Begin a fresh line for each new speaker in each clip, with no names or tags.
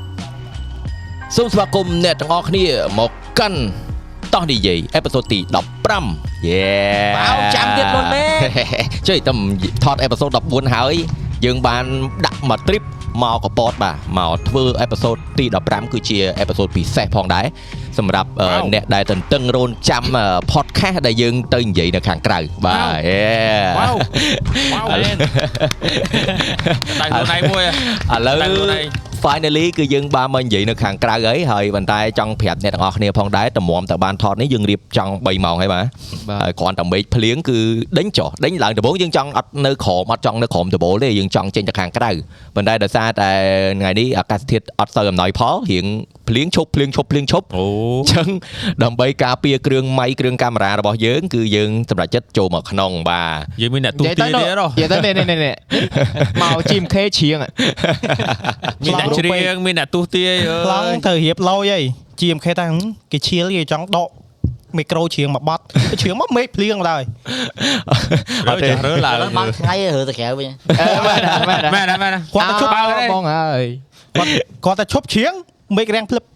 3សូមស្វាគមន៍អ្នកទាំងអស់គ្នាមកកាន់តោះនិយាយអេផ isode ទី15យេ
បោកចាំទៀតមុនមេ
ជួយតែថតអេផ isode 14ហើយ យើងបានដាក់មក trip មកកពតបាទមកធ្វើអេផ isode ទី15គឺជាអេផ isode ពិសេសផងដែរសម្រាប់អឺ
Wow.
អ្នកដែលទន្ទឹងរង់ចាំអឺ podcast ដែលយើងទៅនិយាយនៅខាងក្រៅបាទ
Wow.
យេ
វ៉ាវ វ៉ាវមែន ដៃខ្លួនឯងមួយ
ឥឡូវ
តែខ្លួនឯង
finally គឺយើងបានមកនិយាយនៅខាងក្រៅហើយហើយប៉ុន្តែចង់ប្រាប់អ្នកទាំងអស់គ្នាផងដែរតម្រាំតើបានថតនេះយើងរៀបចង់3ម៉ោងហើយបាទហើយគ្រាន់តែមេឃភ្លៀងគឺដេញចុះដេញឡើងដំបូងយើងចង់អត់នៅក្រោមអត់ចង់នៅក្រោមដំបូលទេយើងចង់ចេញទៅខាងក្រៅប៉ុន្តែដោយសារតែថ្ងៃនេះអាកាសធាតុអត់សូវអំណោយផលរៀងភ្លៀងឈប់ភ្លៀងឈប់ភ្លៀងឈប់
អូ
អញ្ចឹងដើម្បីការពារគ្រឿងម៉ៃគ្រឿងកាមេរ៉ារបស់យើងគឺយើងសម្រេចចិត្តចូលមកក្នុងបាទ
យើងមានអ្នកទូ
និយាយ
ទា
ទៅ
យ
នោះនិ
ទៀតហ៎
យាយទៅ នេះនេះនេះ នេះមកជីមខេជ្រៀងអ่ะ
មានអ្នកជ្រៀងមានអ្នកទូទាយអ
ឡ
ើ
ង
យ
ទៅរៀបឡយហើយជាមខេតថាហឹមគេឈៀលគេចង់ដកមីក្រូជ្រៀងមកបត់ជ្រៀងមកមេឃភ្លៀង ដែរ
រើចរើឡើង
ឥឡូវបាំងថ្ងៃរើទៅក្រៅវិញ
អឺមែនណាមែនណា
មែនណាមែនណា
គាត់ទៅឈប់
អើ
អោបងហើយ
គាត់គាត់ទៅឈប់ជ្រៀងមេឃរាំង ភ្លឹប
និ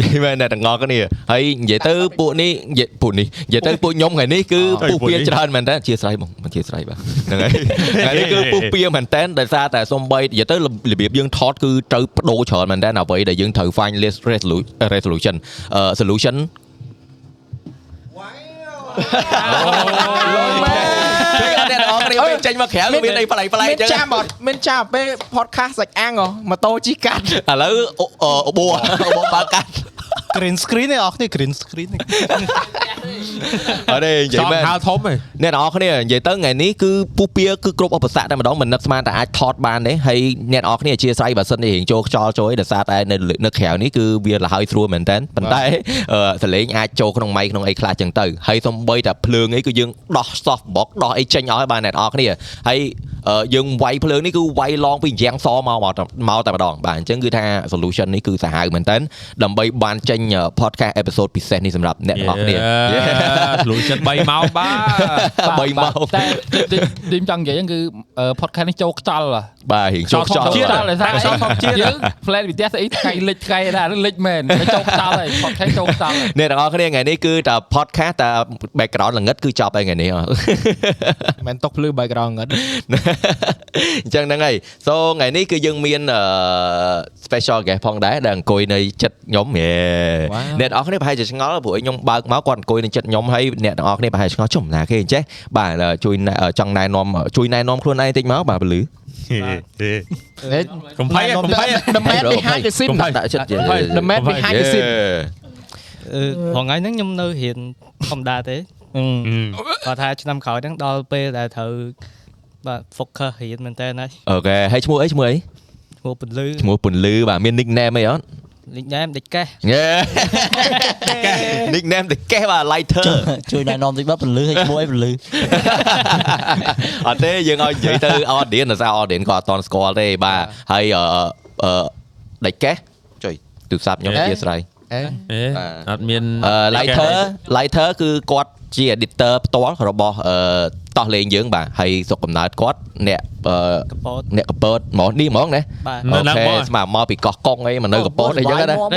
យាយមែនអ្នកទាំងអស់គ្នាហើយនិយាយទៅពួកនេះនិយាយពួកនេះនិយាយទៅពួកខ្ញុំថ្ងៃនេះគឺពុះពៀច្រើនមែនតើអធិស្ឋានមកអធិស្ឋាន បាទហ្នឹងហើយថ្ងៃនេះគឺពុះពៀមែនតើដោយសារតែសំបីនិយាយទៅរបៀបយើងថតគឺត្រូវបដូរច្រើនមែនតើអ្វីដែលយើងត្រូវ find list resolu- resolution អឺ solution ជួយអត់អ្នកទាំងអស់គ្នាពេលចេញមកក្រៅវាមានអីប្លែកប្លែក
មា
អ
ន
ញ្ចឹ
ចាំ
ង
អត់មានចាំពេល podcast សាច់អាំងហ៎ម៉ូតូជីកា ត់
ឥឡូវអូអូបួអូបួបើកកាត់
green screen នេះអស់នេះ green screen នេះ
អត់ទេនិយាយ
ចង់
មែន
ហៅធំហ៎
អ្នកនរគ្នានិយាយទៅថ្ងៃនេះគឺពុះពៀគឺគ្រប់ឧបសគ្គតែម្ដងមិននឹកស្មានតែអាចថតបានទេហើយអ្នកនរគ្នាអធិស្ឋានបើសិនជារៀងចូលខ្យល់ចូលឯងដោយសារតែនៅលើនៅក្រៅនេះគឺវាលហើយស្រួលមែនតើប៉ុន្តែអឺសលេងអាចចូលក្នុងម៉ៃក្នុងអីខ្លះចឹងទៅហើយសំបីតែភ្លើងអីគឺយើងដោះ soft box ដោះអីចេញអស់ហើយបាទអ្នកនរគ្នាហើយអឺយើងវាយភ្លើងនេះគឺវាយឡងពីរាំងសមកមកតែមកតែម្ដងបាទអញ្ចឹងគឺថា solution នេះគឺសាហាវមែនតើដើម្បីបានចេញអឺ podcast episode ពិសេសនេះសម្រាប់អ្នកនរគ្នា
ខ្លួនចិត្ត3ម៉ោងបាទ
3ម៉ោង
តែឌីមចង់និយាយហ្នឹងគឺអឺ podcast នេះចូលខ្យល់ហ៎
បាទរៀងចូលខ្យល់
ខ្យល់តែខ្យល់ធម្មជាតិយើង
Dạ.
plan វិទ្យាស្អីថ្ងៃលិចថ្ងៃណាលិចមែនតែចូលខ្យល់ហើយ podcast ចូលខ្យល់ហើយ
អ្នកទាំងអស់គ្នាថ្ងៃនេះគឺតែ podcast តែ background លងិតគឺចប់ហើយថ្ងៃនេះ អស់
មិនຕົកភ្លឺ background
អ
ហ្នឹង
ញ្ចឹងហ្នឹងហើយ so ថ្ងៃនេះគឺយើងមានអឺ ờ, special guest ផងដែរដែលអង្គុយនៅចិត្តខ្ញុំហេអ្នកទាំងអស់គ្នាប្រហែលជាឆ្ងល់ព្រោះឲ្យខ្ញុំបើកមកគាត់អង្គុយនៅចិត្តខ្ញុំហើយអ្នកទាំងអស់គ្នាប្រហែលឆ្ងល់ចំណាគេអញ្ចេះបាទអឺជួយណែអឺចង់ណែនាំជួយណែនាំខ្លួនឯងតិចមកបាទពលឺ
កំភៃកំភៃ
the man behind the scene
កុំភ័យ
ដាក់ចិត្តយេ
the man
កុំភ័យ
behind the scene
រងថ្ងៃហ្នឹងខ្ញុំនៅរៀនធម្មតាទេគាត់ថាឆ្នាំក្រោយហ្នឹងដល់ពេលដែលត្រូវបាទ focus រៀនមែនតើណា
អូខេហើយឈ្មោះអីឈ្មោះអី
ឈ្មោះពន្លឺ
ឈ្មោះពន្លឺបាទមាន nickname អីអត់
លេខដែរមិនដេចកេះ
nickname តែកេះបាទ lighter
ជួយណែនាំតិចបើពលឺឲ្យឈ្មោះអីពលឺ
អត់ទេយើងឲ្យនិយាយទៅ audience ដល់សារ audience ក៏អត់តន់ស្គាល់ទេបាទហើយអឺអឺដេចកេះចុយទូរស័ព្ទខ្ញុំ
អេ
អធិស្ឋាន
អេ
Ừ.
អត់មាន
អឺ lighter lighter គឺគាត់ជា editor ផ្ទាល់របស់អឺតោះលេងយើងបាទហើយសុខកំណើតគាត់អ្នកអឺ
កពត
អ្នកកពតហ្មងនេះហ្មងណា
បាទ
នៅឡើងមក
ស្មើមកពីកោះកុងអីមកនៅកពតអីចឹងណា
មក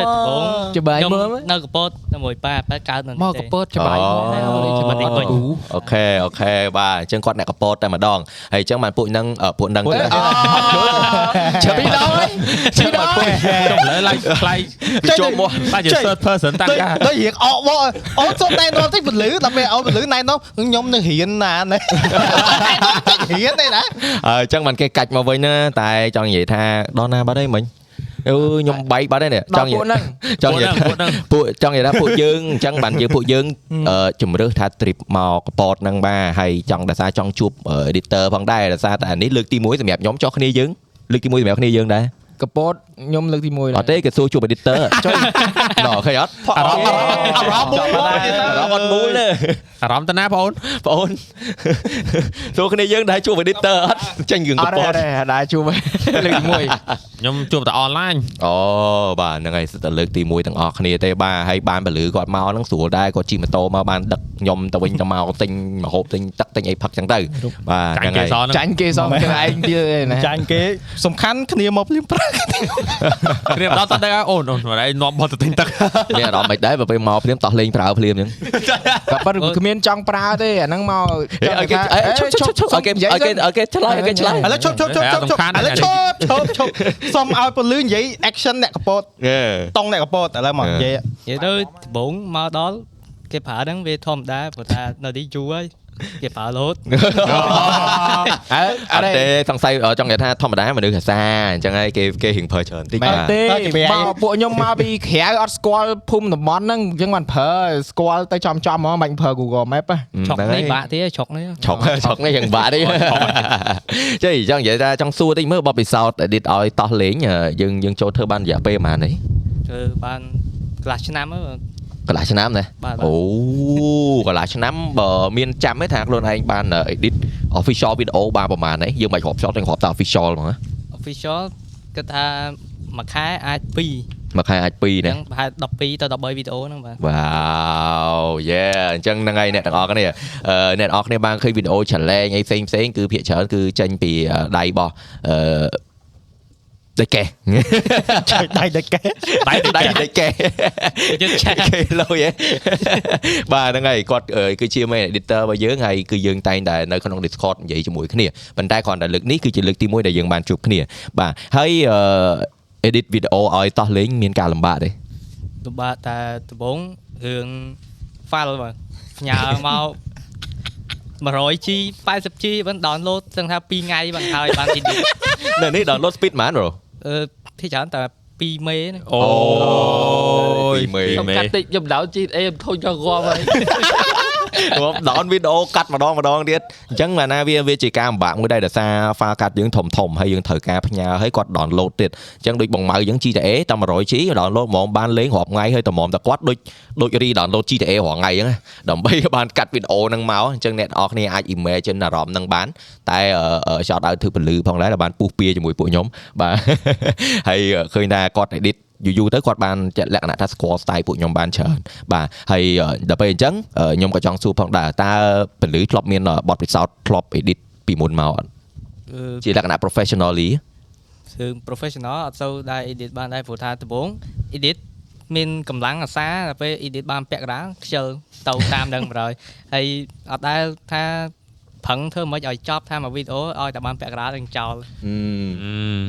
ច្បាយមើលមើល
នៅកពតជាមួយប៉ាប៉ាកើតនៅនេះ
មក
ទេ
កពតច្បា
Ờ.
យមក
Ờ.
តែគាត់
អូខេអូខេបាទអញ្ចឹងគាត់អ្នកកពតតែម្ដងហើយអញ្ចឹងបានពួកហ្នឹងអឺពួកហ្នឹងទៅ
ឈប់ពីដល់ហើយ
ជិះមកពួក
ចុះលើឡើងខ្លាយ
វាជាប់មក
តែជា third person តាំង
ទៅ
ការ
ទៅរៀងអកវកអូនសុំណែនាំតិចពលឺដល់ពេលអូនពលឺណែនាំខ្ញុំនៅរៀនណា ណែនាំតិចរៀនទេណា
អញ្ចឹងມັນគេកាច់មកវិញណាតែចង់និយាយថាដល់ណាបាត់ហើយមិញអឺខ្ញុំបែកបាត់ហើយនេះច
ដល់
ង់និ
ពួក
យាយ
ហ្នឹង
ចង់និយាយ
ពួកហ្នឹង
ពួកចង់និយាយថាពួកយើងអញ្ចឹងបានយើងពួកយើងអឺជំរើសថា trip មកកពតហ្នឹងបាទហើយចង់ដោយសារចង់ជួបអឺ editor ផងដែរដោយសារតែអានេះលើកទី1សម្រាប់ខ្ញុំចោះគ្នាយើងលើកទី1សម្រាប់គ្នាយើងដែរ
កពត ខ្ញុំលើកទី1
អត់ទេគេសួរជួប editor ដល់ឃើញអត់
អារម្មណ៍
អារម្មណ៍មូលអារម្មណ៍អត់មូលទេ
អារម្មណ៍ទៅណាបងអូន
បងអូនសួរគ្នាយើងដែរជួប editor អត់ចាញ់រឿង
អ
កំ
ត់
ប៉ុន
ទេអត់ទេអត់ដែរជួបទេលើកទី1
ខ្ញុំជួបតែអនឡាញ
អូបាទហ្នឹងហើយសិតតែលើកទី1ទាំងអស់គ្នាទេបាទហើយបានពលឺគាត់មកហ្នឹងស្រួលដែរគាត់ជិះម៉ូតូមកបានដឹកខ្ញុំទៅវិញទៅមកទិញម្ហូបទិញទឹកទិញអីផឹកចឹងទៅបាទ
ចាញ់
ហ្នឹង
គេ
ហើយ
សនហ្នឹង
ចាញ់គេ សោះខ្លួនឯងទៀតឯណា
ចាញ់គេសំខាន់គ្នាមកភ្លាមប្រាក់
គ្រាបដល់តដឹងអូនអូនមកឯងនាំបត់ទៅទិញទឹក
មាន អារម្មណ៍មិនដែរបើពេលមកភ្លាមតោះលេងប្រើភ្លាមអញ្ចឹង
ក៏ប៉ុន្តែគ្មានចង់ប្រើទេអាហ្នឹងមក
ឲ្យគេឲ្យគេឲ្យគេឲ្យគេឲ្យគេឆ្លើយឲ្យគេឆ្លើយ
ឥឡូវឈប់ឈប់ឈប់ឈប់ ឈប់ឥឡូវឈប់ឈប់ឈប់សុំ ឲ្យពលឺនិយាយ action អ្នកកពត
អេ
តុងអ្នកកពតឥឡូវមកនិយាយ និយាយទៅដំបូងមកដល់គេប្រើហ្នឹងវាធម្មតាព្រោះថានៅនេះយូរហើយគេប្រើរហូត
អើ
អ
អត់
ត់
ទេ
ទេសង្ស័យអឺចង់និយាយថាធម្មតាមនុស្សភាសាអញ្ចឹងហើយគេគេរៀងប្រើច្រើនតិច
មែន
បាទ
ទេ
តើជាវាអី
មកពួកខ្ញុំមកពីក្រៅអត់ស្គាល់ភូមិតំបន់ហ្នឹងអញ្ចឹងបានប្រើស្គាល់ទៅចំចំៗហ្មងមិនប្រើ Google Map ទេ
ឆុក
ហ្នឹង
នេះ
ហើយ
បាក់ទៀតឆុកនេះ
ឆុក ឆុកនេះយ៉ាងបាក់ទេចៃចង់និយាយថាចង់សួរតិចមើលបបពិសោធន៍ edit ឲ្យតោះលេងអឺយើងយើងចូលធ្វើបានរយៈពេលប៉ុន្មាននេះ
គឺបានកន្លះឆ្នាំហើយក
ន្លះឆ្នាំណា
បាទបាទ
អូកន្លះឆ្នាំ បើមានចាំទេថាខ្លួនឯងបានអឺ edit official video បានប៉ុន្មាននេះយើងមិនរាប់ shot យើងរាប់តែ official ហ្មងណា
official គឺថាមួយខែអាច2អ
មួយខែអាច2
ញ្ចឹ
ណា
ងប្រហែល12ទៅ13វីដេអូហ្នឹងបាទ
វ៉ាវយេអញ្ចឹងហ្នឹងហើយអ្នកទាំងអស់គ្នាអឺអ្នកទាំងអស់គ្នាបានឃើញវីដេអូ challenge អីផ្សេងផ្សេងគឺភាគច្រើនគឺចេញពីអឺដៃរបស់អឺដៃ កេះ
ដៃដេកេ
ដៃដៃដៃកេះ
យើងឆែក
គេលុយហ៎ បាទហ្នឹងហើយគាត់អឺគឺជា main editor របស់យើងហើយគឺយើងតែងតែនៅក្នុង Discord និយាយជាមួយគ្នាប៉ុន្តែគ្រាន់តែលើកនេះគឺជាលើកទី1ដែលយើងបានជួបគ្នាបាទហើយអឺ edit វីដេអូឲ្យតោះលេងមានការលំបាកទេ
ទៅបាទតែដំបងរឿង file បាទផ្ញើមក 100G 80G បាន download ស្ទឹងថា2ថ្ងៃបានហើយបាន edit
នៅនេះ download speed ហ្មងប្រូ
អឺភាគច្រើនតែ2មេហ្នឹង
អូយ
ពីមេ
ខ្ញុំកាត់តិចខ្ញុំដោនជីអេខ្ញុំធុញចង់ងាប់ហើយ
ខ្ញុំដោនវីដេអូកាត់ម្ដងម្ដងទៀតអញ្ចឹងបានណាវាវាជាការលំបាកមួយដែរដោយសារហ្វាកាត់យើងធំធំហើយយើងត្រូវការផ្ញើហើយគាត់ដោនឡូតទៀតអញ្ចឹងដូចបងម៉ៅយើង GTA តែ 100G ដោនឡូតហ្មងបានលេងរាប់ថ្ងៃហើយតែហ្មងតែគាត់ដូចដូចរីដោនឡូត GTA រាល់ថ្ងៃអញ្ចឹងណាដើម្បីឲ្យបានកាត់វីដេអូហ្នឹងមកអញ្ចឹងអ្នកនរអគ្នាអាច imagine អារម្មណ៍ហ្នឹងបាន តែអឺអឺ shout out ធ្វើពលឺផងដែរដែលបានពុះពៀជាមួយពួកខ្ញុំ បាទ ហើយអឺឃើញថាគាត់ edit យូរយូរទៅគាត់បានចាក់លក្ខណៈថាស្គាល់ style ពួកខ្ញុំបានច្រើនបាទហើយអឺដល់ពេលអញ្ចឹងអឺខ្ញុំក៏ចង់សួរផងដែរតើពលឺធ្លាប់មានអឺបទពិសោធន៍ធ្លាប់ edit ពីមុនមកអត់
គឺ
ជាលក្ខណៈ professionally
គឺ professional អត់សូវដែរ edit បានដែរព្រោះថាដំបង edit មានកម្លាំងអាសាដល់ពេល edit បានពាក់កណ្ដាល ខ្ជិលទៅតាមដឹងបរហើយហើយអត់ដែលថាប្រឹងធ្វើមិនឲ្យចប់ថាមួយវីដេអូឲ្យតែបានពាក់កណ្ដាលនឹងចោល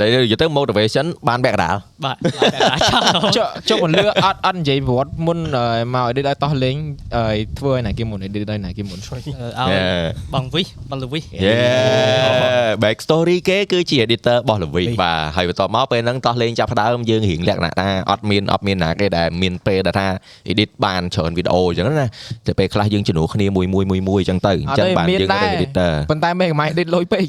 តែនិយាយទៅ motivation បានបែកដាល
បាទឲ្យពាក់កណ្ដាលចោល
ចុះចុះពន្លឺអត់អត់និយាយប្រវត្តិមុនអឺមក edit ឲ្យតោះលេងអឺធ្វើឲ្យណាគេមុន edit ឲ្យណាគេមុន
អឺឲ្យបងវិសបងលូវិស
យេ back story គេគឺជា editor របស់ល្វីបាទហើយបន្ទាប់មកពេលហ្នឹងតោះលេងចាប់ផ្ដើមយើងរៀងលក្ខណៈថាអត់មានអត់មានណាគេដែលមានពេលដែលថា edit បានច្រើនវីដេអូអញ្ចឹងណាតែពេលខ្លះយើងជំនួសគ្នាមួយមួយមួយមួយអញ្ចឹងទៅអញ្ចឹងបានយើងទៅ editor
ប៉ុន្តែមេកម្មាយ edit លុយ ពេក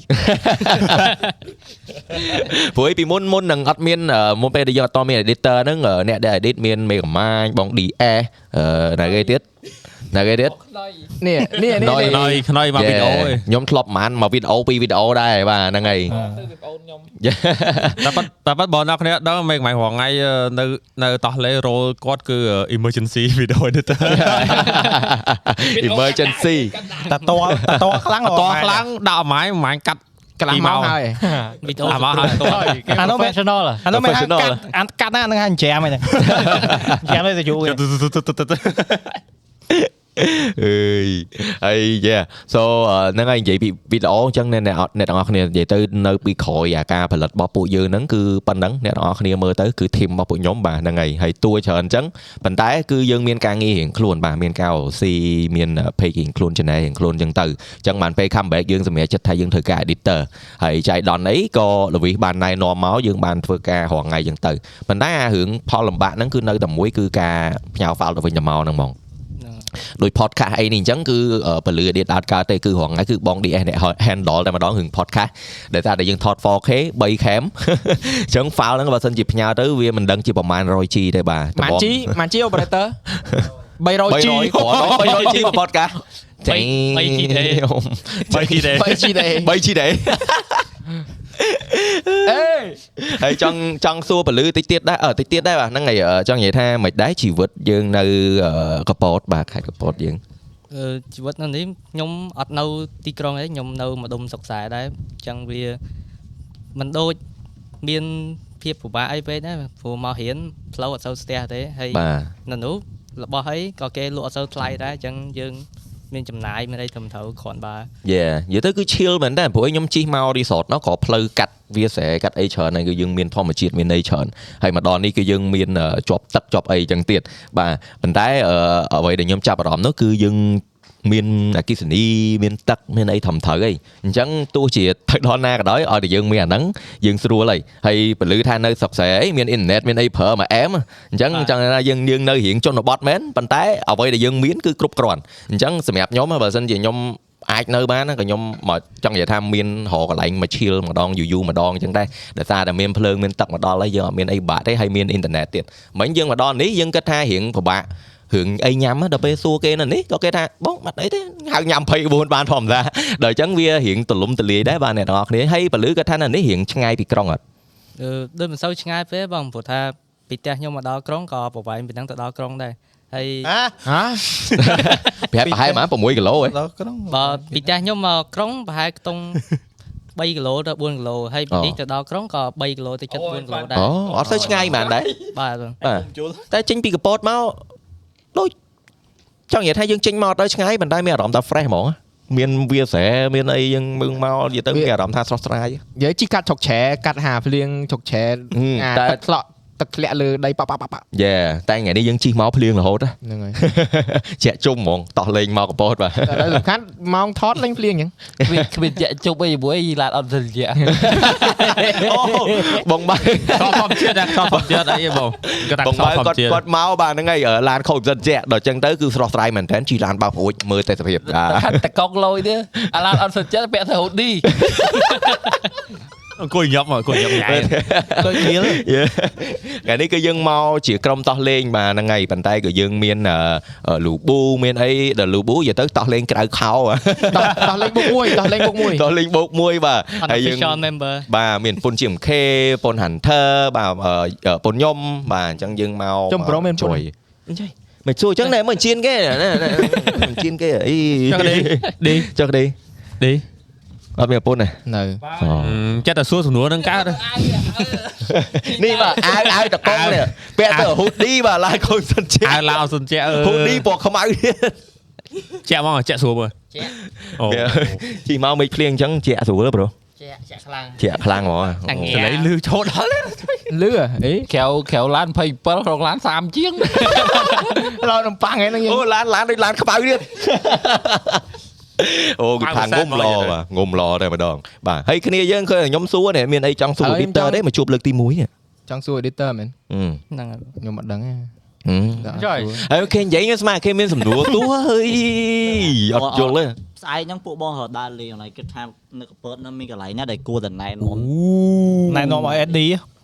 ព្រោះឯងពីមុនមុននឹងអត់មានអឺមុនពេលដែលយើងអត់តមាន editor ហ្នឹងអឺអ្នកដែល edit មានមេកាម៉ាញបង DS អឺណាគេទៀតណាគេទៀត
នេះនេះ
ណ
នេះ
យ
នេះ
ណយខ្នុយមកវីដេអូឯង
ខ្ញុំធ្លាប់ប្រហែលមកវីដេអូពីរវីដេអូដែរបាទហ្នឹងហើយ
តែប៉ាត់តែប៉ាត់បងអ្នកគ្នាដឹងមេកម៉ៃរងថ្ងៃអឺនៅនៅតោះលេរ៉ូលគាត់គឺអឺ emergency video editor
emergency
តាតតាតខ្លាំង
អត់តខ្លាំងដាក់អម៉ាយម៉ាយកាត់
កន្លះម៉ោងហើយ
វីដេអូ
អាមកហើយត
អានោះ professional អានោះមិនហៅ
Professional
កាត់អានកាត់ណាហ្នឹងហៅអញ្ចាំហ្នឹងអញ្ចាំទៅយូរ
អើយហើយ yeah so អឺហ្នឹងហើយនិយាយពីវីដេអូអញ្ចឹងអ្នកអ្នកអត់អ្នកទាំងអស់គ្នានិយាយទៅនៅពីក្រោយអាការផលិតរបស់ពួកយើងហ្នឹងគឺប៉ុណ្ណឹងអ្នកទាំងអស់គ្នាមើលទៅគឺ team របស់ពួកខ្ញុំបាទហ្នឹងហើយហើយតួច្រើនអញ្ចឹងប៉ុន្តែគឺយើងមានការងាររៀងខ្លួនបាទមានការ OC មាន page រៀងខ្លួន channel រៀងខ្លួនអញ្ចឹងទៅអញ្ចឹងបានពេល comeback យើងសម្រេចចិត្តថាយើងធ្វើការ editor ហើយចៃដនអីក៏លវិសបានណែនាំមកយើងបានធ្វើការរងថ្ងៃអញ្ចឹងទៅប៉ុន្តែអារឿងផលលំបាកហ្នឹងគឺនៅតែមួយគឺការផ្ញើ file ទៅវិញទៅមកហ្នឹងហ្មង ដោយ podcast អីនេះអញ្ចឹងគឺអឺពលឺ edit ដល់កើតទេគឺរងថ្ងៃគឺបង DS អ្នក handle តែម្ដងរឿង podcast ដែលថាដែលយើងថត 4K 3 cam អញ្ចឹង file ហ្នឹងបើសិនជាផ្ញើទៅវាមិនដឹងជាប្រមាណ 100G ទេបាទ
ម៉ាន់ជីម៉ាន់ជី operator 300G
300គ្រាន់ដល់ 300G មក podcast
បីបី G ទេ
3G ទេ
3G ទេ
3G ទេ
អេ
ហើយចង់ចង់សួរពលឺតិចទៀតដែរអឺតិចទៀតដែរបាទហ្នឹងហើយអឺចង់និយាយថាមិនដែរជីវិតយើងនៅអឺកពតបាទខេត្តកពតយើង
អឺជីវិតនៅនេះខ្ញុំអត់នៅទីក្រុងទេខ្ញុំនៅម្ដុំសុកខ្សែដែរអញ្ចឹងវាមិនដូចមានភាពពិបាកអីពេកដែរព្រោះមករៀនផ្លូវអត់សូវស្ទះទេហើយ
បាទ
នៅនោះរបស់អីក៏គេលក់អត់សូវថ្លៃដែរអញ្ចឹងយើងមានចំណាយមានអីត្រឹមត្រូវគ្រាន់បើ
យេនិយាយទៅគឺ chill មែនតើព្រោះខ្ញុំជិះមក resort នោះក៏ផ្លូវកាត់វាស្រែកាត់អីច្រើនហើយគឺយើងមានធម្មជាតិមានអីច្រើនហើយមកដល់នេះគឺយើងមានអឺជាប់ទឹកជាប់អីចឹងទៀតបាទប៉ុន្តែអឺអ្វីដែលខ្ញុំចាប់អារម្មណ៍នោះគឺយើងមានអគិសនីមានទឹកមានអីធំត្រូវអីអញ្ចឹងទោះជាទៅដល់ណាក៏ដោយឲ្យតែយើងមានអាហ្នឹងយើងស្រួលហើយហើយពលឺថានៅស្រុកស្រែអីមានអ៊ីនធឺណិតមានអីប្រើមួយអែមអញ្ចឹងចង់ថាយើងយើងនៅរៀងជនបទមែនប៉ុន្តែអ្វីដែលយើងមានគឺគ្រប់គ្រាន់អញ្ចឹងសម្រាប់ខ្ញុំបើសិនជាខ្ញុំ អាចនៅបានណាក៏ខ្ញុំមកចង់និយាយថាមានរកកន្លែងមកឈៀលម្ដងយូរយូរម្ដងអញ្ចឹងដែរដោយសារតែមានភ្លើងមានទឹកមកដល់ហើយយើងអត់មានអីបាក់ទេហើយមានអ៊ីនធឺណិតទៀតមិញយើងមកដល់នេះយើងគិតថារៀងពិបាករឿងអីញ៉ាំណាដល់ពេលសួរគេនៅនេះក៏គេថាបងបាត់អីទេហៅញ៉ាំ24បានធម្មតាដល់អញ្ចឹងវារៀងទលំទលាយដែរបាទអ្នកទាំងអស់គ្នាហើយពលឺក៏ថានៅនេះរៀងឆ្ងាយពីក្រុងអត់
អឺដូចមិនសូវឆ្ងាយពេកបងព្រោះថាពីផ្ទះខ្ញុំមកដល់ក្រុងក៏ប្រវែងពីហ្នឹងទៅដល់ក្រុងដែរហើយ
ហ៎ហ៎
ប្រហែលប្រហែលប្រហែល6គីឡូឯង
ដល់ក្រុង
បើពីផ្ទះខ្ញុំមកក្រុងប្រហែលខ្ទង់3គីឡូទៅ4គីឡូហើយពីនេះទៅដល់ក្រុងក៏3គីឡូទៅ7 4គីឡូដែរ
អូអត់សូវឆ្ងាយហ្មងដែរ
បាទបង
បាទតែចេញពីកពតមកដូចចង់និយាយថាយើងចេញមកអត់ដល់ឆ្ងាយមិនដែរមានអារម្មណ៍ថា fresh ហ្មងមានវាស្រែមានអីយើងមើងមកនិយាយទៅមានអារម្មណ៍ថាស្រស់ស្រាយ
និយាយជីកាត់ឈុកឆែកាត់ហាភ្លៀងឈុកឆែ
ហឹម
អា
តែ
ទឹកឆ្លក់ទឹកធ្លាក់លើដីប៉ប៉ប៉ប៉
យេតែថ្ងៃនេះយើងជិះមកភ្លៀងរហូតណា
ហ្នឹងហើយ
ជាក់ជុំហ្មងតោះលេងមកកពតបាទ
តែដល់សំខាន់ម៉ោងថតលេងភ្លៀងអញ្ចឹង
វាគ្មានជាក់ជប់អីជាមួយឡាតអត់សិលជាក់
អូបងបើ
តោះធម្មជាតិតោះធម្មជាតិអីបងគាត់ថា
បង
ខ្សោ
បើ
យធម្ម
គាត់
ជាតិ
គាត់មកបាទហ្នឹងហើយអឺឡានខូចមិនសិនជាក់ដល់អញ្ចឹងទៅគឺស្រស់ស្រាយមែនតើជីឡានបោកប្រួចមើលតែសភាពបាទ
តែកង់លយទេអាឡាតអត់សិលជាក់ពាក់ទៅហូឌី
អង្គុយញ៉ាំអង្គុយញ៉ាំញ៉ៃ
ដូចគ្នាថ្ងៃនេះគឺយើងមកជាក្រុមតោះលេងបាទហ្នឹងហើយប៉ុន្តែក៏យើងមានអឺលូប៊ូមានអីដល់លូប៊ូយកទៅតោះលេងក្រៅខោ
តោះតោះលេងបុកមួយតោះលេងបុកមួយ
តោះលេងបោកមួយបាទ
unofficial member
បាទមានពុន GMK ពុន Hunter បាទអឺពុនខ្ញុំបាទអញ្ចឹងយើងមក
ចំប្រងមានពុន
ជួយមិនជួយអញ្ចឹងណែមិនជៀនគេណែណែមិនជៀនគេអី
ចុះដេកដេក
ចុះដេក
ឌី
អត់មានពុនទេ
នៅ
អូ
ចិត្តតែសួរសំណួរនឹងកើត
នេះបាទអាវអាវតកងនេះពាក់ទៅហ៊ូឌីបាទឡាយខូនសិនជា
អើឡាវសុនជែកអើ
ហ៊ូឌីពណ៌ខ្មៅទៀត
ជែកមកជែកស្រួលមើល
ជែក
អូ
វាជីមកមេឃភ្លៀងអញ្ចឹងជាក់ស្រួលប្រូ
ជាក់ជាក់ខ្លាំង
ជាក់ខ្លាំងហ្មង
អាងា
សលេលឺឆោតដល់
លឺអី
ក្រៅក្រៅឡាន27ក្នុងឡាន30ជាង
ឡោនំប៉័ងហ្នឹងយើង
អូឡានឡានដូចឡានខ្មៅទៀតអូគឺខាងងុំឡ បាទងុំឡតែម្ដងបាទហើយគ្នាយើងឃើញខ្ញុំសួរនេះមានអីចង់សួរពីតើទេមកជួបលើកទី1ហឹម
ចង់សួរ editor មែន
ហ្នឹងហើយ
ខ្ញុំអត់ដឹងទេ
ចុយ
ហើយអូខេនិយាយខ្ញុំស្មានគេមានសំណួរទួ ហើយអត់យល់ទេ
ផ្អែកហ្នឹងពួកបងរត់ដើរលេងអនឡាញគិតថានៅកពតហ្នឹងមានកន្លែងណាដែលគួរតែណែនាំ
ណែនាំឲ្យ SD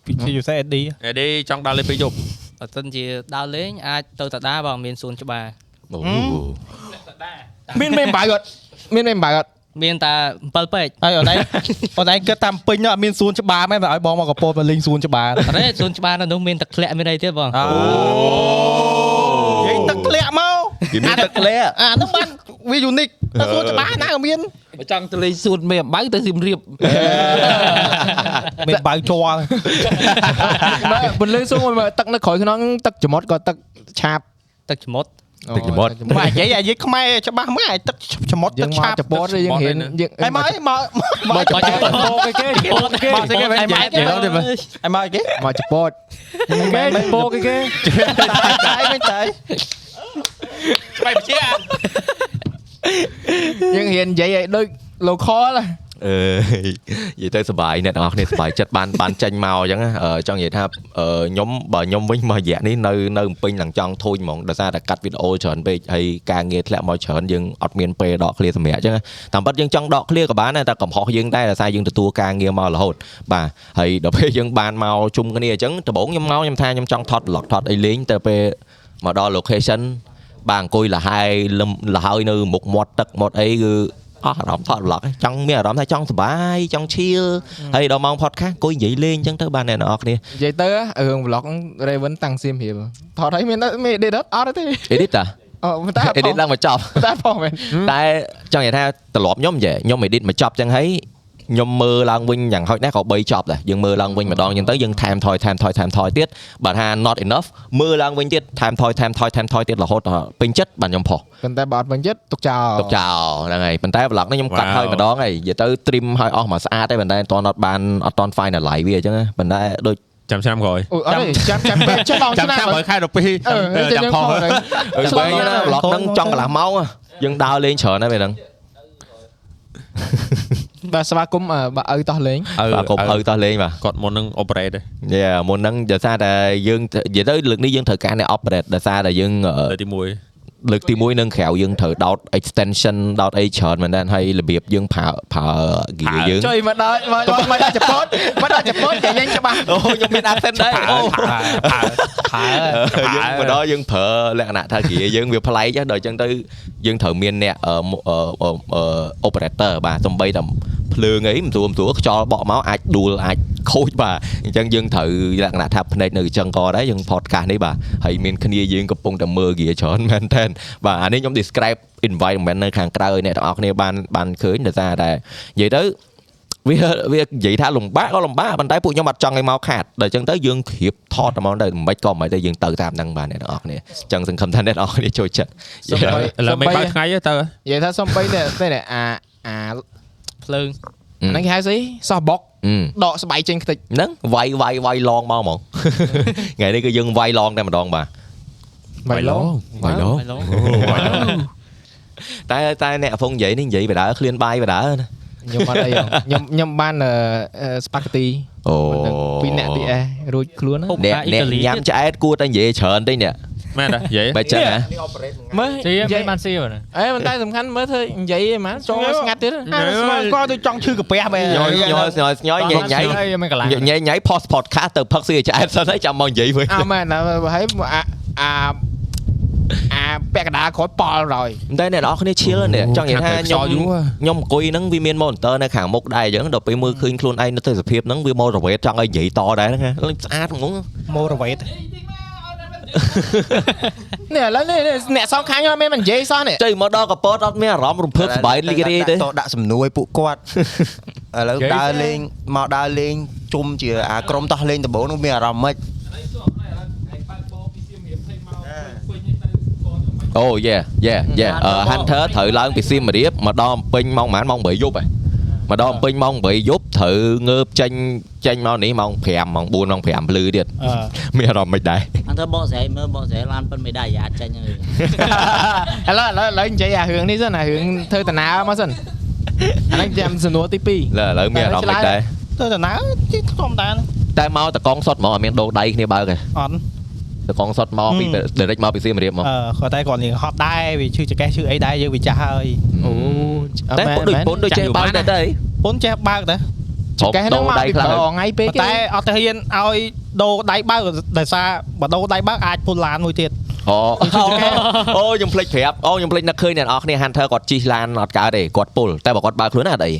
ពីជាយូសែ SD
អេដេចង់ដល់លេងពេលយប់
បើសិនជាដើរលេងអាចទៅតាដាបងមានសួនច្បារ
អូ
មានមេមបាយគាត់មានមេមបាយគាត់
មានតែ7ពេក
ហើយអនឡា ញ អនឡាញគិតតាមពេញនោះអត់មានសួនច្បារមែនតែឲ្យបងមកកពតមកលេងសួនច្បារ
អរេសួនច្បារនៅនោះមានទឹកធ្លាក់មានអីទៀតបង
និយាយទឹកធ្លាក់មក
គេមានទឹកលែ
អាហ្នឹងបានវា unique តែសួរច្បាស់ណាក៏មាន
បើចង់ទៅលេងសួនមេអំបៅទៅសៀមរាប
មានបៅជ័រ
បើពលឺសួរមកទឹកនៅក្រោយខ្នងទឹកចមុតក៏ទឹកឆាប
ទឹកចមុត
ទឹកចំត់
បើនិយាយអាយខ្មែរច្បាស់មកអាយទឹកចមុត
យើ
ទឹក
ងមក
ឆាប
ចពតយើងហ៊ានយើង
ឯមកឯមកមកចពតគេគេគេមកគេវិញ
និយាយទៅមើល
ឯមកគេ
មកចពត
មែនពោគេគេតែវិញតែ
បែបជា
យើងហ៊ាននិយាយឲ្យដូច local
អឺ
ហ៎
និយាយទៅសុបាយអ្នកទាំងអស់គ្នាសុបាយចិត្តបានបានចេញមកអញ្ចឹងណាអឺចង់និយាយថាអឺខ្ញុំបើខ្ញុំវិញមករយៈនេះនៅនៅភ្នំពេញឡើងចង់ធូញហ្មងដោយសារតែកាត់វីដេអូច្រើនពេកហើយការងារធ្លាក់មកច្រើនយើងអត់មានពេលដកឃ្លាសម្រាប់អញ្ចឹងណាតាមពិតយើងចង់ដកឃ្លាក៏បានដែរតែកំហុសយើងដែរដោយសារយើងទទួលការងារមករហូតបាទហើយដល់ពេលយើងបានមកជុំគ្នាអញ្ចឹងដំបូងខ្ញុំមកខ្ញុំថាខ្ញុំចង់ថត vlog ថតអីលេងតែពេលមកដល់ location បាទអង្គុយលះហើយលឹមលះហើយនៅមុខមាត់ទឹកមាត់អីគឺអស់អារម្មណ៍ថត vlog ចង់មានអារម្មណ៍ថាចង់សុបាយចង់ឈៀលហើយដល់ម៉ោង podcast អង្គុយនិយាយលេងអញ្ចឹងទៅបានអ្នកនរអគ្នា
និយាយទៅរឿង vlog Raven តាំងសៀមរាបថតអីមានមាន edit អត់ទេ
edit តា
អូប៉ុន្តែ
edit ឡើងមកចប់
តែផងមែន
តែចង់និយាយថាត្រឡប់ខ្ញុំចេះខ្ញុំ edit មកចប់ចឹងហើយខ្ញុំមើលឡើងវិញយ៉ាងហោចណាស់ក៏3ចប់ដែរយើងមើលឡើងវិញម្ដងចឹងទៅយើងថែមថយថែមថយថែមថយទៀតបើថា not enough មើលឡើងវិញទៀតថែមថយថែមថយថែមថយទៀតរហូតដល់ពេញចិត្តបាទខ្ញុំផុស
ប៉ុន្តែបើអត់ពេញចិត្តទុកចោល
ទុកចោលហ្នឹងហើយប៉ុន្តែ vlog នេះខ្ញុំកាត់
Wow.
ហើយម្ដងហើយនិយាយទៅ trim ឲ្យអស់មកស្អាតហើយប៉ុន្តែអត់ទាន់អត់បានអត់ទាន់ finalize វាអញ្ចឹងណាប៉ុន្តែដូច
ចាំឆ្នាំក្រោយ
អូអត់ទេចាំចាំពេលចាំបង
ចាំ
ឆ្នាំ
ឆ្នាំក្រោយខែ12
អឺចាំយើ
ចាំ
ងផុ
ផុ
ស
ស
ហើយ
ស្បែកណា vlog ហ្នឹងចង់កន្លះម៉ោងហ៎យើងដើរលេងច្រើនហើយពេលហ្នឹង
បាទស្វាគមន៍អឺបើឪតោះលេង
បាទកុំឲ្យតោះលេងបាទ
គាត់មុននឹង operate ទេ
Yeah មុនហ្នឹងដោយសារតែយើងនិយាយទៅលើកនេះយើងត្រូវការអ្នក operate ដោយសារតែយើងអឺ
លើកទី1
លើកទី1នឹងក្រៅយើងត្រូវដោត extension ដោតអីច្រើនមែនដែរហើយរបៀបយើងប្រើប្រើ gear យើង
ជួយមកដល់មកដល់មកដល់ជប៉ុនមកដល់ជប៉ុនតែយើងច្បាស់
អូខ្ញុំមាន accent ដែរអូ
ផើផើ
យើងមកដល់យើងប្រើលក្ខណៈថាគ្រាយើងវាប្លែកណាស់ដល់អញ្ចឹងទៅយើងត្រូវមានអ្នកអឺអឺអឺអឺ operator បាទសំបីតែភ្លើងអីមិនស្រួលមិនស្រួលខ្យល់បក់មកអាចដួលអាចខូចបាទអញ្ចឹងយើងត្រូវលក្ខណៈថាភ្នែកនៅចឹងក៏ដែរយើង podcast នេះបាទហើយមានគ្នាយើងកំពុងតែមើលគ្រាច្រើនមែនតើបាទអានេះខ្ញុំ describe environment នៅខាងក្រៅឲ្យអ្នកទាំងអស់គ្នាបានបានឃើញដោយសារតែនិយាយទៅ វាវានិយាយថាលំបាកក៏លំបាកប៉ុន្តែពួកខ្ញុំអត់ចង់ឲ្យមកខាតដល់អញ្ចឹងទៅយើងគ្រាបថតតែមកទៅមិនក៏មិនទៅយើងទៅតាមហ្នឹងបាទអ្នកទាំងអស់គ្នាអញ្ចឹងសង្ឃឹមថាអ្នកទាំងអស់គ្នាចូលចិត្ត
សំបី
ឥឡូ
សំ
វមិន
បី
បើកថ្ងៃទេទៅ
និយាយថាសំបីតែតែនេះអាអា
ភ្លើង
Hmm.
ហ្នឹងគេហៅស្អីសោះបុក
Yeah. ហឹម
ដកស្បែកចេញខ្ទេច
ហ្នឹងវាយវាយវាយឡងមកហ្មង ថ្ងៃនេះគឺយើងវាយឡងតែម្ដងបាទ
បា
Vài
យឡង
lố.
វ៉ៃឡូ
តែតែអ្នកកំពុងនិយាយនេះនិយាយបដាឃ្លានបាយបដាណា
ខ្ញុំអត់ អីហ៎ខ្ញុំខ្ញុំបានអឺអឺស្ប៉ាហ្គេទី
អូ
ពីរអ្នកពីអេរួចខ្លួនហ៎
ហូប
អ្នក
អាអ៊ី
អ្នក
តាលី
ញ៉ាំ
ទៀត
ឆ្អែតគួរតែនិយាយច្រើនតិចនេះ
មែនទេនិយាយ
បែបចឹងណា
មើល
ជិះ
និ
មិន
យាយ
បានស៊ីហ្នឹង
អេប៉ុន្តែសំខាន់មើលធ្វើនិយាយឯងហ្មងចូលមកស្ងាត់ទៀត
អាស្មានគាត់ទៅចង់ឈឺកាពះបែរ
ញយញយស្ញយស្ញយញ៉ៃញ៉ៃ
មិនកម្លាំង
ញ៉ៃញ៉ៃ post podcast ទៅផឹកស៊ីឲ្យឆ្អែតសិនហើយចាំមកនិយាយវិញ
អើមែនណាហើយអាអាអាពាក់កណ្ដាលគ្រាប់ប៉លរយ
មិនតែអ្នកនរគ្នាឈៀលនេះចង់និយាយថាខ្ញុំខ្ញុំអង្គុយហ្នឹងវាមាន monitor នៅខាងមុខដែរអញ្ចឹងដល់ពេលមើលឃើញខ្លួនឯងនៅទេសភាពហ្នឹងវា motivate ចង់ឲ្យនិយាយតដែរហ្នឹងណាលេងស្អាតងង
ម៉ូរ៉ូវេត
នេះឥឡូវនេះនេះអ្នកសងខាងខ្ញុំអត់មានមិននិយាយសោះនេះ
ចៃមកដល់កប៉ោតអត់មានអារម្មណ៍រំភើបសប្បាយរីករាយទេ
តោះដាក់សំនួរឲ្យពួកគាត់ឥឡូវដើរលេងមកដើរលេងជុំជាអាក្រុមតោះលេងដំបូងនោះមានអារម្មណ៍ម៉េច
អូ yeah yeah yeah អឺ Hunter ត្រូវឡើងពីសៀមរាបមកដល់អំពេញម៉ោងប្រហែលម៉ោង8យប់ហ៎មកដល់អំពេញម៉ោង8យប់ត្រូវងើបចេញចេញមកនេះម៉ោង5ម៉ោង4ម៉ោង5ភ្លឺទៀត
អឺ
មានអារម្មណ៍មិនដែរ
អញ្ចឹងបកស្រាយមើលបកស្រាយឡានប៉ុនមេដាយ៉ាចេញហើយ
ឥឡូវឥឡូវឥឡូវនិយាយអារឿងនេះសិនអារឿងធ្វើតាណាមកសិនអានេះចាំសំណួរទី2
ឥឡូវមានអារម្មណ៍មិនដែរ
ទៅតាណាទីធម្មតា
តែមកតកងសុតហ្មងអត់មានដូរដៃគ្នាបើកទេ
អត់
តកងសុតមកពី
Hmm.
direct មកពីសៀមរាបមក
អឺគាត់តែគាត់នឹងហត់ដែរវាឈឺចង្កេះឈឺអីដែរយើងវាចាស់ហើយ
អូតែ
មែ
ពុកដូចពុនដូចចេះបើកដែរទេ
ពុនចេះបើកដែរ
ចុំ
កែ
ដ
ហ្នឹង
ង
មក
ដៃ
ពី
ខ្លាំង
ប្រហងៃពេ
ប៉ុ
ក
ន្តែអត់ទៅហ៊ានឲ្យដូរដៃបើកដោយសារបើដូរដៃបើកអាចពុនឡានមួយទៀត
អូអូខ្ញុំភ្លេចប្រាប់អូខ្ញុំភ្លេចនឹកឃើញអ្នកនរគ្នា Hunter គាត់ជិះឡានអត់កើតទេគាត់ពុលតែបើគាត់បើកខ្លួនណាអត់អី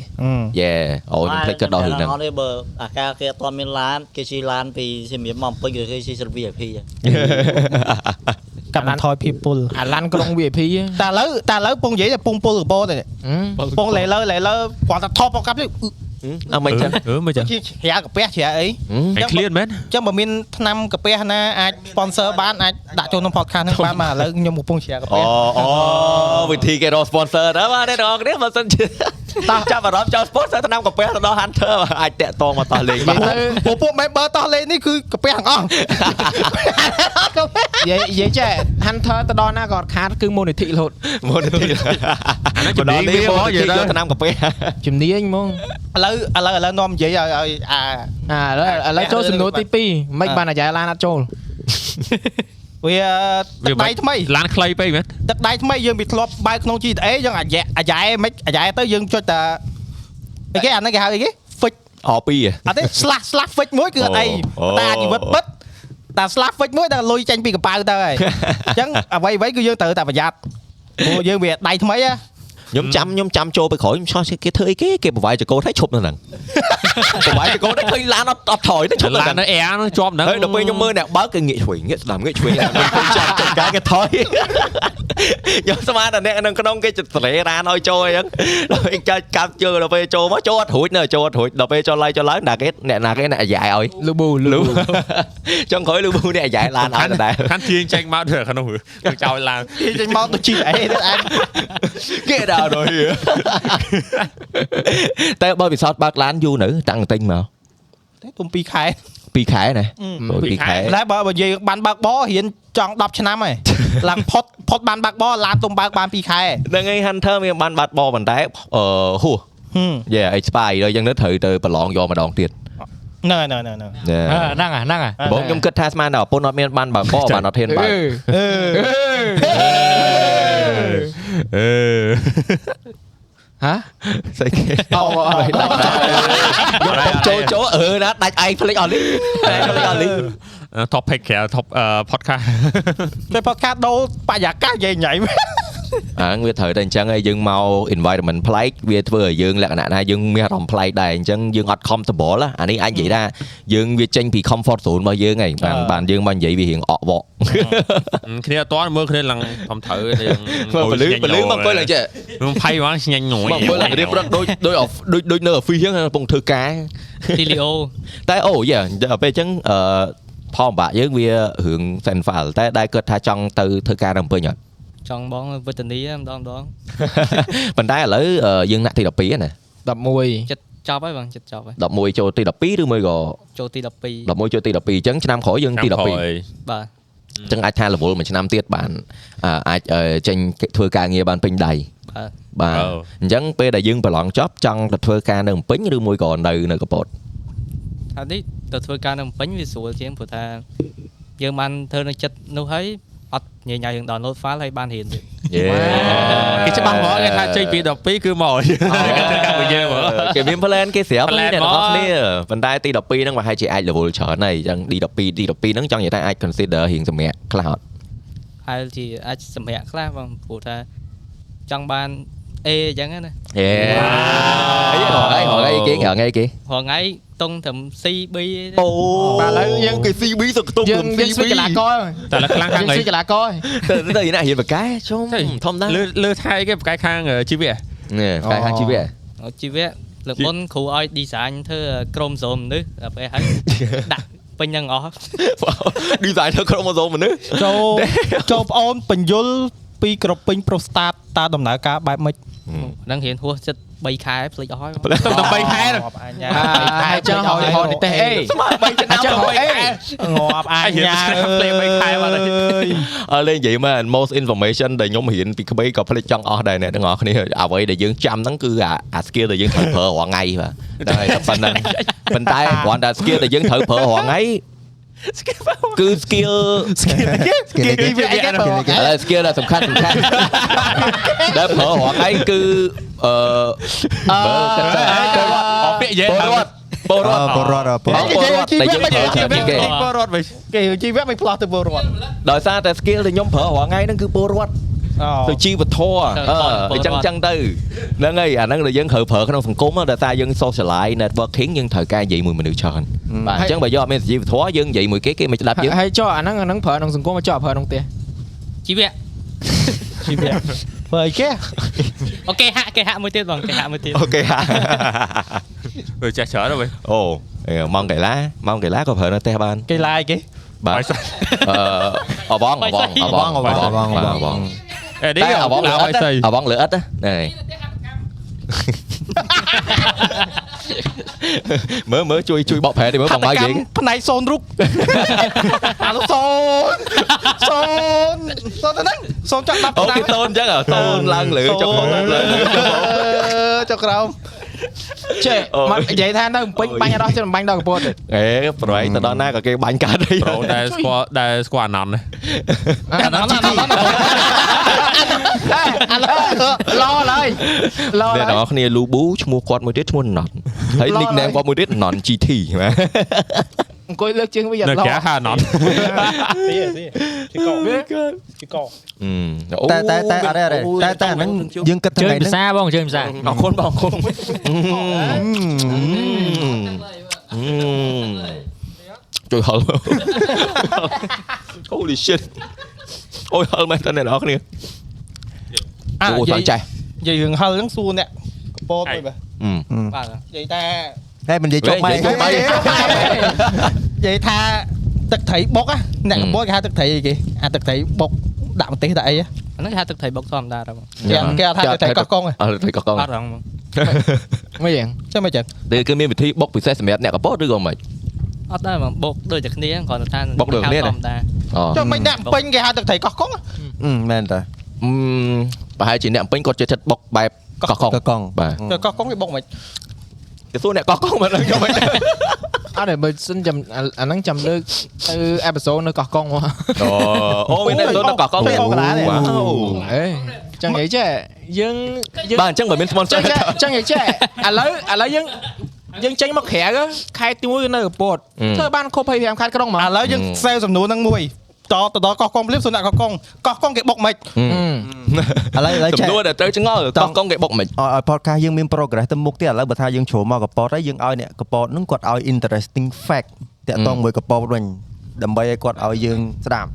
យេអូខ្ញុំភ្លេចគិតដល់រឿងហ្នឹង
អត់ទេបើអាការគេអត់ទាន់មានឡានគេជិះឡានពីសៀមរាបមកអំពេញគេជិះ VIP ចឹង
កាប់បន្ថយភាពពុល
អាឡាន់ក្រុង VIP ហ៎
តែឥឡូវតែឥឡូវពងនិយាយតែពងពុលកបោតែនេះ
ហឹម
ពងលេលើលេលើគាត់តែថប់មកកាប់នេះ
អត់មិនចឹង
អឺមិនចឹង
ជាជ្រាកាពះជ្រាអី
ឯងឃ្លានមែន
ចឹងបើមានឆ្នាំកាពះណាអាច sponsor បានអាចដាក់ចូលក្នុង podcast ហ្នឹងបានមកឥឡូវខ្ញុំកំពុងជ្រាកាពះ
អូអូវិធីគេរក sponsor ទៅបាទអ្នកនរគ្នាបើសិនជា តោះចាប់អារម្មណ៍ចូល sport ទៅតាមកាពះទៅដល់ hunter អាចតាក់តងមកតោះលេងបាន
ពួកពួក member តោះលេងនេះគឺកាពះទាំងអស់និយាយនិយាយចេះ Hunter ទៅដល់ណាក៏អត់ខាតគឺមូលនិធិរហូត
មុនទីអា
ជំនាញវាហ្មងនិយាយទៅ
យកតាមកាពះ
ជំនាញហ្មង
ឥឡូវឥឡូវឥឡូវនាំនិយាយឲ្យឲ្យអា
អាឥឡូវឥឡូវចូលសំណួរទី2មិនបានអាយ៉ាឡានអត់ចូល
វាទឹកដៃថ្មី
ឡានខ្លីពេកមែន
ទឹកដៃថ្មីយើងវាធ្លាប់បើកក្នុង GTA យើងអាយ៉ែអាយ៉ែមិនអាយ៉ែទៅយើងចុចតែអីគេអាហ្នឹងគេហៅអីគេ fix
អពី
អត់ទេ slash slash fix មួយគឺអត់អី
អូ
តែអាជីវិតពិតតែ slash fix មួយតែលុយចាញ់ពីកប៉ៅទៅ ហើយអញ្ចឹងអ្វីអ្វីគឺយើងត្រូវតែប្រយ័ត្នព្រោះយើងវាដៃថ្មីណា
ខ្ញុំចាំខ្ញុំចាំចូលទៅក្រោយខ្ញុំឆ្លោះគេធ្វើអីគេគេប្រវាយចកោតឲ្យឈប់នៅហ្នឹង ប្រវាយចកោតឲ្យឃើញឡានអត់អត់ថយទៅឈប់នៅ
ឡាន
ហ្នឹង
នៅអែហ្នឹងជាប់ហ្នឹង
ហើយដល់ពេលខ្ញុំមើលអ្នកបើក គេងាកឆ្វេងងាកស្ដាំងាក ឆ្វេងឡានខ្ញុំចាំចង្ការគេថយ ខ្ញុំស្មានតែអ្នកនៅក្នុងគេចិត្តស្រេរានឲ្យចូលអញ្ចឹងដល់ពេលចាច់កាប់ជើងដល់ពេលចូលមកចូលអត់រួចនៅចូលអត់រួចដល់ពេលចូលឡាយចូលឡើងដាក់គេអ្នកណាគេអ្នកអាយ៉ែឲ្យ
លូប៊ូ
លូ
លូ
ចុងក្រោយលូប៊ូអ្នកអាយ៉ែឡានឲ្យដដែល
ខាន់ជាងចេញមកទៅខាងនោះទៅចោល ឡើង
គេចេញមកទៅ GTA ទៅអែម
គេដល់រយតែបើពិសោធន៍បើកឡានយូរនៅតាំងតែញមក
តែគុំ2ខែ
2ខែណា
Ừ.
អូយ2ខែ
តែបើបើនិយាយបានបើកបររៀនចង់10ឆ្នាំ ហើយឡើងផុតផុតបានបើកបរឡានទុំបើកបាន2ខែ
ហ្នឹងហើយ Hunter មានបានបាត់បប៉ុន្តែអឺហួស
ហឹម
Ờ, Yeah expire ដល់យ៉ាងនេះត្រូវទៅប្រឡងយកម្ដងទៀត
ហ្នឹងហើយហ្នឹងហើយហ្នឹងហើយ
Yeah
ហ្នឹងអាហ្នឹងអា
បងខ្ញុំគិតថាស្មានតែប្រពន្ធអត់មានបានបើកបបានអត់ហ៊ានបើក
អឺ
អឺ
ហ៎
ស្អីគេ
អូ
ចូលចូលអឺណាដាច់ឯងភ្លេចអស់នេះឯងភ្លេចអស់នេះ
topic ក្រៅ top podcast
តែផតខាតដូរបរិយាកាសនិយាយញ៉ៃមែន
អាងវាត្រូវតែអញ្ចឹងហើយយើងមក environment ប្លែកវាធ្វើឲ្យយើងលក្ខណៈថាយើងមានអារម្មណ៍ប្លែកដែរអញ្ចឹងយើងអត់ comfortable អានេះអាចនិយាយថាយើងវាចេញពី comfort zone របស់យើងហើយបានបានយើងមកនិយាយវារៀងអក វក
គ្នាអត់ទាន់មើលគ្នាឡើងខំត្រូវ ទេ
ព្រលឺព្រលឺមកអង្គុយឡើងចេះ
ខ្ញុំភ័យហ្មងញ៉ាញ់ងួយ
មកអង្គុយឡើងរៀបរត់ដូចដូចអហ្វដូចដូចនៅអហ្វីសចឹងកំពុងធ្វើការ
ទីលីអូ
តែអូយ៉ាដល់ពេលអញ្ចឹងអឺផលម្បាក់យើងវារឿង Senfal តែដែរគាត់ថាចង់ទៅធ្វើការនៅភ្នំពេញអត់
ចង់បងវេទនីម្ដងម្ដង
ប៉ុន្តែឥឡូវអឺយើងណាក់ទី12ហើយណា
11
ចិត្តចប់ហើយបងចិត្តចប់ហើយ
11ចូលទី12ឬមួយក៏
ចូលទី12
11ចូលទី12អញ្ចឹងឆ្នាំក្រោយយើងទី12
បាទ
ចឹងអាចថារវល់មួយឆ្នាំទៀតបានអ่าអាចអឺចេញធ្វើការងារបានពេញដៃ
បាទ
បាទ
អូ
អញ្ចឹងពេលដែលយើងប្រឡងចប់ចង់ទៅធ្វើការនៅភ្នំពេញឬមួយក៏នៅនៅកពត
ថានេះទៅធ្វើការនៅភ្នំពេញវាស្រួលជាងព្រោះថាយើងបានធ្វើនៅចិត្តនោះហើយអត់ញញ៉ៃយើង download file ហើយបានរៀនទៀត
យេ
គេច្បាស់ហ្មងគេថាចេញពី12គឺ មក
Ờ,
គេធ្វើកម្មវិធីហ្មង
គេមាន plan គេស្រាប់ហើយ
Plan
អ្នកនរ
មក
គ្នាប៉ុន្តែទី12ហ្នឹងប្រហែលជាអាចរវល់ច្រើនហើយអញ្ចឹងទី12ទី12ហ្នឹងចង់និយាយថាអាច consider រៀងសម្រាប់ cloud
ហើយជាអាចសម្រាប់ខ្លះបងព្រោះថាចង់បាន A អញ្ចឹងណា
យេអីហងៃហងៃគេហងៃគេ
រងថ្ងៃຕົងត្រឹម CB
អូ
បាទឥឡូវយើង
គេ CB សក្ទុំ
យើងយើងស្វែងកីឡាករហើយ
តែឡើងខ្លាំង
យើ
ខា
ង
ង
ស្វែ
អី
ងកីឡាករហើយ
ទៅទៅណារៀនបកែជុំ
ទៅ
ធម្មតា
លើលើថៃគេប្រកែកខាងជីវៈ
នេះផ្កាយខាង
Ờ.
ជីវៈ
ហើយជីវៈលើកមុនគ្រូឲ្យ design ធ្វើក្រុមសូមនេះដល់ពេលហើយ ដាក់ពេញនឹងអស់
design ធ្វើក្រុមអូសូមមនុស្ស
ចូលចូលប្អូនបញ្យលពីក្រពេញប្រូស្តាតតាដំណើរការបែបម៉េច
ហ្នឹងរៀនហួសចិត្ត3ខែភ្លេ ចអស់ហើយបង
ទៅ13ខែ
Ờ,
ហ្នឹង
អញ្ញា
អាហើយចឹងហើយហោនេះទេអេស្មើ3ឆ្នាំទៅអេ
ងាប់អ
អាយរៀ
ញ្ញា
ន Scrabble បីខែមកដល់
អើយ
អើលេងនិយាយមែន most information ដែលខ្ញុំរៀនពីក្មេងក៏ផ្លេចចង់អស់ដែរអ្នកទាំងអស់គ្នាអ្វីដែលយើងចាំហ្នឹងគឺអាអា skill ដែលយើងត្រូវប្រើរាល់ថ្ងៃបាទតែប៉ុណ្ណឹងប៉ុន្តែគ្រាន់តែ skill ដែលយើងត្រូវប្រើរាល់ថ្ងៃគឺ skill
គេនិយាយ
វាអីគេប
ឥ
ង
ឡូវ skill ដែលសំខាន់សំខាន់ដែលប្រើរាល់ថ្ងៃគឺអឺបើកត់
អ
ទៅ
ស់ពាក្យយេ
ពលរដ្ឋពលរដ្ឋ
បរត់ប
ប
រ
ង
ត់
ពលរដ្ឋដែលយើងប្រើជីវិតគេ
ពលរដ្ឋវិញ
គេជីវៈមិនផ្លាស់ទៅពលរដ្ឋ
ដោយសារតែ skill ដែលខ្ញុំប្រើរាល់ថ្ងៃហ្នឹងគឺពលរដ្ឋ
អូ
Ờ.
ទៅជីវធម៌
ទៅ
អឺ
ពលរ
អ
ដ្ឋ
ញ្ចឹងចឹងទៅហ្នឹងហើយអាហ្នឹងដែលយើងត្រូវប្រើក្នុងសង្គមហ៎ដោយសារយើង socialize networking យើងត្រូវការនិយាយមួយមនុស្សច្រើនបាទអញ្ចឹងបើយកអត់មានជីវធម៌យើងនិយាយមួយគេគេមិនស្ដាប់យើង
ហើយចុះអាហ្នឹងអាហ្នឹងប្រើក្នុងសង្គមមកចុះប្រើក្នុងផ្ទះ
ជីវៈ
ជីវៈ បើអីគេ
អូខេហាក់គេហាក់មួយទៀតបងគេហាក់ មួយទៀត
អូខេ
វាចេះច្រើនហើយ
អូអឺម៉ោងកីឡាម៉ោងកីឡាក៏ប្រើនៅផ្ទះបាន
គេឡាយគេ
បាទ
បាយសោះ
អឺអបងអបងអបងអបងអបងអបង Ờ,
អេនេះ
តែអបងលើអ
ឡើយ
ត់
ស្អី
អបងលើអត់ណា មើលមើលជួយជួយបកប្រែតិចមើលបងម៉ៅនិយាយ
ផ្នែកសូន រុក អាលោកសូ នសូនសូនទៅហ្នឹងសូនចង់ ដាប់
អូ
ឆ្នាំ
គេតូនអញ្ចឹងតូនឡើងលើចុះផងឡើងលើ
ចុះក្រោមចេះ
អូយ
មកនិយាយថានៅភ្នំពេញបាញ់អត់ដល់ចិត្តបាញ់ដល់កពតទេ
អេប្រែទៅដល់ណាក៏គេបាញ់កាត់ហើយ
ប្រូដែលស្គាល់ដែលស្គាល់អាណន្តនេះ
អាដល់ណាដល់ណាដល់អាឡឡហើ
អ្ន
យឡ
កន
ហើយ
រគ្នាលូប៊ូឈ្មោះគាត់មួយទៀតឈ្មោះណន់ហើយ nickname គាត់មួយទៀតណន់ GT ណា
អង្គុយលើកជើងវាយ៉ា
នៅ
ឡ
ក្រៅ ហៅអាណន្ត
Ừ.
តែតែតែអរេអរេតែតែអាហ្នឹងយើងគិត
ជើ
ថ្ងៃ
ងភា
ហ្នឹង
សាបងជើងភាសា
អរគុណបងអរគុណជួយហល់ Holy shit អូយហល់មែនតើអ្នកនរគ្នា
À,
អា
អូ
និយា
តាំង
យ
ចេះ
និយាយរឿងហឹលហ្នឹងសួរអ្នកកពតទៅបើ
Ừ.
បាទ
និយាយថា
តែមិននិយាយចុកម៉ែ
ចុះបាយ
និយាយថាទឹកត្រីបុកណាអ្នកកពតគេហៅទឹកត្រីអីគេអាទឹកត្រីបុកដាក់ម្ទេសដាក់អីហ៎
អាហ្នឹងគេហៅទឹកត្រីបុកធម្មតាដល់បង
យ៉ាង
Dạ.
គេអត់ថាតែកោះកុង
à?
អ
ហ៎
ត់តែកោះកុង
អត់ហ្រងបង
មិនយ៉ាងចាំមិនចឹង
តែគឺមានវិធីបុកពិសេសសម្រាប់អ្នកកពតឬក៏មិន
អត់ដែរបងបុកដូចតែគ្នាគ្រាន់តែថា
បុកដូចគ្នា
ហៅធម្មតា
អូ
ចាំមិនដាក់ពេញគេហៅទឹកត្រីកោះកុង
មែនតើ
ប្រហែលជាអ្នកពេញគាត់ចូលចិត្តបុកបែបកោះកុង
កកង
បាទ
ទៅកោះកុងគេបុកមិន
គេសួរអ្នកកោះកុងមកដល់ខ្ញុំវិញ
អត់ទេបើសិនចាំអាអាហ្នឹងចាំលើកទៅអេផ isode នៅកោះកុងមក
អូអូមានអ្នកសួរនៅកោះកុង
ទៅកន្លែង
អេចឹងនិយាយចេះយើងយើង
បាទអញ្ចឹងបើមាន
ចឹ
sponsor
ងចេះចឹងនិយាយចេះឥឡូវឥឡូវយើងយើងចេញមកក្រៅហ៎ខែទី1នៅកពត
អឺ
ធ្វើបានគ្រប់25ខែក្រុងមក
À,
ឥឡូវយើងសេវសំនួរហ្នឹងមួយតទៅដល់កោះកុងព្រាបសួរអ្នកកោះកុងកោះកុងគេបុកមិ
ឥ
ន
ឡូវឥឡូវ
ចំ
ចេះ
នួនដែលត្រូវចង្អល់កោះកុងគេបុកមិន
ឲ្យឲ្យ podcast យើងមាន progress ទៅមុខទៀតឥឡូវបើថាយើងជ្រុលមកកប៉ោតហើយយើងឲ្យអ្នកកប៉ោតហ្នឹងគាត់ឲ្យ interesting fact តាក់ទងមួយកប៉ោតវិញដើម្បីឲ្យគាត់ឲ្យយើងស្ដាប់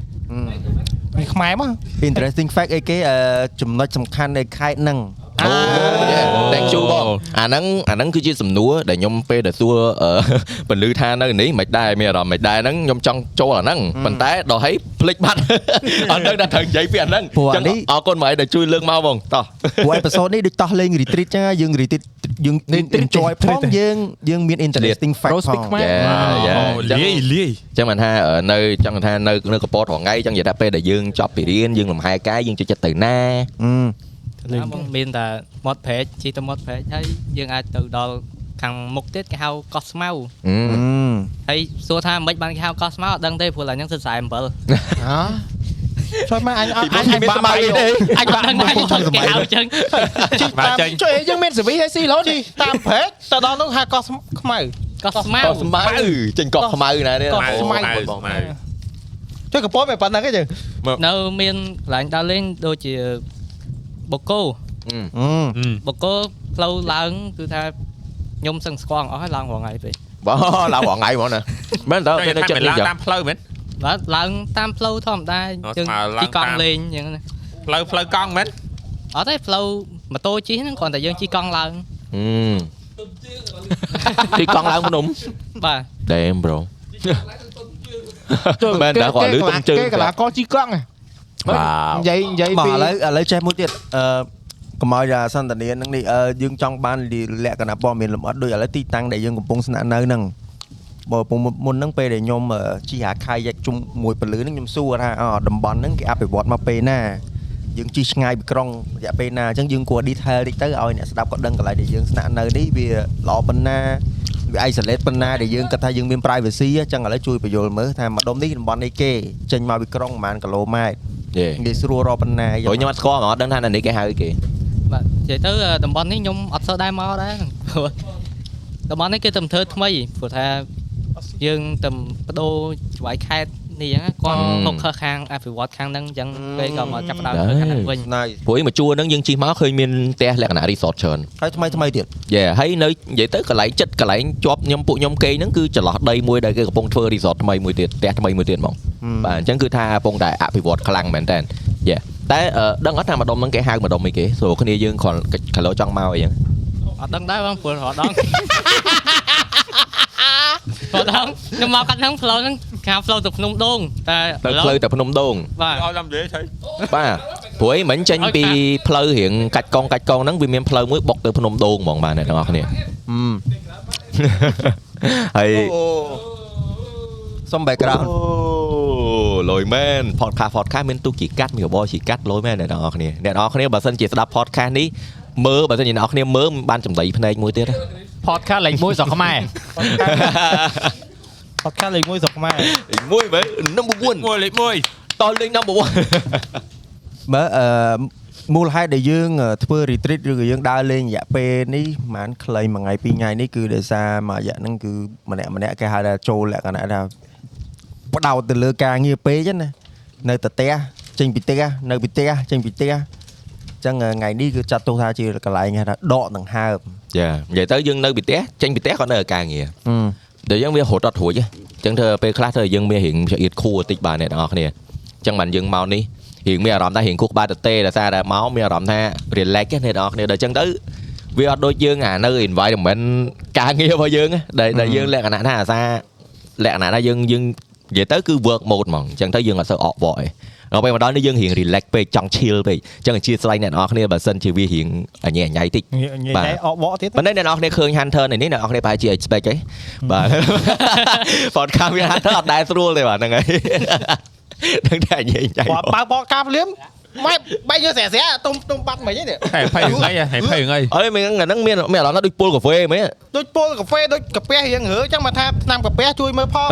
ខ្មែរមក
interesting fact អីគេអឺចំណុចសំខាន់នៃខេត្តហ្នឹង
អូ thank you បងអាហ្នឹងអាហ្នឹងគឺជាសំណួរដែលខ្ញុំពេលដែលសួរពលឺថានៅនេះមិនដែរមានអារម្មណ៍មិនដែរហ្នឹងខ្ញុំចង់ចូលអាហ្នឹងប៉ុន្តែដល់ហើយភ្លេចបាត់អត់ដឹងថាត្រូវនិយាយពីអាហ្នឹងអរគុណមកឲ្យដែលជួយលើកមកបងតោះ
ព្រោះ episode នេះដូចតោះលេង retreat ចឹងហើយយើង retreat យើងយើង enjoy ផងយើងយើងមាន interesting fact ផង
យ៉ាយ៉ា
អូ
អញ្ចឹង
លាយលា
អ
យ
ញ្ចឹងបានថាអឺនៅចង់ថានៅនៅកពតរងថ្ងៃអញ្ចឹងនិយាយថាពេលដែលយើងចប់ពីរៀនយើងលំហែកាយយើងចូលចិត្តទៅណា
ណាបងមានតែមាត់ព្រែកជីទៅមាត់ព្រែកហើយយើងអាចទៅដល់ខាងមុខទៀតគេហៅកោះស្មៅហើយសួរថាមិនបានគេហៅកោះស្មៅអត់ដឹងទេព្រោះឡើងហ្នឹងសិត47
ជួយមកអញអត់អញ បាក់បាយទេអញបាក់
ដឹង
បាយ
ទេ
ជួយ
គេហៅអញ្ចឹង
ជី
បា
តា
ក់
ម
ចេញ
ជួយឲ្យយើងមានសេវីឲ្យស៊ីឡូនតាមព្រែកទៅដល់នោះហៅកោះខ្មៅ
កោះស្មៅ
កោះស្មៅចេញកោះខ្មៅណានេះ
កោះខ្មៅ
បង
ម៉ៅ
ជួយកពតមិនប៉ុណ្ណឹងទេយើង
នៅមានកន្លែងដើរលេងដូចជាបូកូបូកូផ្លូវឡើងគឺថាខ្ញុំសឹងស្គាល់អស់ហើយឡើងរងថ្ងៃពេក
បង ឡើងរងថ្ងៃហ្មងណាមែនតើគេនៅ
តែតែ
ចិត្តនេះ
ឡើង
យ៉ាង
តាមផ្លូវមែន
បាទឡើងតាមផ្លូវធម្មតា
អូ
យើង
ស្មើឡើង
ជីក
តាម
ង់លេងអញ្ចឹងណា
ផ្លូវផ្លូវកង់មែន
អត់ទេផ្លូវម៉ូតូជិះហ្នឹងគ្រាន់តែយើងជីកង់ឡើង
ទីកង់ឡើងភ្នំ
បាទ
ដេមប្រូ
Ừ,
មែនតើគាត់លឺទុំជើង
គេកលាករជីកង់ ហ៎
បា
និ
ទ
យាយនិយាយ
មក
ពី
ឥឡូវឥឡូវចេះមួយទៀតអឺកុំឲ្យថាសន្តានាហ្នឹងនេះអឺយើងចង់បានលក្ខណៈព័ត៌មានលម្អិតដូចឥឡូវទីតាំងដែលយើងកំពុងស្នាក់នៅហ្នឹងបើពុំមុនហ្នឹងពេលដែលខ្ញុំអឺជិះអាខៃយកជុំមួយពលឺហ្នឹងខ្ញុំសួរថាអតំបន់ហ្នឹងគេអភិវឌ្ឍមកពេលណាយើងជិះឆ្ងាយពីក្រុងរយៈពេលណាអញ្ចឹងយើងគួរ detail តិចទៅឲ្យអ្នកស្ដាប់គាត់ដឹងកន្លែងដែលយើងស្នាក់នៅនេះវាល្អប៉ុណ្ណាវា isolate ប៉ុណ្ណាដែលយើងគិតថាយើងមាន privacy អញ្ចឹងឥឡូវជួយបញ្យល់មើលថាម្ដុំនេះតំបន់នេះគេចេញមកពីក្រុងប្រហែលគីឡូម៉ែត្រ
យេ
និយាយស្រួលរកប៉ុណ្ណា
ព្រោះខ្ញុំអត់ស្គាល់ហ្មងអត់ដឹងថានៅនេះគេហៅអីគេ
បាទនិយាយទៅតំបន់នេះខ្ញុំអត់សូវដែរមកដែរព្រោះ តំបន់នេះគេតែធ្វើថ្មីព្រោះថាយើងតែបដូរច្បាយខេតនេះអញ្ចឹងគាត់ខុសខើខាងអភិវឌ្ឍខាងហ្នឹងអញ្ចឹងពេលក៏មកចាប់ផ្ដើមធ្វើខាងហ្នឹងវិញ
ណាយ
ព្រោះឯងមកជួរហ្នឹងយើងជិះមកឃើញមានផ្ទះលក្ខណៈ resort ច្រើន
ហើយថ្មីថ្មីទៀត
យេហើយនៅនិយាយទៅកន្លែងចិត្តកន្លែងជាប់ខ្ញុំពួកខ្ញុំគេងហ្នឹងគឺចន្លោះដីមួយដែលគេកំពុងធ្វើ resort ថ្មីមួយទៀតផ្ទះថ្មីមួយទៀតហ្មងបាទអញ្ចឹងគឺថាកំពុងតែអភិវឌ្ឍខ្លាំងមែនតើយេតែអឺដឹងអត់ថាម្ដុំហ្នឹងគេហៅម្ដុំអីគេស្រួលគ្នាយើងគ្រាន់កាឡូចង់មកអីហ្នឹង
អត់ដឹងដែរបងព្រោះរហត់ដល់រហត់ដល់ខ្ញុំមកកាត់ហ្នឹងផ្លូវហ្នឹងខាងផ្លូវទៅភ្នំដូងតែ
ទៅផ្លូវតែភ្នំដូង
បាទ
ឲ្យតាមនិយាយឆៃ
បាទ ព្រោះអីមិញចេញពីផ្លូវរៀងកាច់កងកាច់កងហ្នឹងវាមានផ្លូវមួយបុកទៅភ្នំដូងហ្មងបាទអ្នកទាំងអស់គ្នាហើយ
សុំ background
អូលយមែន podcast podcast មានទូកជីកាត់មានរបរជីកាត់លយមែនអ្នកនរគ្នាអ្នកនរគ្នាបើសិនជាស្ដាប់ podcast នេះមើលបើសិនជាអ្នកនរគ្នាមើលបានចំណៃភ្នែកមួយទៀត
podcast លេខ1ស្រុកខ្មែរ podcast លេខ1ស្រុកខ្មែរ
មួយមែន number
មួយលេខមួយ
1តលេង number
មើលអឺមូលហេតុដែលយើងអឺធ្វើ retreat ឬក៏យើងដើរលេងរយៈពេលនេះប្រហែលខ្លីមួយថ្ងៃពីរថ្ងៃនេះគឺដោយសារមួយរយៈហ្នឹងគឺម្នាក់ម្នាក់គេហៅថាចូលលក្ខណៈថាផ្ដោតទៅលើការងារពេកហ្នឹងណានៅតែផ្ទះចេញពីផ្ទះនៅពីផ្ទះចេញពីផ្ទះអញ្ចឹងអឺថ្ងៃនេះគឺចាត់ទុកថាជាកន្លែងគេហៅថាដកដង្ហើម
1ចានិយាយទៅយើងនៅពីផ្ទះចេញពីផ្ទះក៏នៅការងារ ដល់យើងវារត់អត់រួចហ៎អញ្ចឹងធ្វើពេលខ្លះធ្វើយើងមានរៀងចង្អៀតខួរបន្តិចបាទអ្នកទាំងអស់គ្នាអញ្ចឹងបានយើងមកនេះរៀងមានអារម្មណ៍ថារៀងគូក្បាលទទេដោយសារតែមកមានអារម្មណ៍ថា relax ហ៎អ្នកទាំងអស់គ្នាដល់អញ្ចឹងទៅវាអត់ដូចយើងអានៅ environment ការងាររបស់យើងហ៎ដែលដែលយើងលក្ខណៈថាអាសាលក្ខណៈថាយើងយើងនិយាយទៅគឺ work mode ហ្មងអញ្ចឹងទៅយើងអត់សូវអកវកទេដល់ពេលមកដល់នេះយើងរៀង relax ពេកចង់ chill ពេកអញ្ចឹងអធិស្ឋានអ្នកទាំងអស់គ្នាបើសិនជាវារៀងអញ្ញែអញ្ញៃតិច
និ
បា
យា
ទ
យតែអកបកទៀត
មិនដឹងអ្នកនរគ្នាឃើញ Hunter នៅនេះអ្នកនរគ្នាប្រហែលជា expect ទេបាទ podcast វា Hunter អត់ដែលស្រួលទេបាទហ្នឹង ហើយដឹងតែញ៉ៃញ៉ៃ
បើបើបកការភ្លាមម៉ែបែកយកស្រែស្រែទុំទុំបាត់មិញហ្នឹង
ហេភ័យហ្នឹងអីហេភ័យហ្នឹងអី
អីមានហ្នឹងមានមានអារម្មណ៍ថាដូចពុលកាហ្វេហ្មង
ដូចពលកាហ្វេដូចកាពះរៀងរើចឹងមកថាឆ្នាំកាពះជួយមើលផង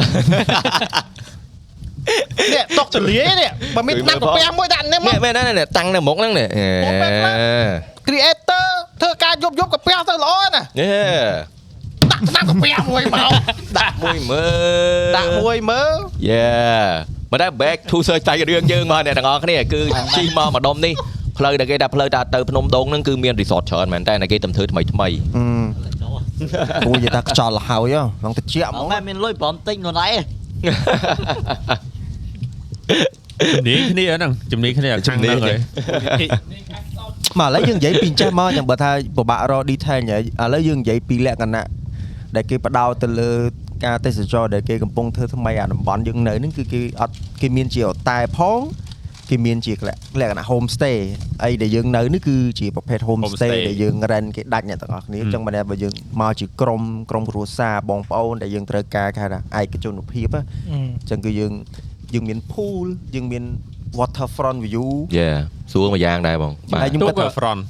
នេះຕົកទលាយនេះបើមានឆ្នាំកាពះមួយដាក់នេះមក
មែនមែនហ្នឹងតាំងនៅមុខហ្នឹងនេះ
Ủa, mệt lắm. creator ធ្វើការយប់យប់កាពះទៅល្អណាស់
យេ
ដាក់ឆ្នាំកាពះមួយមក
ដាក់មួយមើល
ដាក់មួយមើល
យេមកដល់ back to surgery រឿងយើងមកអ្នកទាំងអស់គ្នាគឺជីមកម្ដុំនេះផ្លូវដែលគេថាផ្លូវតាទៅភ្នំដូងហ្នឹងគឺមាន resort ច្រើនមែនតែគេទំធ្វើថ្មីថ្មី
គូនិយាយថាខ្យល់ហើយហ៎ហ្នឹងតិចហ្ម
មក
ង
ម៉ែមានលុយប្រមតិចខ្លួនឯង
ជំនាញគ្នាហ្នឹងជំនាញគ្នាអាខាងហ្នឹងហើយ
មកឥឡូវយើងនិយាយពីចេះមកចាំបើថាពិបាករក detail ញ៉ៃឥឡូវយើងនិយាយពីលក្ខណៈដែលគេផ្ដោតទៅលើការទេសចរដែលគេកំពុងធ្វើថ្មីអាតំបន់យើងនៅហ្នឹងគឺគេអត់គេមានជាអតែផងគេមានជាលក្ខណៈ homestay អីដែលយើងនៅនេះគឺជាប្រភេទ homestay ដែលយើង rent គេដាច់អ្នកទាំងអស់គ្នាអញ្ចឹងបើបើយើងមកជាក្រុមក្រុមគ្រួសារបងប្អូនដែលយើងត្រូវការគេហៅថាឯកជនភាពអញ្ចឹងគឺយើងយើងមាន pool យើងមាន waterfront view
យេស្រួលមួយយ៉ាងដែរបងបាទ
ហើយខ្ញុំ
ទូ
គិត
ក
ថា
front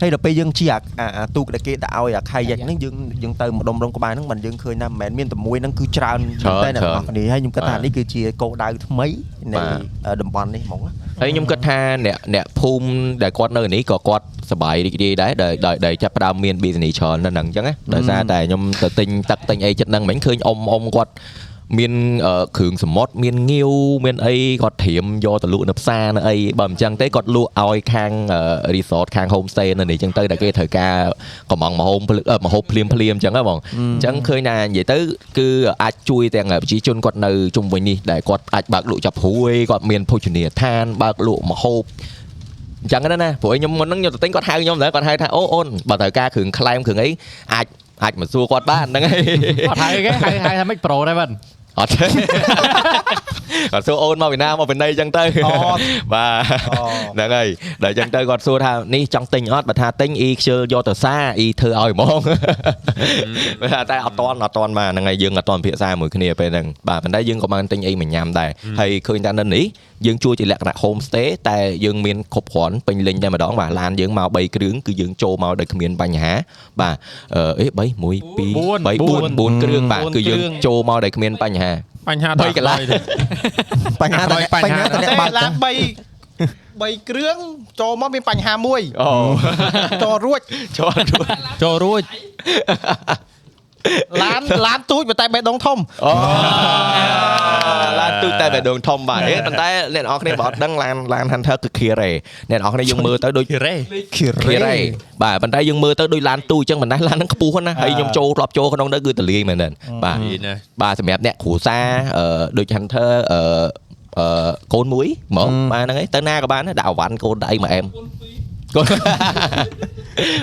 ហើយដល់ពេលយើងជិះអាអាអាទូកដែលគេដាក់ឲ្យអាខៃយ៉ាក់ហ្នឹងយើងយើងទៅម្ដុំម្ដុំក្បាលហ្នឹងមិនយើងឃើញថាមិនមែនមានតែមួយហ្នឹងគឺច្រើន
ច្រើន
តែអ្នកន
ច្រើ
រ
ន
គ្នាហើយខ្ញុំគិតថា
បាទ
នេះគឺជាគោលដៅថ្មីនៃ
បាទ
អឺតំបន់នេះហ្មងណា
ហើយខ្ញុំគិតថាអ្នកអ្នកភូមិដែលគាត់នៅនេះក៏គាត់សប្បាយរីករាយដែរដែលដែលដែលចាប់ផ្ដើមមាន business ច្រើននៅហ្នឹងអញ្ចឹងណាដោយសារតែខ្ញុំទៅទិញទឹកទិញអីចិត្តហ្នឹងមិញឃើញអ៊ំអ៊ំគាត់មានអឺគ្រឿងសមុទ្រមានងាវមានអីគាត់ត្រៀមយកទៅលក់នៅផ្សារនៅអីបើមិនអញ្ចឹងទេគាត់លក់ឲ្យខាងអឺ resort ខាង homestay នៅនេះអញ្ចឹងទៅដែលគេត្រូវការកំងម្ហូបភ្លឺអឺម្ហូបភ្លាមភ្លាមអញ្ចឹងហ៎បងអញ្ចឹងឃើញថានិយាយទៅគឺអាចជួយទាំងប្រជាជនគាត់នៅជុំវិញនេះដែលគាត់អាចបើកលក់ចាប់ហួយគាត់មានភោជនីយដ្ឋានបើកលក់ម្ហូប អញ្ចឹងណាណាព្រោះឲ្យខ្ញុំមុនហ្នឹងខ្ញុំទៅទិញគាត់ហៅខ្ញុំដែរគាត់ហៅថាអូអូនបើត្រូវការគ្រឿងក្លែមគ្រឿងអីអាចអាចមកសួរគាត់បានហ្នឹងហើយ
អត់ហើយគេហៅហៅថាមិនប្រូដែរវិញ
អត់ទេ គាត់សួរអូនមកពីណាមកពីណីអញ្ចឹងទៅ បាទហ្នឹងហើយដល់អញ្ចឹងទៅគាត់សួរថានេះចង់ទិញអត់បើថាទិញអ៊ីខ្ជិលយកទៅសារអ៊ីធ្វើឲ្យហ្មង បើថាតែអត់តន់អត់តន់បាទហ្នឹងហើយយើងអត់តន់ភាសាមួយគ្នាពេលហ្នឹងបាទប៉ុន្តែយើងក៏បានទិញអីមកញ៉ាំដែរហើយឃើញថានៅនេះ យើងជួលជាលក្ខណៈ homestay តែយើងមានគ្រប់គ្រាន់ពេញលេញតែម្ដងបាទឡានយើងមក3គ្រឿងគឺយើងចូលមកដោយគ្មានបញ្ហាបាទអឺអេ3 1 2 3 4 4គ្រឿងបាទគឺយើងចូលមកដោយគ្មានបញ្ហា
បញ្ហា
បីកន្លែង
ទេ
បញ្ហាតែ
បញ្ហា
បញ្ហាតែ
តែ
អ្នកបើក
ឡាន3 3គ្រឿងចូលមកមានបញ្ហាមួយ
អូ
ចូលរួច
ចូលអត់រួច
ចូលរួច
ឡានឡានទូចប៉ុន្តែបេះដូងធំ
អូឡានទូចតែបែដងធំបាទហេប៉ុន្តែអ្នកនរអគ្នាបើអត់ដឹងឡានឡាន Hunter គឺ Kire អ្នកនរអគ្នាយើងមើលទៅដូច
រេ
Kire បាទប៉ុន្តែយើងមើលទៅដូចឡានទូចអញ្ចឹងប៉ុន្តែឡានហ្នឹងខ្ពស់ ណាស់ហើយខ្ញុំចូលធ្លាប់ចូលក្នុងហ្នឹងគឺតលាយមែនទេបាទ
នេះណា
បាទសម្រាប់អ្នកគ្រួសារអឺដូច Hunter អឺអឺកូនមួយហ្មងបាទហ្នឹងឯងទៅណាក៏បានដែរដាក់អវ៉ាន់កូនដៃមកអែមកូន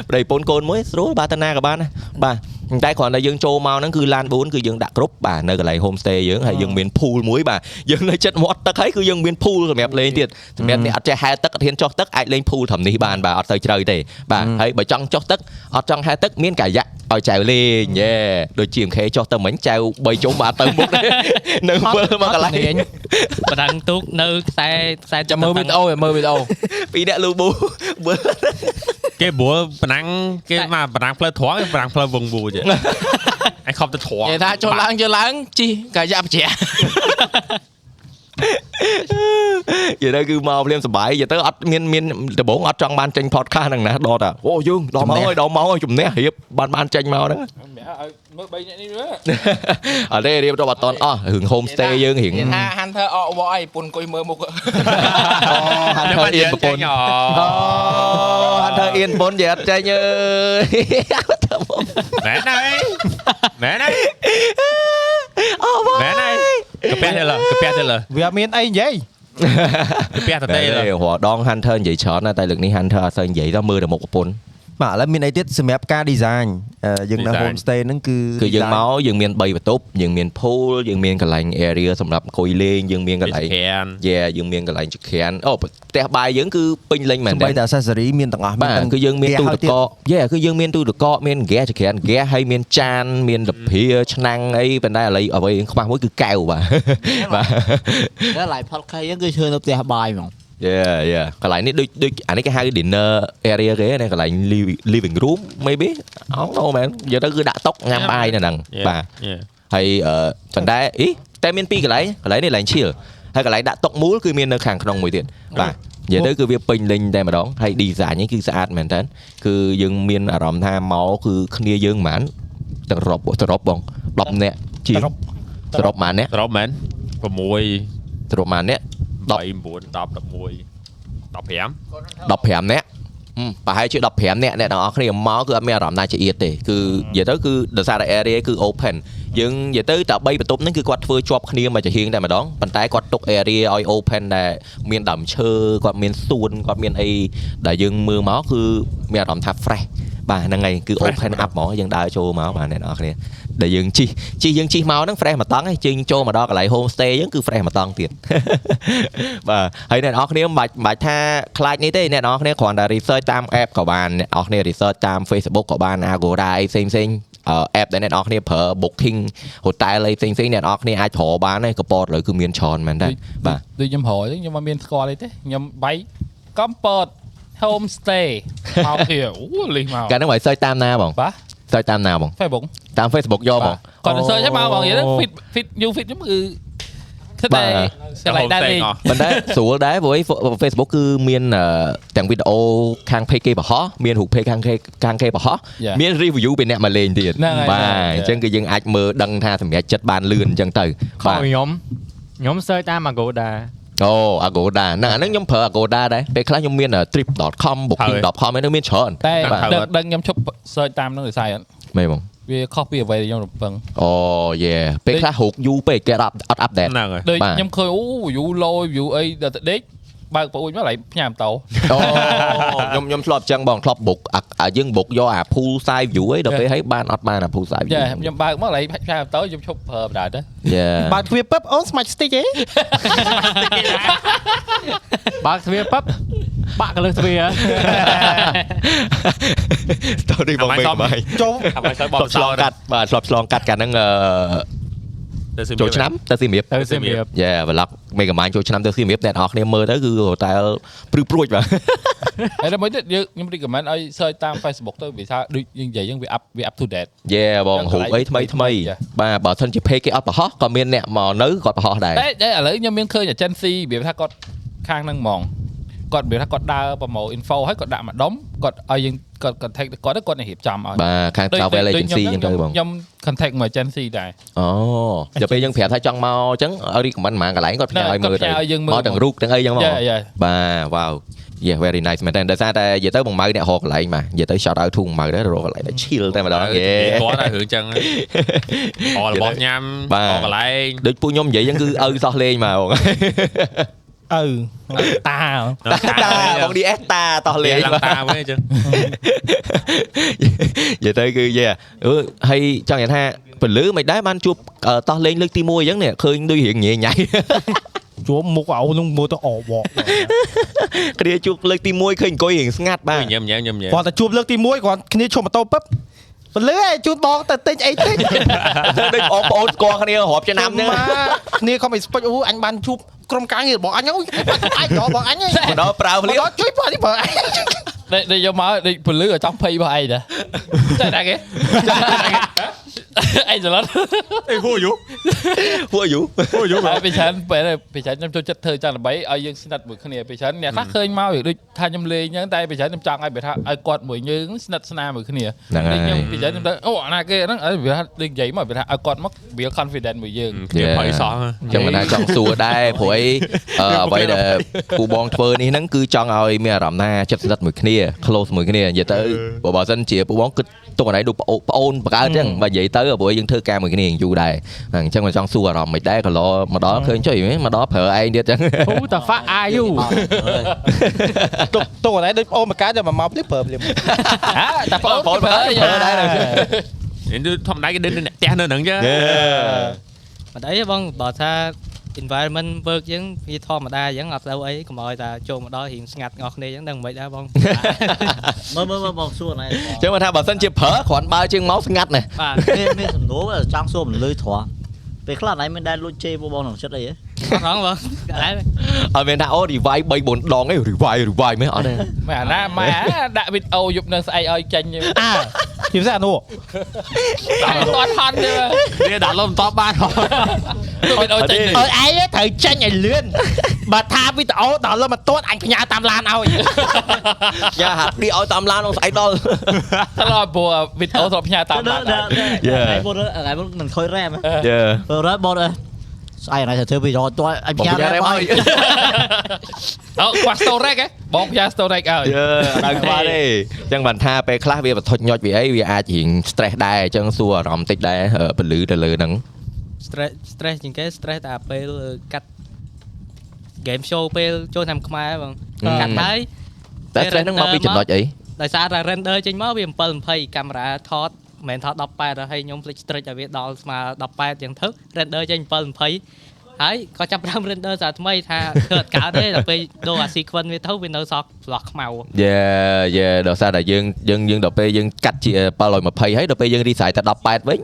ប្តីប្រពន្ធកូនមួយស្រួលបាទទៅណាក៏បានណាបាទ ប៉ុន្តែគ្រាន់តែយើងចូលមកហ្នឹងគឺឡាន4គឺយើងដាក់គ្រប់បាទនៅកន្លែង homestay យើងហើយយើងមាន pool មួយបាទយើងនៅចិត្តមាត់ទឹកហើយគឺយើងមាន pool សម្រាប់លេងទៀតសម្រាប់អ្នកអត់ចេះហែលទឹកអត់ហ៊ានចុះទឹកអាចលេង pool ត្រឹមនេះបានបាទអត់ទៅជ្រៅទេបាទហើយបើចង់ចុះទឹកអត់ចង់ហែលទឹកមានកាយ៉ាក់ឲ្យចែវលេងយេដូចជា MK ចុះទៅមិញចែវ3ជុំបាទទៅមុខ ទេ នៅវិលមកកន្លែង
បរាំងទូកនៅខ្សែខ្សែ
ចាំមើលវីដេអូមើលវីដេអូ
ពីរអ្នកលូ ប៊ូវិល
គេព្រោះប៉ណាំងគេមកប៉ណាំងផ្លូវត្រង់ឯងប៉ណាំងផ្លូវវងវូ ចេះអញខំទៅត្រង់
និយាយថាចុះឡើងចុះឡើងជីកាយ៉ាប់ជ្រះ
និយាយទៅគឺមកភ្លាមសប្បាយនិយាយទៅអត់មានមានដំបងអត់ចង់បានចេញ podcast ហ្នឹងណាដល់តាអូយើងដល់មកហើយដល់មកហើយជំនះរៀបបានបានចេញមកហ្នឹង
មើល3នាក់នេះមើល
អត់ទេរៀបរាប់អត់តន់អស់រឿង homestay យើងរៀង
ថា Hunter អកវអីពុនអង្គុយមើលមុខ
ហាន់ធ្វើអៀនប្រពន្ធ
អូ
អូហាន់ធ្វើអៀនប្រពន្ធនិយាយអត់ចេញអើយទៅមក
មែនហើយមែនហើយ
អូវ៉ា
មែនហើយកាពះទេលើកាពះទេលើ
វាអត់មានអីនិយាយ
កាពះត
តែ
ទេលើ
រាល់ដង hunter និយាយច្រើនណាស់តែលើកនេះ hunter អត់សូវនិយាយទៅមើលតែមុខប្រពន្ធ
បាទឥឡូវមានអីទៀតសម្រាប់ការ design អឺយើងនៅ
Design
homestay ហ្នឹងគឺ
គឺយើង
design
មកយើងមាន3បន្ទប់យើងមាន pool យើងមានកន្លែង area សម្រាប់អង្គុយលេងយើងមានកន្លែង
Japan
យេយើងមានកន្លែងចក្រានអូផ្ទះបាយយើងគឺពេញលេញមែន
ស
ទេ
ម្រាប់តែ accessory មានទាំងអស់
បាទ
ទាំង
គឺយើងមាន
ផ្ទះ
ទូ
ហើ
ទឹក
យទៀត
កកយេគឺយើងមានទូទឹកកកមានហ្គាសចក្រានហ្គាសហើយមានចាន មានលភាឆ្នាំងអីប៉ុន្តែឥឡូវអ្វីយើងខ្វះមួយគឺកែវបាទបាទ
តែឡាយផតខេហ្នឹងគឺឈើនៅផ្ទះបាយហ្មង
យេយេកន្លែងនេះដូចដូចអានេះគេហៅ dinner area គេណាកន្លែង liv- living room maybe អត់ដឹងមែននិយកទៅគឺដាក់តុកញ៉ាំបាយនៅហ្នឹងបាទ ហើយអឺប៉ុន្តែអីតែមានពីរកន្លែងកន្លែងនេះកន្លែងឈៀលហើយកន្លែងដាក់តុកមូលគឺមាននៅខាងក្នុងមួយទៀតបាទនិយាយទៅគឺវាពេញលេញតែម្ដងហើយ design នេះគឺស្អាតមែនតើគឺយើងមានអារម្មណ៍ថាមកគឺគ្នាយើងហ្មងទាំងរອບទាំងរອບបង10នាក់ជាងទាំងរອບម៉ាននាក់
ត្រប់មែន6
ទាំងរອບម៉ាននាក់
8 9 10 11 15
15នាក់ហឹមប្រហែលជា15នាក់អ្នកទាំងអស់គ្នាមកគឺអត់មានអារម្មណ៍ណាចង្អៀតទេគឺនិយាយទៅគឺដោយសារតែ area គឺ open យើងនិយាយទៅតែ3បន្ទប់ហ្នឹងគឺគាត់ធ្វើជាប់គ្នាមកជាហៀងតែម្ដងប៉ុន្តែគាត់ទុក area ឲ្យ open ដែលមានដើមឈើគាត់មានសួនគាត់មានអីដែលយើងមើលមកគឺមានអារម្មណ៍ថា fresh បាទហ្នឹងហើយគឺ open up ហ្មងយើងដើរចូលមកបាទអ្នកនរគ្នាដែលយើងជីជីយើងជីមកហ្នឹង fresh មកតង់ហើយជីចូលមកដល់កន្លែង homestay យើងគឺ fresh មកតង់ទៀត បាទហើយអ្នកនរគ្នាមិនបាច់មិនបាច់ថាខ្លាចនេះទេអ្នកនរគ្នាគ្រាន់តែ research តាម app ក៏បានអ្នកនរគ្នា research តាម Facebook ក៏បាន Agoda អីផ្សេងផ្សេងអឺ app ដែលអ្នកនរគ្នាប្រើ booking hotel អីផ្សេងផ្សេងអ្នកនរគ្នាអាចប្រើបានហើយកប៉តឥឡូវគឺមានច្រើនមែនតើបាទ
ដូចខ្ញុំរយទេខ្ញុំអត់មានស្គាល់អីទេខ្ញុំបៃកំពត home stay មកទៀត អូលេងមក
កាលហ្នឹងបើ search តាមណាបង
បាទ
search តាមណាបង
Facebook
តាម Facebook យកមក
គាត់ទៅ search មកបងនិយាយទៅ fit fit you fit ខ្ញុំគឺគិតតែ
បា
ក
ទ
ន្លែងដែរលេង
ប៉ុន្តែស្រួលដែរព្រោះអី Facebook គឺមានអឺទាំងវីដេអូខាង page គេបង្ហោះមានរូប page ខាងគេខាងគេបង្ហោះ
Yeah.
មាន review ពីអ្នកមកលេងទៀត
ហ្នឹងហើយ
បាទអញ្ចឹងគឺយើងអាចមើលដឹងថាសម្រាប់ចិត្តបានលឿនអញ្ចឹងទៅបាទ
ខំខ្ញុំខ្ញុំ search តាម Agoda
អូ Agoda ណាអាហ្នឹងខ្ញុំប្រើ Agoda ដែរពេលខ្លះខ្ញុំមាន trip.com booking.com ហ្នឹងមានច្រើន
តែ
បាទ
ដឹងដឹងខ្ញុំឈប់ search តាមនឹងដោយសារអត់
មែនបង
វាខុសពីអ្វីដែលខ្ញុំរំពឹង
អូ yeah ពេលខ្លះរោគយូរពេកគេអត់អត់ update
ហ្នឹងហើយ
ដូច
បាទ
ខ្ញុំឃើញអូ view low view អីដល់តែដេកបើកប្អូនមកឡៃផ្ញើម៉ូតូ
អូ ខ្ញុំខ្ញុំធ្លាប់អញ្ចឹងបងធ្លាប់ book អាអាយើង book យកអា pool side view ឯងដល់ពេលហើយបានអត់បានអា pool side
ចា
view
ខ្ញុំបើកមកឡៃផ្ញើម៉ូតូខ្ញុំឈប់ប្រើបណ្ដាទៅ
yeah
បើទ្វារពឹបអូនស្មាច់ស្ទិចអី
បើកទ្វារប៉បបាក់កលើសទ្វារ
ស្តូរីបង
អា
មេ
ម៉ៃសម
បាយ
ចុះ
អាប់ឲ្យស្អីប
ប
ប
បឆ្លងកាត់បាទធ្លាប់ឆ្លងកាត់កាលហ្នឹងអ
ទៅស៊ី
ឺ
ម
ចូលឆ្នាំទៅសៀមរាប
ទៅសៀមរាប
យ៉ាប្លុកមេកាម៉ាញចូលឆ្នាំទៅសៀមរាបអ្នកនរគ្នាមើលទៅគឺហូតែលព្រឺព្រួចបាទ
ហើយដល់មួយទៀតយើងខ្ញុំ recommend ឲ្យ search តាម Facebook ទៅវាថាដូចយើងនិយាយយើងវា up វា up to date
យេបងរូបអីថ្មីថ្មី
ចា៎
បាទបើសិនជាពេកគេអត់ប្រហោះក៏មានអ្នកមកនៅគាត់ប្រហោះដែរ
តែតែឥឡូវខ្ញុំមានឃើញ agency វាថាគាត់ខាងហ្នឹងហ្មងគាត់វាថាគាត់ដើរប្រម៉ូ info ហើយគាត់ដាក់ម្ដុំគាត់ឲ្យយើងគាត់ contact ទៅគាត់ទៅគាត់នឹងរៀបចំឲ្យ
បាទខាង travel agency ចឹងទៅបង
ខ្ញុំ contact មួយ agency ដែរ
អូដល់ពេលយើងប្រាប់ថាចង់មកចឹងឲ្យ recommend ហ្មងកន្លែងគាត់ផ្ញើ
ណែ
ឲ្យមើល
គាត់ផ្ញើ
ទៅ
ឲ្យយើងមើល
មកទាំងរូបទាំងអីចឹងមក
យ៉ាយ៉ា
បាទវ៉ាវ Yeah very nice មែនតើដោយសារតែនិយាយទៅបងម៉ៅអ្នករកកន្លែងបាទនិយាយទៅ shout out ធូងម៉ៅដែររកកន្លែងដែល chill តែម្ដងយេ
គាត់តែរឿងចឹ ងអរបស់ញ៉ាំអកន្លែង
ដូចពួកខ្ញុំនិយាយចឹងគឺឪសោះលេងមកបង
ឪតា
តាបងឌីអេសតាតោះលេ
លេ
ង
ងឡើងតាមវិញចឹង
និយាយទៅគឺយេអឺហើយចង់និយាយថាពលឺមិនដែរបានជួបអឺតោះលេងលើកទី1អញ្ចឹងនេះឃើញដូចរៀងញ៉ៃ ញ៉ៃ
ជួមមុខឲ្យនឹងមើលទៅអបក
គ្នាជួបលើកទី1ឃើញអង្គុយរៀងស្ងាត់បាទ
ញ៉ាំញ៉ាំញ៉ាំញ៉ាំ
Dạ.
គាត់តែជួបលើកទី1គាត់គ្នាឈប់ម៉ូតូពឹបពលឺឯងជួបបងទៅទិញអីទិ ញ
ធ្វើដូចបងប្អូនស្គាល់គ្នារាប់ឆ្នាំហ្នឹង
ម៉ាគ្នាខំអីស្ពេចអូអញបានជួបក្រុមការងាររបស់អញអូយអញរកបងអញហី
ម្ដង ប្រើភ្លា
មក
ម
ដល់ជួយបើនេះបើអញ
ដូចដូចយកមកដូចពលឺឲ្យចង់ភ័យរបស់ឯងតាចេះតែគេឯងច្រឡំ
អេហូយូ
ពួកយូ
ហូយូ
ហើយពេលច្រើនពេលពេលច្រើនខ្ញុំចូលចិត្តធ្វើចង់ដើម្បីឲ្យយើងស្និទ្ធមួយគ្នាពេលច្រើនអ្នកខ្លះឃើញមកដូចថាខ្ញុំលេងអញ្ចឹងតែពេលច្រើនខ្ញុំចង់ឲ្យវាថាឲ្យគាត់មួយយើងស្និទ្ធស្នាលមួយគ្នា
ហ្នឹងហើ
ដូចខ្ញុំ
យ
ពេលច្រើនខ្ញុំទៅអូអាណាគេហ្នឹងឲ្យវាថាដូចនិយាយមកវាថាឲ្យគាត់មក real confident មួយយើង
ខ្ញុំភ័យសោះ
ចាំមិនដែរចង់សួរដែរ ព្រោះអី អឺអ្វីដែលពូបងធ្វើនេះហ្នឹងគឺចង់ឲ្យមានអារម្មណ៍ថាចិត្តស្និទ្ធមួយគ្នា close មួយគ្នានិយាយទៅបើបើសិនជាពូបងគិតទុកកន្លែងដូចប្អូនប្អូនបង្កើតអញ្ចឹងបើនិយាយទៅព្រោះយើងធ្វើការមួយគ្នាយើងយូរដែរហ្នឹងអញ្ចឹងមិនចង់សួរអារម្មណ៍មិនដែរក៏ឡមកដល់ឃើញចុយ ហ្មងមកដល់ប្រើឯងទៀត អញ្ចឹង
អូតាហ្វាក់អាយូទុកទុកអីដូចប្អូនបកាតែមកមកភ្លាមព្រមភ្លាម
ហាតែបងបងប្រើ
ប្រើប្រើដែរ
នេះធម្មតាគេដេញទៅអ្នកផ្ទះនៅហ្នឹងចឹង
មិនអីទេបងបើថា environment work យើងវាធម្មតាអញ្ចឹងអត់ទៅអីកុំឲ្យតែចូលមកដល់រៀងស្ងាត់ងអស់គ្នាអញ្ចឹងដឹងមិនដែរបង
មើលមើលមើលបងសួរណែ
អញ្ចឹងមកថាបើសិនជាប្រើគ្រាន់បើជើងមកស្ងាត់ណាស់
បាទ
ពេលមានសំណួរបើចង់សួរមិនលឺធំពេលខ្លះណៃមិនដែលលួចជេរពួកបងក្នុងចិត្តអីហ៎
អត់ហងបងកន្លែង
អត់មានថាអូ revive 3 4ដងអី revive revive មិនអត់ទេ
ម៉ែអាណាម៉ែអាដាក់វីដេអូយប់នៅស្អែកឲ្យចេញតែ
អាជាពិសេសអានោះ
អត់ហន់ទេ
វាដាក់លំតបបានហ៎
ទៅវីដេអូចេញ
អត់ទេ
ទៅ
ឲ្យឯងត្រូវចេញឲ្យលឿនបើថាវីដេអូដល់លុបមិនទាន់អញផ្ញើតាមឡានឲ្យ
យ៉ាហាត់ព្រីឲ្យតាមឡានក្នុងស្អែកដល់
ត្រឡប់ព្រោះវីដេអូត្រឡប់ផ្ញើតាមបានដែរ
ថ្ងៃមុនថ្ងៃមុនមិនខុយរ៉ែម
យេ
ពេលរ៉ែបងអើស្អែកណៃទៅធ្វើវីដេអូតោះអញ
បង
ផ្ញើ
ញ៉ាំ
រ៉ែ
រ៉េម
មក
ឲ្យ
អូគាត់ storage ហ៎បងផ្ញើ storage ឲ្យ
យើដល់ខ្វះទេអញ្ចឹងបានថាពេលខ្លះវាបន្ទុចញុចវាអីវាអាចរៀង stress ដែរអញ្ចឹងសួរអារម្មណ៍តិចដែរអឺពលឺទៅលើហ្នឹង
stress stress ជាងគេ stress តែពេលកាត់ game show ពេលចូលតាមខ្មែរបង
អឺ
កាត់ហើយ
តែ stress ហ្នឹងមកពីចំណុចអី
ដោយសារតែ render ចេញមកវា720កាមេរ៉ាថតមិនមែនថត18ទេហើយខ្ញុំភ្លេច stretch ឲ្យវាដល់ស្មើ18យ៉ាងទៅ render ចេញ720ហើយក៏ចាប់ផ្ដើម render សារថ្មីថាធ្វើអត់កើតទេដល់ពេលដូរអា sequence វាទៅវានៅសល់ឆ្លោះខ្មៅ
យេយេដល់សារតែយើងយើងយើងដល់ពេលយើងកាត់ជា720ហើយដល់ពេលយើង resize តែ18វិញ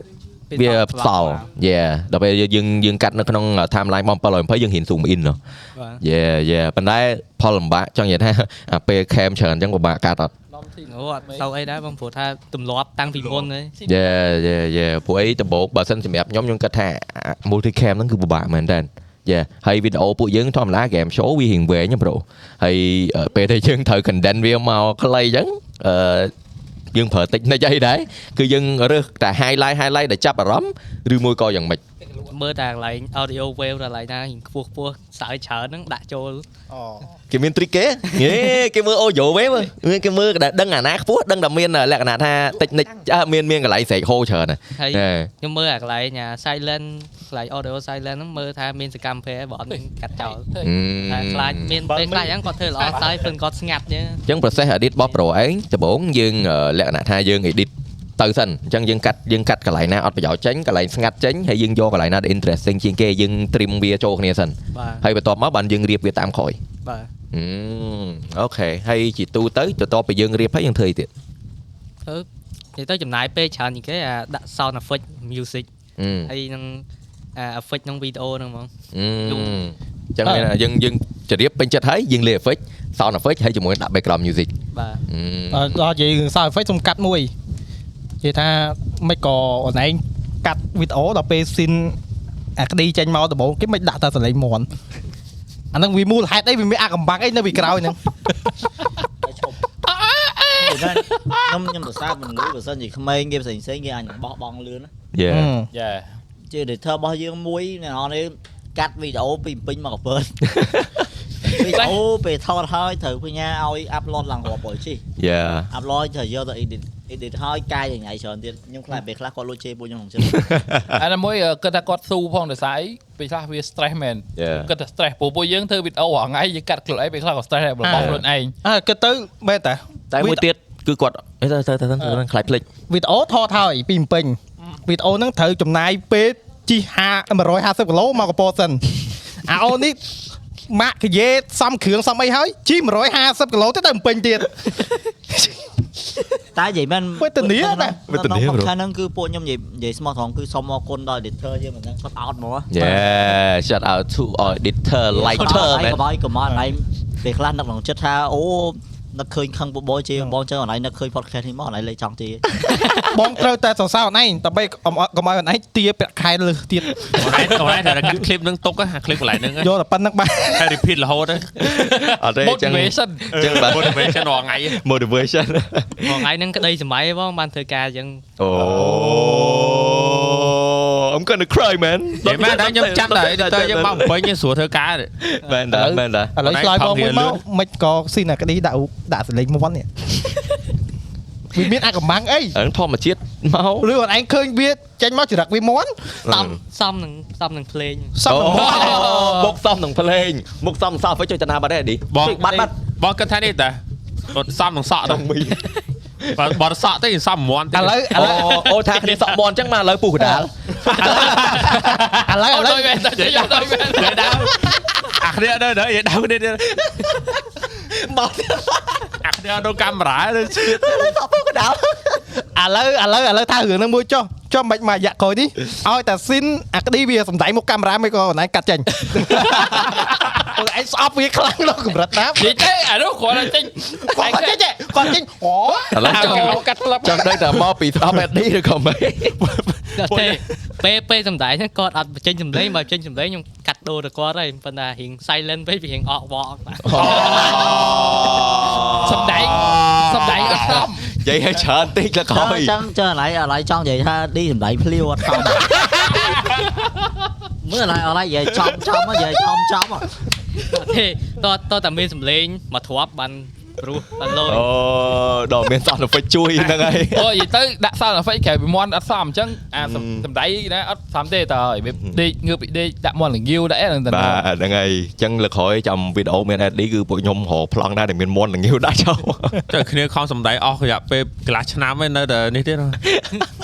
វាផ្សល់យេដល់ពេលយើងយើងកាត់នៅក្នុង timeline របស់720យើងហ៊ាន zoom in ហ៎
បាទ
យេយេប៉ុន្តែផលលំបាកចង់និ យាយថាអាពេល cam ច្រើនអញ្ចឹងពិបាកកាត់អត់
អូអត់ទៅអីដែរបងព្រោះថាទម្លាប់តាំងពីមុនហ្នឹង
យេយេយេពួកអីដំបូងបើសិនសម្រាប់ខ្ញុំខ្ញុំគិតថា À, multicam ហ្នឹងគឺពិបាកមែនតើយេហើយវីដេអូពួកយើងធម្មតា game show វារៀងវែងណាប្រូហើយអឺពេលដែលយើងត្រូវ condense វាមកខ្លីអញ្ចឹងអឺយើងប្រើ technique អីដែរគឺយើងរើសតែ highlight highlight ដែលចាប់អារម្មណ៍ឬមួយក៏យ៉ាងម៉េច
មើលតែកន្លែង audio wave ដល់កន្លែងណារៀងខ្ពស់ខ្ពស់សើចច្រើនហ្នឹងដាក់ចូល
គេមាន trick គេហេគេមើល audio wave មើលគេមើលដែលដឹងអាណាខ្ពស់ដឹងតែមានលក្ខណៈថា technique អ่ะមានមានកន្លែងស្រែកហូរច្រើនណាស់
ហើយ
ហេ
ខ្ញុំមើលអាកន្លែងអា silent កន្លែង audio silent ហ្នឹងមើលថាមានសកម្មភាពអីបើអត់មានកាត់ចោលតែខ្លាចមានពេលខ្លះអញ្ចឹងគាត់ធ្វើល្អតែព្រឹងគាត់ស្ងាត់អញ្ចឹង
អញ្ចឹង process edit របស់ Pro ឯងដំបូងយើងអឺលក្ខណៈថាយើង edit ទៅសិនអញ្ចឹងយើងកាត់យើងកាត់កន្លែងណាអត់ប្រយោជន៍ចេញកន្លែងស្ងាត់ចេញហើយយើងយកកន្លែងណាដែល interesting ជាងគេយើង trim វាចូលគ្នាសិន
បាទ
ហើយបន្ទាប់មកបានយើងរៀបវាតាមក្រោយ
បាទ
អឺអូខេហើយជាទូទៅបន្ទាប់ពីយើងរៀបហើយយើងធ្វើអីទៀត
និយាយទៅចំណាយពេលច្រើនជាងគេអាដាក់ sound effect music
អឺ
ហើយនឹងអា effect ក្នុង video ហ្នឹងហ្មង
អញ្ចឹង
Ờ.
មានថាយើងយើងជរៀបពេញចិត្តហើយយើងលេ effect sound effect ហើយជាមួយដាក់ background music
បាទ
អឺ
ដល់និយាយរឿង sound effect សុំកាត់មួយនិយាយថាមិនក៏អូនឯងកាត់វីដេអូដល់ពេលស៊ីនអាក្តីចេញមកដំបូងគេមិនដាក់តែសលេងមន់អាហ្នឹងវាមូលហេតុអីវាមានអាកំបាំងអីនៅពីក្រោយហ្នឹង
ខ្ញុំខ្ញុំសរសើរមិនលឺបើសិនជាក្មេងគេផ្សេងផ្សេងគេអាចបោះបង់លឿន
yeah
យេ
ជា editor របស់យើងមួយអ្នកនរនេះកាត់វីដេអូពីពេញមកកពើ ពេកអូពេលថតហើយត្រូវផ្ញើឲ្យ upload ឡើងរាប់បុលជី
យ៉ា
អាប់ឡយទៅយកទៅ edit edit ហើយកាយយ៉ាងណាច្រើនទៀតខ្ញុំខ្លាចពេលខ្លះគាត់លួចជេរពួកខ្ញុំក្នុងចិត្ត
អានមួយអឺគិតថាគាត់ស៊ូផងដោយសារអីពេលខ្លះវា stress មែន
យ៉ា
គិតថា stress ព្រោះពួកយើងធ្វើវីដេអូរាល់ថ្ងៃយើងកាត់ខ្លួនឯងពេលខ្លះក៏ stress ដែររបស់
អ่า
ខ្លួនឯង
អើគិតទៅមែនតា
តែមួយទៀតគឺគាត់អេទៅទៅទៅទៅទៅខ្លាចភ្លេច
វីដេអូថតហើយពីភ្នំពេញវីដេអូហ្នឹងត្រូវចំណាយពេលជីហា150គីឡូមកកពតសិនអាអូននេះម៉ាក់កាយេសំគ្រឿងសំអីហើយជី150គីឡូទៅទៅភ្នំពេញទៀត
តែនិយាយមែន
វេទនាណា
វេទនាក្នុងខែហ្នឹងគឺពួកខ្ញុំនិយាយនិយាយស្មោះត្រង់គឺសូមអរគុណដល់ editor យើងមិនដឹងគាត់អោតហ្មង
យ៉ា shout out to auditor lighter មែ
មែ
ន
នបាយកុំអត់ណៃពេលខ្លះនឹកក្នុងចិត្តថាអូនឹកឃើញខឹងបបោជេរបងចឹងអត់ណៃនឹកឃើញ podcast នេះមកអត់ណៃលេចចង់ជេរ
បងត្រូវតែសរសើរខ្លួនឯងដើម្បីកុំឲ្យកុំឲ្យខ្លួនឯងទាប្រាក់ខែលើសទៀត
អូនឯងតែកាត់ឃ្លីបនឹងទុកអាឃ្លីបកន្លែងហ្នឹង
យកតែប៉ុណ្្នឹង បាទ
ហើយ repeat រហូតហ្នឹង
អត់ទេអញ្ចឹង
motivation
អញ្ចឹងបាទ
motivation រាល់ថ្ងៃ
motivation
មួយថ្ងៃហ្នឹងក្តីសម័យបងបានធ្វើការអញ្ចឹង
អូ I'm going to cry man
និយាយមែនតែខ្ញុំចាំតែ editor យើងមកបំពេញយើងស្រួលធ្វើការទេ
មែនតាមែនតា
ឥឡូវឆ្លើយបងមួយមកមិនក៏ស៊ីណាក្តីដាក់ដាក់សលេងម ន់នេះវាមានអាកម្មាំងអី
អឺធម្មជាតិមក
ឬខ្លួនឯងឃើញវាចេញមកចរិតវាមន់
សំសំនឹងសំនឹងភ្លេង
សំ
អូ
មន់
មុខសំនឹងភ្លេងមុខសំសោះវិញជួយតាណាបាត់ដែរឌី
បង
ជួយបាត់បាត់
បងគិតថានេះតាអត់សំនឹងសក់ទៅបើបើសក់ទេសំមន់ទេ
ឥឡូវឥ
អូ
ឡូវ
អូថាគ្នាសក់មន់អញ្ចឹងមកឥឡូវពុះកណ្ដាល
ឥឡូវឥឡូវ
ដូចមែនតែយកដូចមែន
និយាយដើមអាគ្នាទៅទៅនិយាយដើមគ្នាទៀត
មក
អាគ្នាទៅកាមេរ៉ាទៅឈៀត
ឥឡូវឥឡូវឥឡូវថារឿងហ្នឹងមួយចុះចុះមិនមករយៈក្រោយនេះឲ្យតែស៊ីនអាក្តីវាសំដែងមុខកាមេរ៉ាមិនក៏ខ្លួនឯងកាត់ចេញខ្លួន ឯងស្អប់វាខ្លាំងដល់កម្រិតណា
និយាយទេអានោះគ្រាន់តែចេញ
គាត់ចេញទេគាត់ចេញអូ
ឥឡូវចង់
កាត់ក្លឹប
ចង់ដឹងតែមកពីស្អប់អេឌីឬក៏មិន
ដល់ទេ ពេលពេលសំដែងហ្នឹងគាត់អត់បញ្ចេញសំឡេងបើបញ្ចេញសំឡេងខ្ញុំកា ត់ដូរទៅគាត់ហើយប៉ុន្តែរៀង silent ពេកវារៀងអកវកបាទ
សំដែង សំ ដែងអត់ស្អំ
និយាយឲ្យច្រើនតិចលក្រោយ
ចឹងចឹងអត់ណៃអត់ណៃចង់និយាយថាឌីសម្ដែងភ្លាវអត់ខំមើលអត់ណៃអត់ណៃនិយាយចំចំហ៎និយាយចំចំហ៎
ដល់ទេតតតែមានសំឡេង មកធ្រាប់បានព្រោះបានលយ
អូដល់មានសោះទៅ ជួយ ហ្នឹងហើយ
អូនិយាយទៅដាក់សារដល់ face ក្រៅពីមន់អត់ស្អំអញ្ចឹងអាសំសំដែងណាអត់ស្អំទេតើហើយវាដេកងើបពីដេកដាក់មន់លងាវដាក់អីហ្នឹងតែ
បាទហ្នឹងហើយអញ្ចឹងលក្រោយចាំវីដេអូមានអេឌីគឺពួកខ្ញុំរកប្លង់ដែរដែលមានមន់ល្ងាវដាក់ ចូល
ទៅគ្នាខំសំដែងអស់រយៈពេលកន្លះឆ្នាំហើយនៅតែនេះទៀតហ៎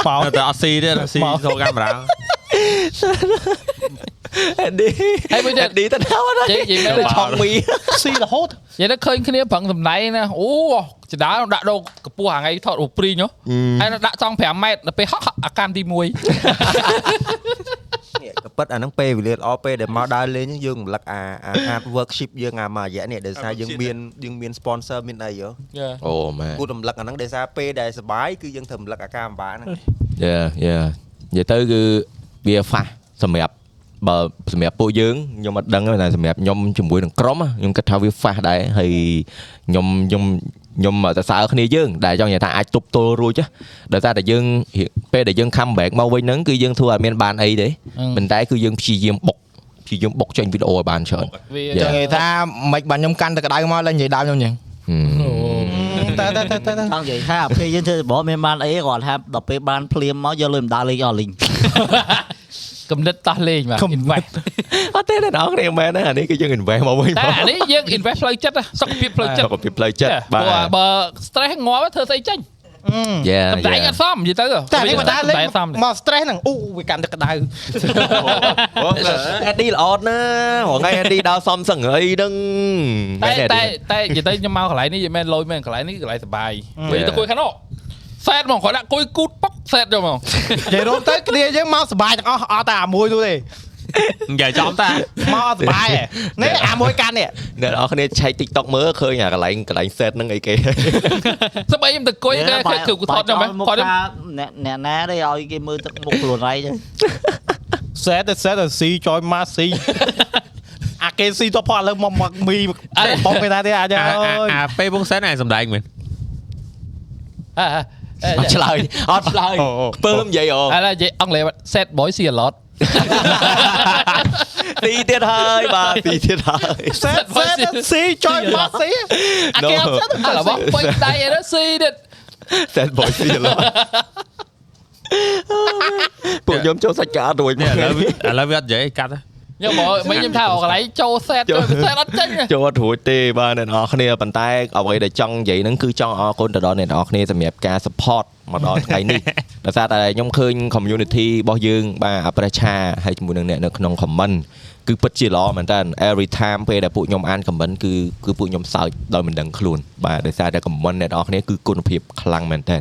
បោ
នៅតែអត់ស៊ីទៀតអត់ស៊ីចូលកាមេរ៉ា
អេឌី
ហើយមួយ
អេ
ទៀត
ឌីទៅណាវ
ចេះនិយាយមែន
ឆောင်းមី
ស៊ីរហូត
យ៉ាងនេះឃើញគ្នាប្រឹងសម្ដែងណាអូចដាលដាក់ដូរកពស់ហងៃថតរូបព្រីងហ៎ហើយនៅដាក់ចង់5ម៉ែត្រដល់ពេលហក់ហក់អាកាមទី1
នេះក៏ប៉ិតអាហ្នឹងពេលវេលាល្អពេលដែលមកដើរលេងហ្នឹងយើងរំលឹកអាអា hard workship យើងអាមួយរយៈនេះដោយសារយើងមានយើងមាន sponsor មានអីយោ
អូម៉ែ
គូរំលឹកអា ហ្នឹងដោយសារពេលដែលសបាយគឺយើងត្រូវរំលឹកអាការអំបាហ្នឹង
យ៉ាយ៉ានិយាយទៅគឺវាហ្វាស់សម្រាប់បើសម្រាប់ពួកយើងខ្ញុំអត់ដឹងទេតែសម្រាប់ខ្ញុំជាមួយនឹងក្រុមហ៎ខ្ញុំគិតថាវាហ្វាស់ដែរហើយខ្ញុំខ្ញុំខ្ញុំសរសើរគ្នាយើងដែលចង់និយាយថាអាចទប់ទល់រួចណាដោយសារតែយើងរៀងពេលដែលយើង comeback មកវិញហ្នឹងគឺយើងធ្វើឲ្យមានបានអីទេប៉ុន្តែគឺយើងព្យាយាមបុកព្យាយាមបុកចេញវីដេអូឲ្យបានច្រើន
វា
Yeah.
ចឹងនិយាយថាមិនបានខ្ញុំកាន់ទៅក្តៅមកឡើងនិយាយដើមខ្ញុំចឹង
តើតើតើតើ
ចង់និយាយថាពេលយើងធ្វើរបបមានបានអីគាត់ថា ដល់ពេលបានភ្លាមមកយកលុយម្ដាលលេងអស់លីង
កំណត់តោះលេងបាទ invest
អត់ទេដល់ដល់គ្នាមែនណាអានេះគឺយើង invest មកវិញ
តែអានេះយើង invest ផ្លូវចិត្តណាសុខភាពផ្លូវចិត្ត
ចុះពីផ្លូវចិត្តបា
ព្រោះ
ទ
បើ stress ងាប់ធ្វើស្អីចេញ
យ៉ា
សម្ដែងអត់សមនិយាយទៅ
តែនេះមិនដាលេង
តែសម
មក stress ហ្នឹងអូវាកាន់តែក្តៅ
អេឌីល្អណាស់ថ្ងៃអេឌីដល់សំសឹងអីហ្នឹង
តែតែតែនិយាយទៅខ្ញុំមកកន្លែងនេះនិយាយមែនលយមែនកន្លែងនេះកន្លែងសបាយនិយាយទៅគួយខាងនោះសែតហ្មងគាត់ដាក់គួយគូតប៉ុកសែតយកហ្មង
និយាយរួមទៅគ្នាយើងមកសុបាយទាំងអស់អត់តែអាមួយនោះទេ
និយាយចំ តា
មកសុបាយ ឯងនេះអាមួយកាន់នេះ
អ្នកនរគ្នាឆែក TikTok មើលឃើញអាកន្លែងកន្លែង set ហ្នឹងអីគេ
សបាយខ្ញុំទៅគួយគេគឺគាត់ថតយកហ្មង
គា
គាត់
ត់ ថាអ្នកអ្នកណាទេឲ្យគេមើលទឹកមុខខ្លួនឯង ចឹង
សេតទៅសេតទៅស៊ីចយម៉ាស៊ី អាគេស៊ីទៅផឥឡូវមកមកមី
អេ
បងគេណាទេអាចអើយ
អាពេលវងសែនឯងសំដែងមែន
អ่า
អត់ឆ្លើយអត់ឆ្លើយពើមនិយាយអូ
អ่าនិយាយអង់គ្លេស set boy see a lot
ទីទៀតហើយ បាទទីទៀតហើយ
សេតសេតស៊ីចុយបោះស៊ីអាគេអត់សេត
អារបស់ពេញដៃអីហ្នឹងស៊ីទៀត
Sad boy ទីឡើយពួកខ្ញុំចូលសាច់ការអត់រួច
នេះ
មក
ឥឡូវឥឡូវវាអត់និយាយកាត់ទេ
ខ្ញុំមកមិញខ្ញុំថាអូកន្លែងចូលសេត
ចូល
ចូលសេតអត់ចេញទេ
ចូលអត់រួចទេបាទអ្នកនរគ្នាប៉ុន្តែអ្វីដែលចង់និយាយហ្នឹងគឺចង់អរគុណទៅដល់អ្នកនរគ្នាសម្រាប់ការ support មកដល់ថ្ងៃ នេះ ដោយសារតែខ្ញុំឃើញ community របស់យើងបាទអាប្រេសឆាហើយជាមួយនឹងអ្នកនៅក្នុង comment គឺពិតជាល្អមែនតើ every time ពេលដែលពួកខ្ញុំអាន comment គឺគឺពួកខ្ញុំសើចដោយមិនដឹងខ្លួនបាទដោយសារតែ comment អ្នកនរគ្នាគឺគុណភាពខ្លាំងមែនតើ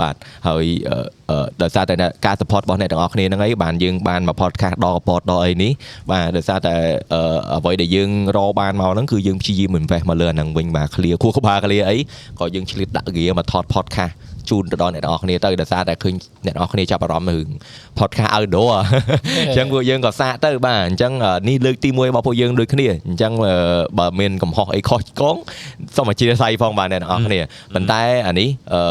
បាទហើយអឺអឺដោយសារតែអ្នកការ support របស់អ្នកទាំងអស់គ្នាហ្នឹងឯងបានយើងបានមក podcast ដល់ podcast ដល់អីនេះបាទដោយសារតែអឺអ្វីដែលយើងរកបានមកហ្នឹងគឺយើងព្យាយាម invest មកលើអាហ្នឹងវិញបាទ clear ខួរក្បាល clear អីក៏យើងឆ្លៀតដាក់ gear មកថត podcast ជូនទៅដល់អ្នកទាំងអស់គ្នាទៅដោយសារតែឃើញអ្នកទាំងអស់គ្នាចាប់អារម្មណ៍រឿង podcast outdoor អញ្ចឹងពួកយើងក៏សាកទៅបាទអញ្ចឹងអ่าនេះលើកទី1របស់ពួកយើងដូចគ្នាអញ្ចឹងអឺបើមានកំហុសអីខុសឆ្គងសូមអធិស្ឋានផងបាទអ្នកទាំងអស់គ្នាប៉ុន្តែអានេះអឺ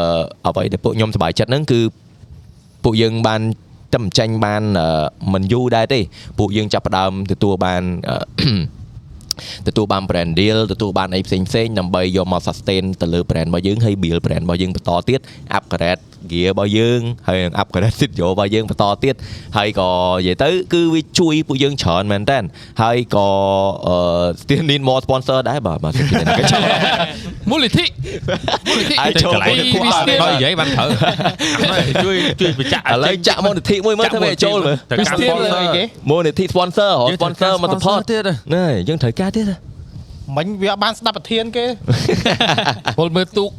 អ្វីដែលពួកខ្ញុំសប្បាយចិត្តហ្នឹងគឺ ពួកយើងបានតែមិនចាញ់បានអឺមិនយូរដែរទេពួកយើងចាប់ផ្ដើមទទួលបានអឺ ទទួលបាន brand deal ទទួលបានអីផ្សេងផ្សេងៗដើម្បីយកមក sustain ទៅលើ brand របស់យើងហើយ build brand របស់យើងបន្តទៀត upgrade gear របស់យើងហើយនឹង upgrade studio របស់យើងបន្តទៀតហើយក៏និយាយទៅគឺវាជួយពួកយើងច្រើនមែនតើហើយក៏អឺ still need more sponsor ដែរបាទបាទ
មូលនិធិមូលនិធិ
អាយចូល
កន្លែងគួរឲ្យដល់និយាយបានត្រូវជួយជួយបញ្ជាក់
ឥឡូវចាក់ monetary មួយមើល
ចាក់
ធ្វើឲ្យចូលមើល
ទៅ
ពី
កាត់
ស្ទៀមលើអីគេ
monetary sponsor ហ៎
យើងត្រូវកា
sponsor
រ
មក support
sponsor ទៀតហ៎
ណែយើងត្រូវការទៀតហ៎
មិញវាអត់បានស្ដាប់ប្រធានគេ
ពលមើលទូក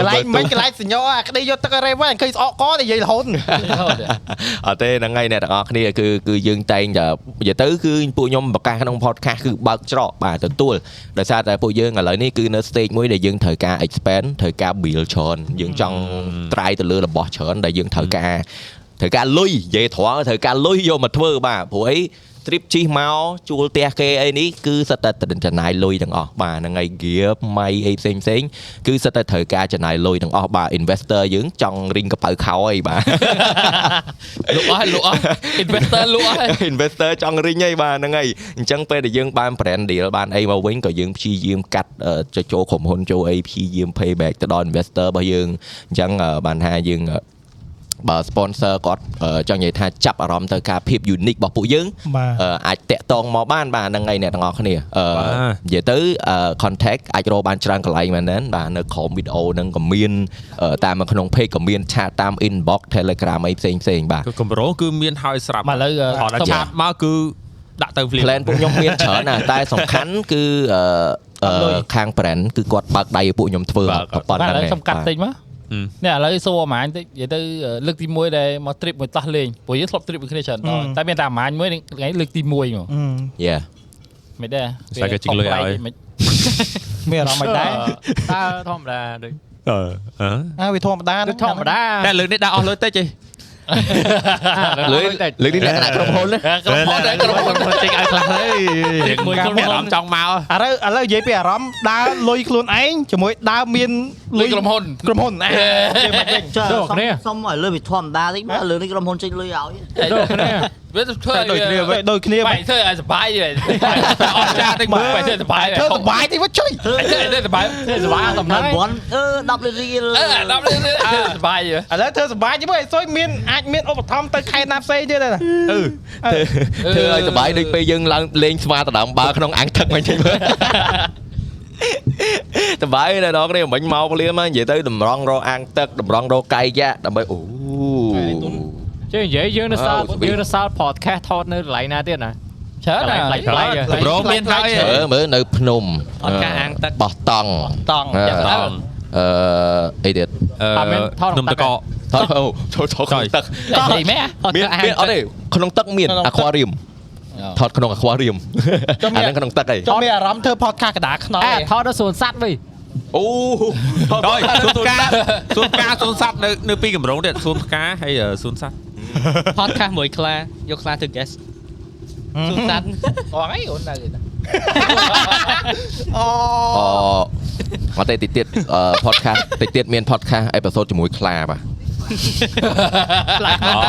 កន្លែ ងមិញកន្លែងសញ្ញោអាក្តីយកទឹកអរេវ៉ាឃើញស្អកកនិយាយរហូត
អត់ទេហ្នឹងហើយអ្នកទាំងអស់គ្នាគឺគឺយើងតែងតែនិយាយទៅគឺពួកខ្ញុំប្រកាសក្នុង podcast គឺបើកច្រកបាទទទួល ដោយសារតែពួកយើងឥឡូវនេះគឺនៅ stage មួយដែលយើងត្រូវការ expand ត្រូវការ build ច្រើនយើងចង់ try ទៅលើរបស់ច្រើនដែលយើងត្រូវការត្រូវការលុយនិយាយត្រង់ត្រូវការលុយយកមកធ្វើបាទព្រោះអី trip ជិះមកជួលផ្ទះគេអីនេះគឺសិតតែចំណាយលុយទាំងអស់បាទហ្នឹងហើយ gear ម៉ៃអីផ្សេងផ្សេងៗគឺសិតតែត្រូវការចំណាយលុយទាំងអស់បាទ investor យើងចង់រីងកប៉ៅខោអីបាទ
លក់អស់លក់អស់ investor លក់អស់
investor ចង់រីងហើយបាទហ្នឹងហើយអញ្ចឹងពេលដែលយើងបាន brand deal បានអីមកវិញក៏យើងព្យាយាមកាត់អឺចចូលក្រុមហ៊ុនចូលអីព្យាយាម pay back ទៅដល់ investor របស់យើងអញ្ចឹងអឺបានថាយើងអឺបើ sponsor គាត់អឺចង់និយាយថាចាប់អារម្មណ៍ទៅការភាព unique របស់ពួកយើង
បាទ
អឺអាចតាក់តងមកបានបាទហ្នឹងហើយអ្នកទាំងអស់គ្នាអឺ
បាទ
និយាយទៅអឺ contact អាចរកបានច្រើនកន្លែងមែនទេបាទនៅក្រោមវីដេអូហ្នឹងក៏មានអឺតាមនៅក្នុង page ក៏មានឆាតតាម inbox Telegram អីផ្សេងផ្សេងៗបាទ
គឺកម្រោគឺមានហើយស្រាប់
មកឥឡូវអឺ
ថតដល់
សុំ
ឆាតមកគឺដាក់ទៅភ្លា
plan
ម
ពួកខ្ញុំមានច្រើនណាស់ តែសំខាន់គឺអឺអឺខាង brand គឺគាត់បើកដៃឲ្យពួកខ្ញុំធ្វើ
បាទគាត់
ប៉ុណ្ណឹ
បាទឥ
ង
ឡូវ
ឯង
ខ្ញុំកាត់
បាទ
តិចមក
ហឹម
នេះឥឡូវសួរអាម៉ាញតិចនិយាយទៅអឺលើកទី1ដែលមក trip មួយតោះលេងព្រោះយើងធ្លាប់ trip មួយគ្នាច្រើនដ
ហឹ
ង
ម
តែមានតែអាម៉ាញមួយថ្ងៃលើកទី1ហ្មង
yeah
មិនដែរ
ស្អែកគេជីកលុយឲ្យ
មិន
មានអារម្មណ៍មិនដែរ
តើធម្មតាដូច
អឺអឺ
អាវាធម្មតា
ដូចធម្មតា
តែលើកនេះដាក់អស់លុយ តិចទេ
លើលើនេះលក្ខណៈក្រុមហ៊ុនណា
ក្រុមហ៊ុនក្រុមហ៊ុនចេញឲ្យខ្លះទៅ
យើងមួយខ្លួនមានអារម្មណ៍ចង់មក
ឥឡូវឥឡូវនិយាយពីអារម្មណ៍ដើរលុយខ្លួនឯងជាមួយដើរមាន
លុយក្រុមហ៊ុន
ក្រុមហ៊ុនអានិយាយមិនវិញ
ចាសុំសុំឲ្យលើវាធម្មតាតិ ចមកលើនេះក្រុមហ៊ុនចេញលុយឲ្យ
ដូចគ្នាវាទៅធ្វើ
ដូចគ្នា
ដូច
បែ
ដូចគ្នា
កធ្វើឲ្យសុបាយទេអស់ចាស់តិចមើលបែកធ្វើសុបាយ
ធ្វើសុបាយតិចមកជួយ
ធ្វើធ្វើសុបាយធ្វើសុបាយសំ
តែ
ណាយ
ប៉ុនអឺ10លានរៀល
អឺដល់លើធ្វើសុបាយ
ឥឡូវធ្វើសុបាយទេមើលឲ្យសុយមានអាចមានឧបត្ថម្ភទៅខេត្តណាផ្សេងទៀតទេណា
ធ្វើឲ្យសប្បាយដូចពេលយើងឡើងលេងស្វាដណ្ដើមបាល់ក្នុងអាងទឹកមិនចឹងមើល តបាយណាស់ដល់គ្នាមិញមកភ្លាមហ្នឹងនិយាយទៅតម្រង់រកអាងទឹកតម្រង់រកកាយយ៉ាដើម្បីអូ
ជើងនិយាយយើងនៅសាលយើងនៅសាល podcast ថតនៅកន្លែងណាទៀតណា
ច្រើនណាស់
កន្លែងប្លែកៗ
កម្រោមានហើយ
អឺមើលនៅភ្នំ
អត់ការអាងទឹក
បោះតង់
តង់
អឺអឺអីទៀត
អត់មានថតក្នុង
នំ
ទឹក
តកក
ថតអូចូលចូលក្នុងទឹក
តែនិយាយមែន
មានមានអត់ទេក្នុងទឹកមាន
ក្នុងទឹក
aquarium ថតក្នុង aquarium
ចុះមាន
អាហ្នឹងក្នុងទឹកអី
ចូលមានអារម្មណ៍ធ្វើ podcast កណ្ដាលខ្នង
អេថតនៅសួន សัตว์វិញ
អូថត
ដោយសួនផ្កាសួនផ្កាសួនសัตว์នៅនៅពីកម្រងទៀតសួនផ្កាហើយអឺសួនសัตว์
podcast មួយខ្លាយកខ្លាទៅ guest សុំតាត់
អងអីអូននៅ
អអត់ទេតិចទៀតអឺ podcast តិចទៀតមាន podcast អេពីសូតជាមួយខ្លាបាទ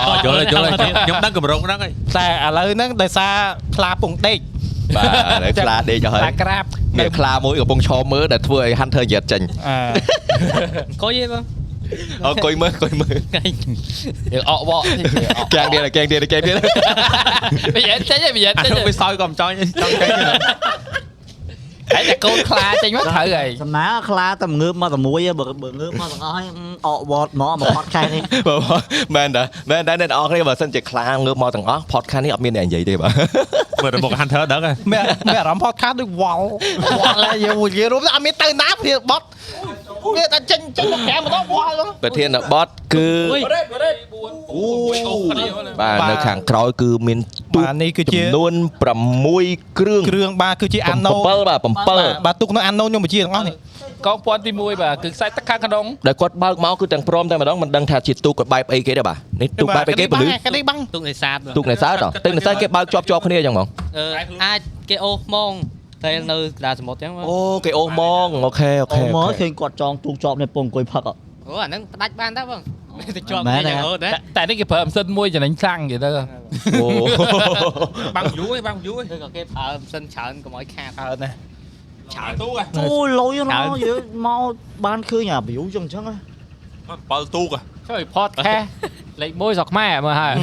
អូយល់ហើយយល់ហើយ ខ្ញុំដឹងកម្រងហ្នឹងហើយ
តែឥឡូវហ្នឹងដោយសារខ្លាពងដេក
បាទឥឡូវខ្លាដេកទៅហើយ
ខ្លាក្រាប
មានខ្លាមួយកំពុងឈរមើលដែលធ្វើឲ្យ Hunter យត់ចេញ
អឺ
អង្គុ យទេបង
អើកុយមើលកុយមើល
យើងអកវក តិចយើងអក
កែងទៀតកែងទៀតកែងទៀត
វាយចេញហើយវាយ
អា
ចេញហើ
នោះ
យ
វាសោយក៏មិនចង់ចង់ចេញទេ
ហើយតែកូនខ្លាចេញមកត្រូវហើយ
សំណាខ្លាតែ ងើបមកតែមួយឯងបើបើងើបមកទាំងអស់ហើយអកវត្តមក មកផតខែនេះ
បងមែនតាមែនតាអ្នកនរអស់គ្នាបើសិនជាខ្លាងើបមកទាំងអស់ podcast នេះអត់មានអ្នកនិយាយទេបាទ
មើលទៅមុខ Hunter ដឹងហើយ
មានមានអារម្មណ៍ podcast ដូចវល់វល់ហើយយើងនិយាយរួមទៅអត់មានទៅណាព្រាបត់វាតែចេញចេញមកក្រៅម្ដងវល់ហ្នឹង
ប្រធានបទគឺបាទនៅខាងក្រោយគឺមានទូក
បាទនេះគឺជា
ចំនួន6គ្រឿង
គ្រឿងបាទគឺជាអាណូ
7បាទ7
បាទទុកនៅអាណូខ្ញុំបញ្ជាទាំងអស់នេះ
កងពាន់ទី1បាទគឺខ្សែទឹកខាងក្នុង
ដែលគាត់បើកមកគឺទាំងព្រមតែម្ដងមិនដឹងថាជាទូកគាត់បែបអីគេទេបាទនេះទូកបែបអីគេពលឺ
កានេះបាំង
ទុកនេសាទបង
ទូកនេសាទទេនេសាទគេបើកជាប់ជាប់គ្នាអញ្ចឹងហ្មង
អឺអាចគេអូសហ្មងតែនៅកណ្ដាលសមុទ្រអញ្ចឹងបង
អូគេអូសហ្មងអូខេអូខេ
អូមកឃើញគាត់ចងទូកជាប់នេះពងអង្គុយផឹកអត់
អូអាហ្នឹងផ្ដាច់បានតើ បងមិនទៅជាប់
មែ
គេ
នទេ
យ៉ាងហូតណា
តែតែនេះគេប្រើអម្សិនមួយចំណេញខ្លាំងគេទៅ
អូ
បាំងយូរឯងបាំងយូរឯង
គឺក៏គេប្រើម៉ាស៊ីនច្រើនកុំឲ្យខាត
អើណាស់
ច្រើនទូ
à.
ក
អូលុយណា
Dạ.
ស់យើងមកបានឃើញអា view ចឹងចឹងហ្នឹង
7ទូក
à.
ជួយ podcast លេខ1ស្រុកខ្មែរមើលហើយ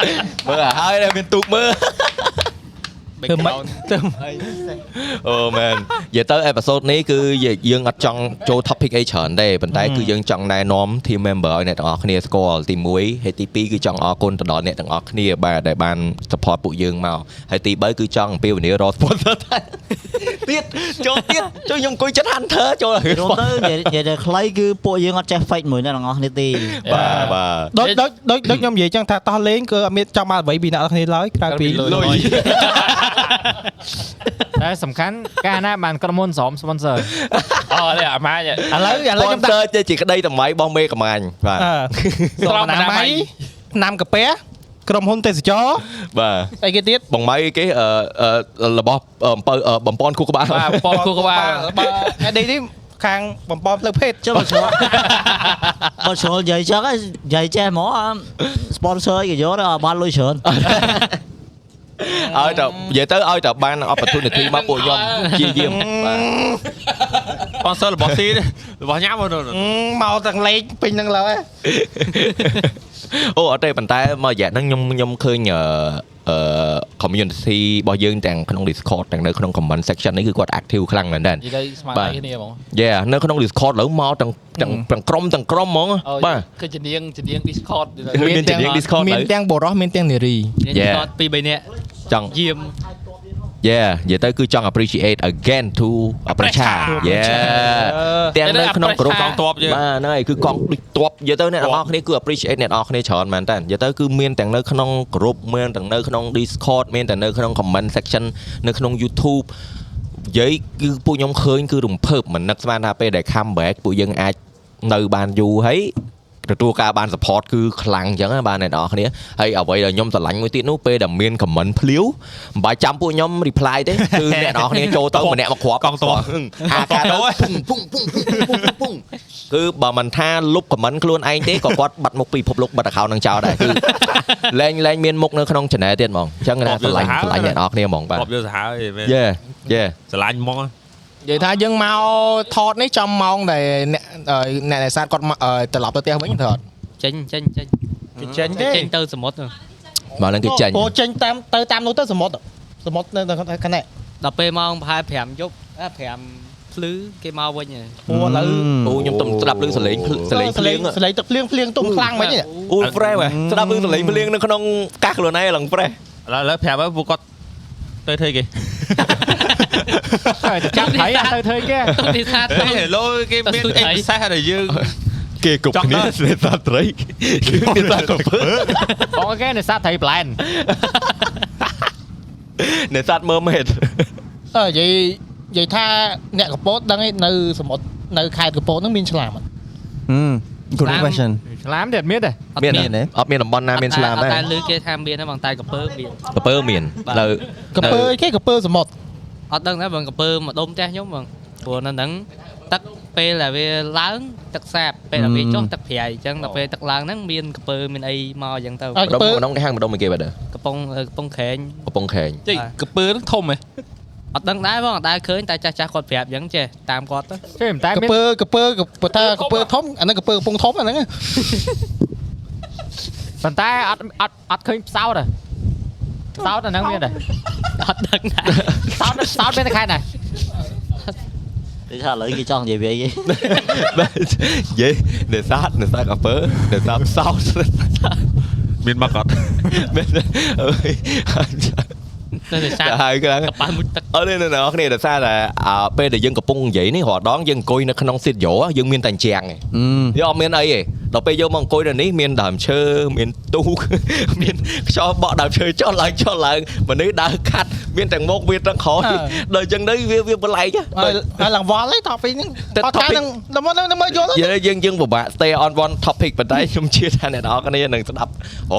Ừ.
មើលឲ្យហើយដែលមានទូកមើល
ធ្វើមិនធ្វើ
អូមែននិយាយទៅអេផ isode នេះគឺយើងអត់ចង់ចូល topic អីច្រើនទេប៉ុន្តែគឺយើងចង់ណែនាំ team member ឲ្យអ្នកទាំងអស់គ្នាស្គាល់ទី1ហើយទី2គឺចង់អរគុណទៅដល់អ្នកទាំងអស់គ្នាបាទដែលបាន support ពួកយើងមកហើយទី3គឺចង់អំពាវនាវរក sponsor ដែរទៀតចូលទៀតជួយខ្ញុំអង្គុយចិត្ត Hunter ចូលឲ្យ
ចូលទៅនិយាយនិយាយតែខ្លីគឺពួកយើងអត់ចេះ fake មួយណាទាំងអស់នេះទេ
បាទបាទ
ដូចដូចដូចដូចខ្ញុំនិយាយចឹងថាតោះលេងគឺអត់មានចង់បានអ្វីពីអ្នកនរគ្នាឡើយក្រៅពី
លុយ
តែសំខាន់កាលណាបានក្រុមហ៊ុនស្រោម sponsor
អូនេះអាម៉ាច
ឥឡូវឥ
ឥ
ឡូ
ឡូ
វ
វ
ខ្ញុំ
ខ្ញុំ
ដាក់
តើចេះជាក្តីតម្លៃរបស់មេកំាញ់បាទ
អឺ
ស្រោ
ស្រោ
ម
ម
អ
អ
នា
នា
ម័
ម័
យ
យឆ្នាំកាពះក្រុមហ៊ុនទេសចរ
បាទ
អីគេទៀត
បងម៉ៃគេអឺអឺរបស់អំពៅអឺបំពន់គូក្បាល
បាទប៉ុន គូក្បាល
បើថ្ងៃនេះនេះខាងបំពំផ្លូវភេទ
ចុះបើឆ្លងបើឆ្លងនិយាយចឹងហ្នឹងនិយាយចេះហ្មងអ่ะ à, sponsor គេយកដល់បានលុយច្រើន
ឲ្យតែនិយាយទៅឲ្យតែ បាន opportunity មកពួកខ្ញុំជាយាមបាទ
sponsor របស់ទីរបស់ញ៉ាំហ្នឹង
អឺមកទាំងលេងពេញហ្នឹងឡើយ
អូអត់ទេប៉ុន្តែមករយៈហ្នឹងខ្ញុំខ្ញុំឃើញអឺអឺ community របស់យើងទាំងក្នុង Discord ទាំងនៅក្នុង comment section នេះគឺគាត់ active ខ្លាំងមែនតើ
និយាយស្មារ
បាទ
តីគ្នាហ្មង
យេនៅក្នុង Discord ឥឡូវមកទាំងទាំងទាំងក្រុមទាំងក្រុមហ្មង
អូ
បាទ
គឺជំនាញជំនាញ Discord ទៅ
មានជំនាញ Discord
មាន
នៅ
ទាំងបរោះមានទាំងនារី
យើង
យ៉ា
ឆ្លត់ពីរបីនាក់
ចង់
យាម
Yeah និយាយទៅគឺចង់ appreciate again to ប្រជា Yeah ទាំងនៅក្នុងក្រុម
កងទ័ពយើ
បាទ
ង
ហ្នឹងហើយគឺកង់ដូចតបនិយាយទៅអ្នកនរអស់គ្នាគឺ appreciate អ្នកនរអស់គ្នាច្រើនមែនតើនិយាយទៅគឺមានទាំងនៅក្នុងក្រុមមានទាំងនៅក្នុង Discord មានទាំងនៅក្នុង comment section នៅក្នុង YouTube និយាយគឺពួកខ្ញុំឃើញគឺរំភើបមិននឹកស្មានថាពេលដែល comeback ពួកយើងអាចនៅបានយូរហើយទទួលការបាន support គឺខ្លាំងអញ្ចឹងណាបាទអ្នកនរអស់គ្នាហើយអ្វីដែលខ្ញុំស្រឡាញ់មួយទៀតនោះពេលដែលមាន comment ភ្លាវមិនបាច់ចាំពួកខ្ញុំ reply ទេគឺអ្នកនរអស់គ្នាចូលទៅម្នាក់មកគ្រាប់
កង់ទ័ព
អាការទៅពុងពុងពុងពុងពុង គឺបើមិនថាលុបខមមិនខ្លួនឯងទេក៏គាត់បាត់មុខពីភពលោកបាត់ account នឹងចោលដែរគឺ លែងលែងមានមុខនៅក្នុង channel ទៀតហ្មងអញ្ចឹងណា
គាត់
ស្រឡាញ់
យល់ហើយ
ស្រឡាញ់អ្នកនរគ្នាហ្មងបាទ
គាត់យកសាហាវឯងមែន
យេយេ
ស្រឡាញ់ហ្មង
និយាយថាយើងមកថតនេះចំម៉ោងដែលអ្នកអ្នកនេសាទគាត់មកអឺត្រឡប់ទៅផ្ទះវិញថត
ចេញចេញចេញ
គេចេញទេ
ចេញទៅសមុទ្រ
មកឡើងគេចេញ
អូចេញតាមទៅតាមនោះទៅសមុទ្រសមុទ្រនៅខាងនេះ
ដល់ពេលម៉ោងប្រហែល5យប់អ่ะ5ភ្លឺគេមកវិញហើយ
ពូឥឡូវ
អូខ្ញុំទំស្ដាប់លឺសលេងភ្លឺសលេងភ្លៀង
សលេងទឹកភ្លៀងភ្លៀងទុំខ្លាំងហ្មងនេះ
អូ fresh ហ៎ស្ដាប់លឺសលេងភ្លៀងនៅក្នុងកាសខ្លួនឯងឡើង fresh
ឥឡូវឥឡូវប្រាប់ឲ្យពួកគាត់ទៅធ្វើគេ
ហើយចាំថៃអត់ទៅធ្វើគេ
ទុកនេសាទទៅ
ហេឡូគេ មានអេពិសេសដែលយើង
គេគ្រប់
ចង់
គ្នា
ដល់
ស្នេហ៍សា ត្រីគឺគេតាកំពើ
បងគេនេសាទត្រីប្លែន
អ្នកសាត់មើលមេត
អើនិយាយនិយាយថាអ្នកកពតដឹងឯនៅសមុទ្រនៅខេត្តកពតហ្នឹងមានឆ្លាមអត់
គុណ
Slam.
question
ឆ្លាមទៀតមានទេ
អត់
មាន
មាន
ទេអត់មានតំបន់ណាមានឆ្លាមដែរ
តែលឺគេថាមានណាបងតែកំពើមាន
កំពើមាន
បាទ
នៅ
កពើ
នៅ
គេកពើសមុទ្រ
អត់ដឹងណាបងកំពើមកដុំផ្ទះខ្ញុំបងព្រោះនៅហ្នឹងទឹក ពេលដែលវាឡើងទឹកសាបពេលដែលវាចុះ
អឺ
ទឹកប្រៃអញ្ចឹងដល់ពេលទឹកឡើងហ្នឹងមានកំពើមានអីមកអញ្ចឹងទៅ
អើ
ម្ដុំម្ដុំគេហៅម្ដុំមកគេបាទ
កំពង់អឺកំពង់ខេង
កំពង់ខេង
ចេះកពើហ្នឹងធំហ៎
អត់ដឹងដែរផងអត់ដែរឃើញតែចាស់ចាស់ៗគាត់ប្រាប់អញ្ចឹងចេះតាមគាត់ទៅ
ចេះមិនតែ
ក
មាន
ពើកពើកពើថាកពើធំអាហ្នឹងកពើកំពង់ធំអាហ្នឹង
ប៉ុន្តែ អត់អត់អត់ឃើញផ្សោតទេផ្សោតអាហ្នឹងមាន ទេ
អត់ដឹងដែរ
ផ្សោតផ្សោតមានតែខែណា
គេថាឥឡូវគេចង់និយាយវាយ
យេនេសាទនេសាទកាពើនេសាទផ្សោត
មានមក អត់
មែនអើយ
ទៅនេសាទ
ហៅខ្លាំង
កប៉ាល់មួយទឹក
អរនេះនរអ្នកគ្នាដោយសារតែអ่าពេលដែលយើងកំពុងនិយាយនេះរាល់ដងយើងអង្គុយនៅក្នុងស៊ីតយោយើងមានតែអញ្ចាំងឯងយើងអត់មានអីទេដល់ពេលយើងមកអង្គុយនៅនេះមានដើមឈើមានទូ ក មានខ្យល់បក់ដើមឈើចុះឡើងចុះឡើងមនុស្សដើរខាត់មានទាំងមុខមានទាំងក្រោយដល់អញ្ចឹងទៅវាវាបន្លែកហ៎ដ
ហើ
ល់
យហើយឡើងវល់ទេតបពីហ្នឹង
តែ
អត់ថា
topic
នឹងដល់មកនឹងមើលយល់ទេ
យើងយើងយើងពិបាក stay on one topic ប៉ុន្តែ ខ្ញុំជឿថាអ្នកនរគ្នានឹងស្ដាប់ អូ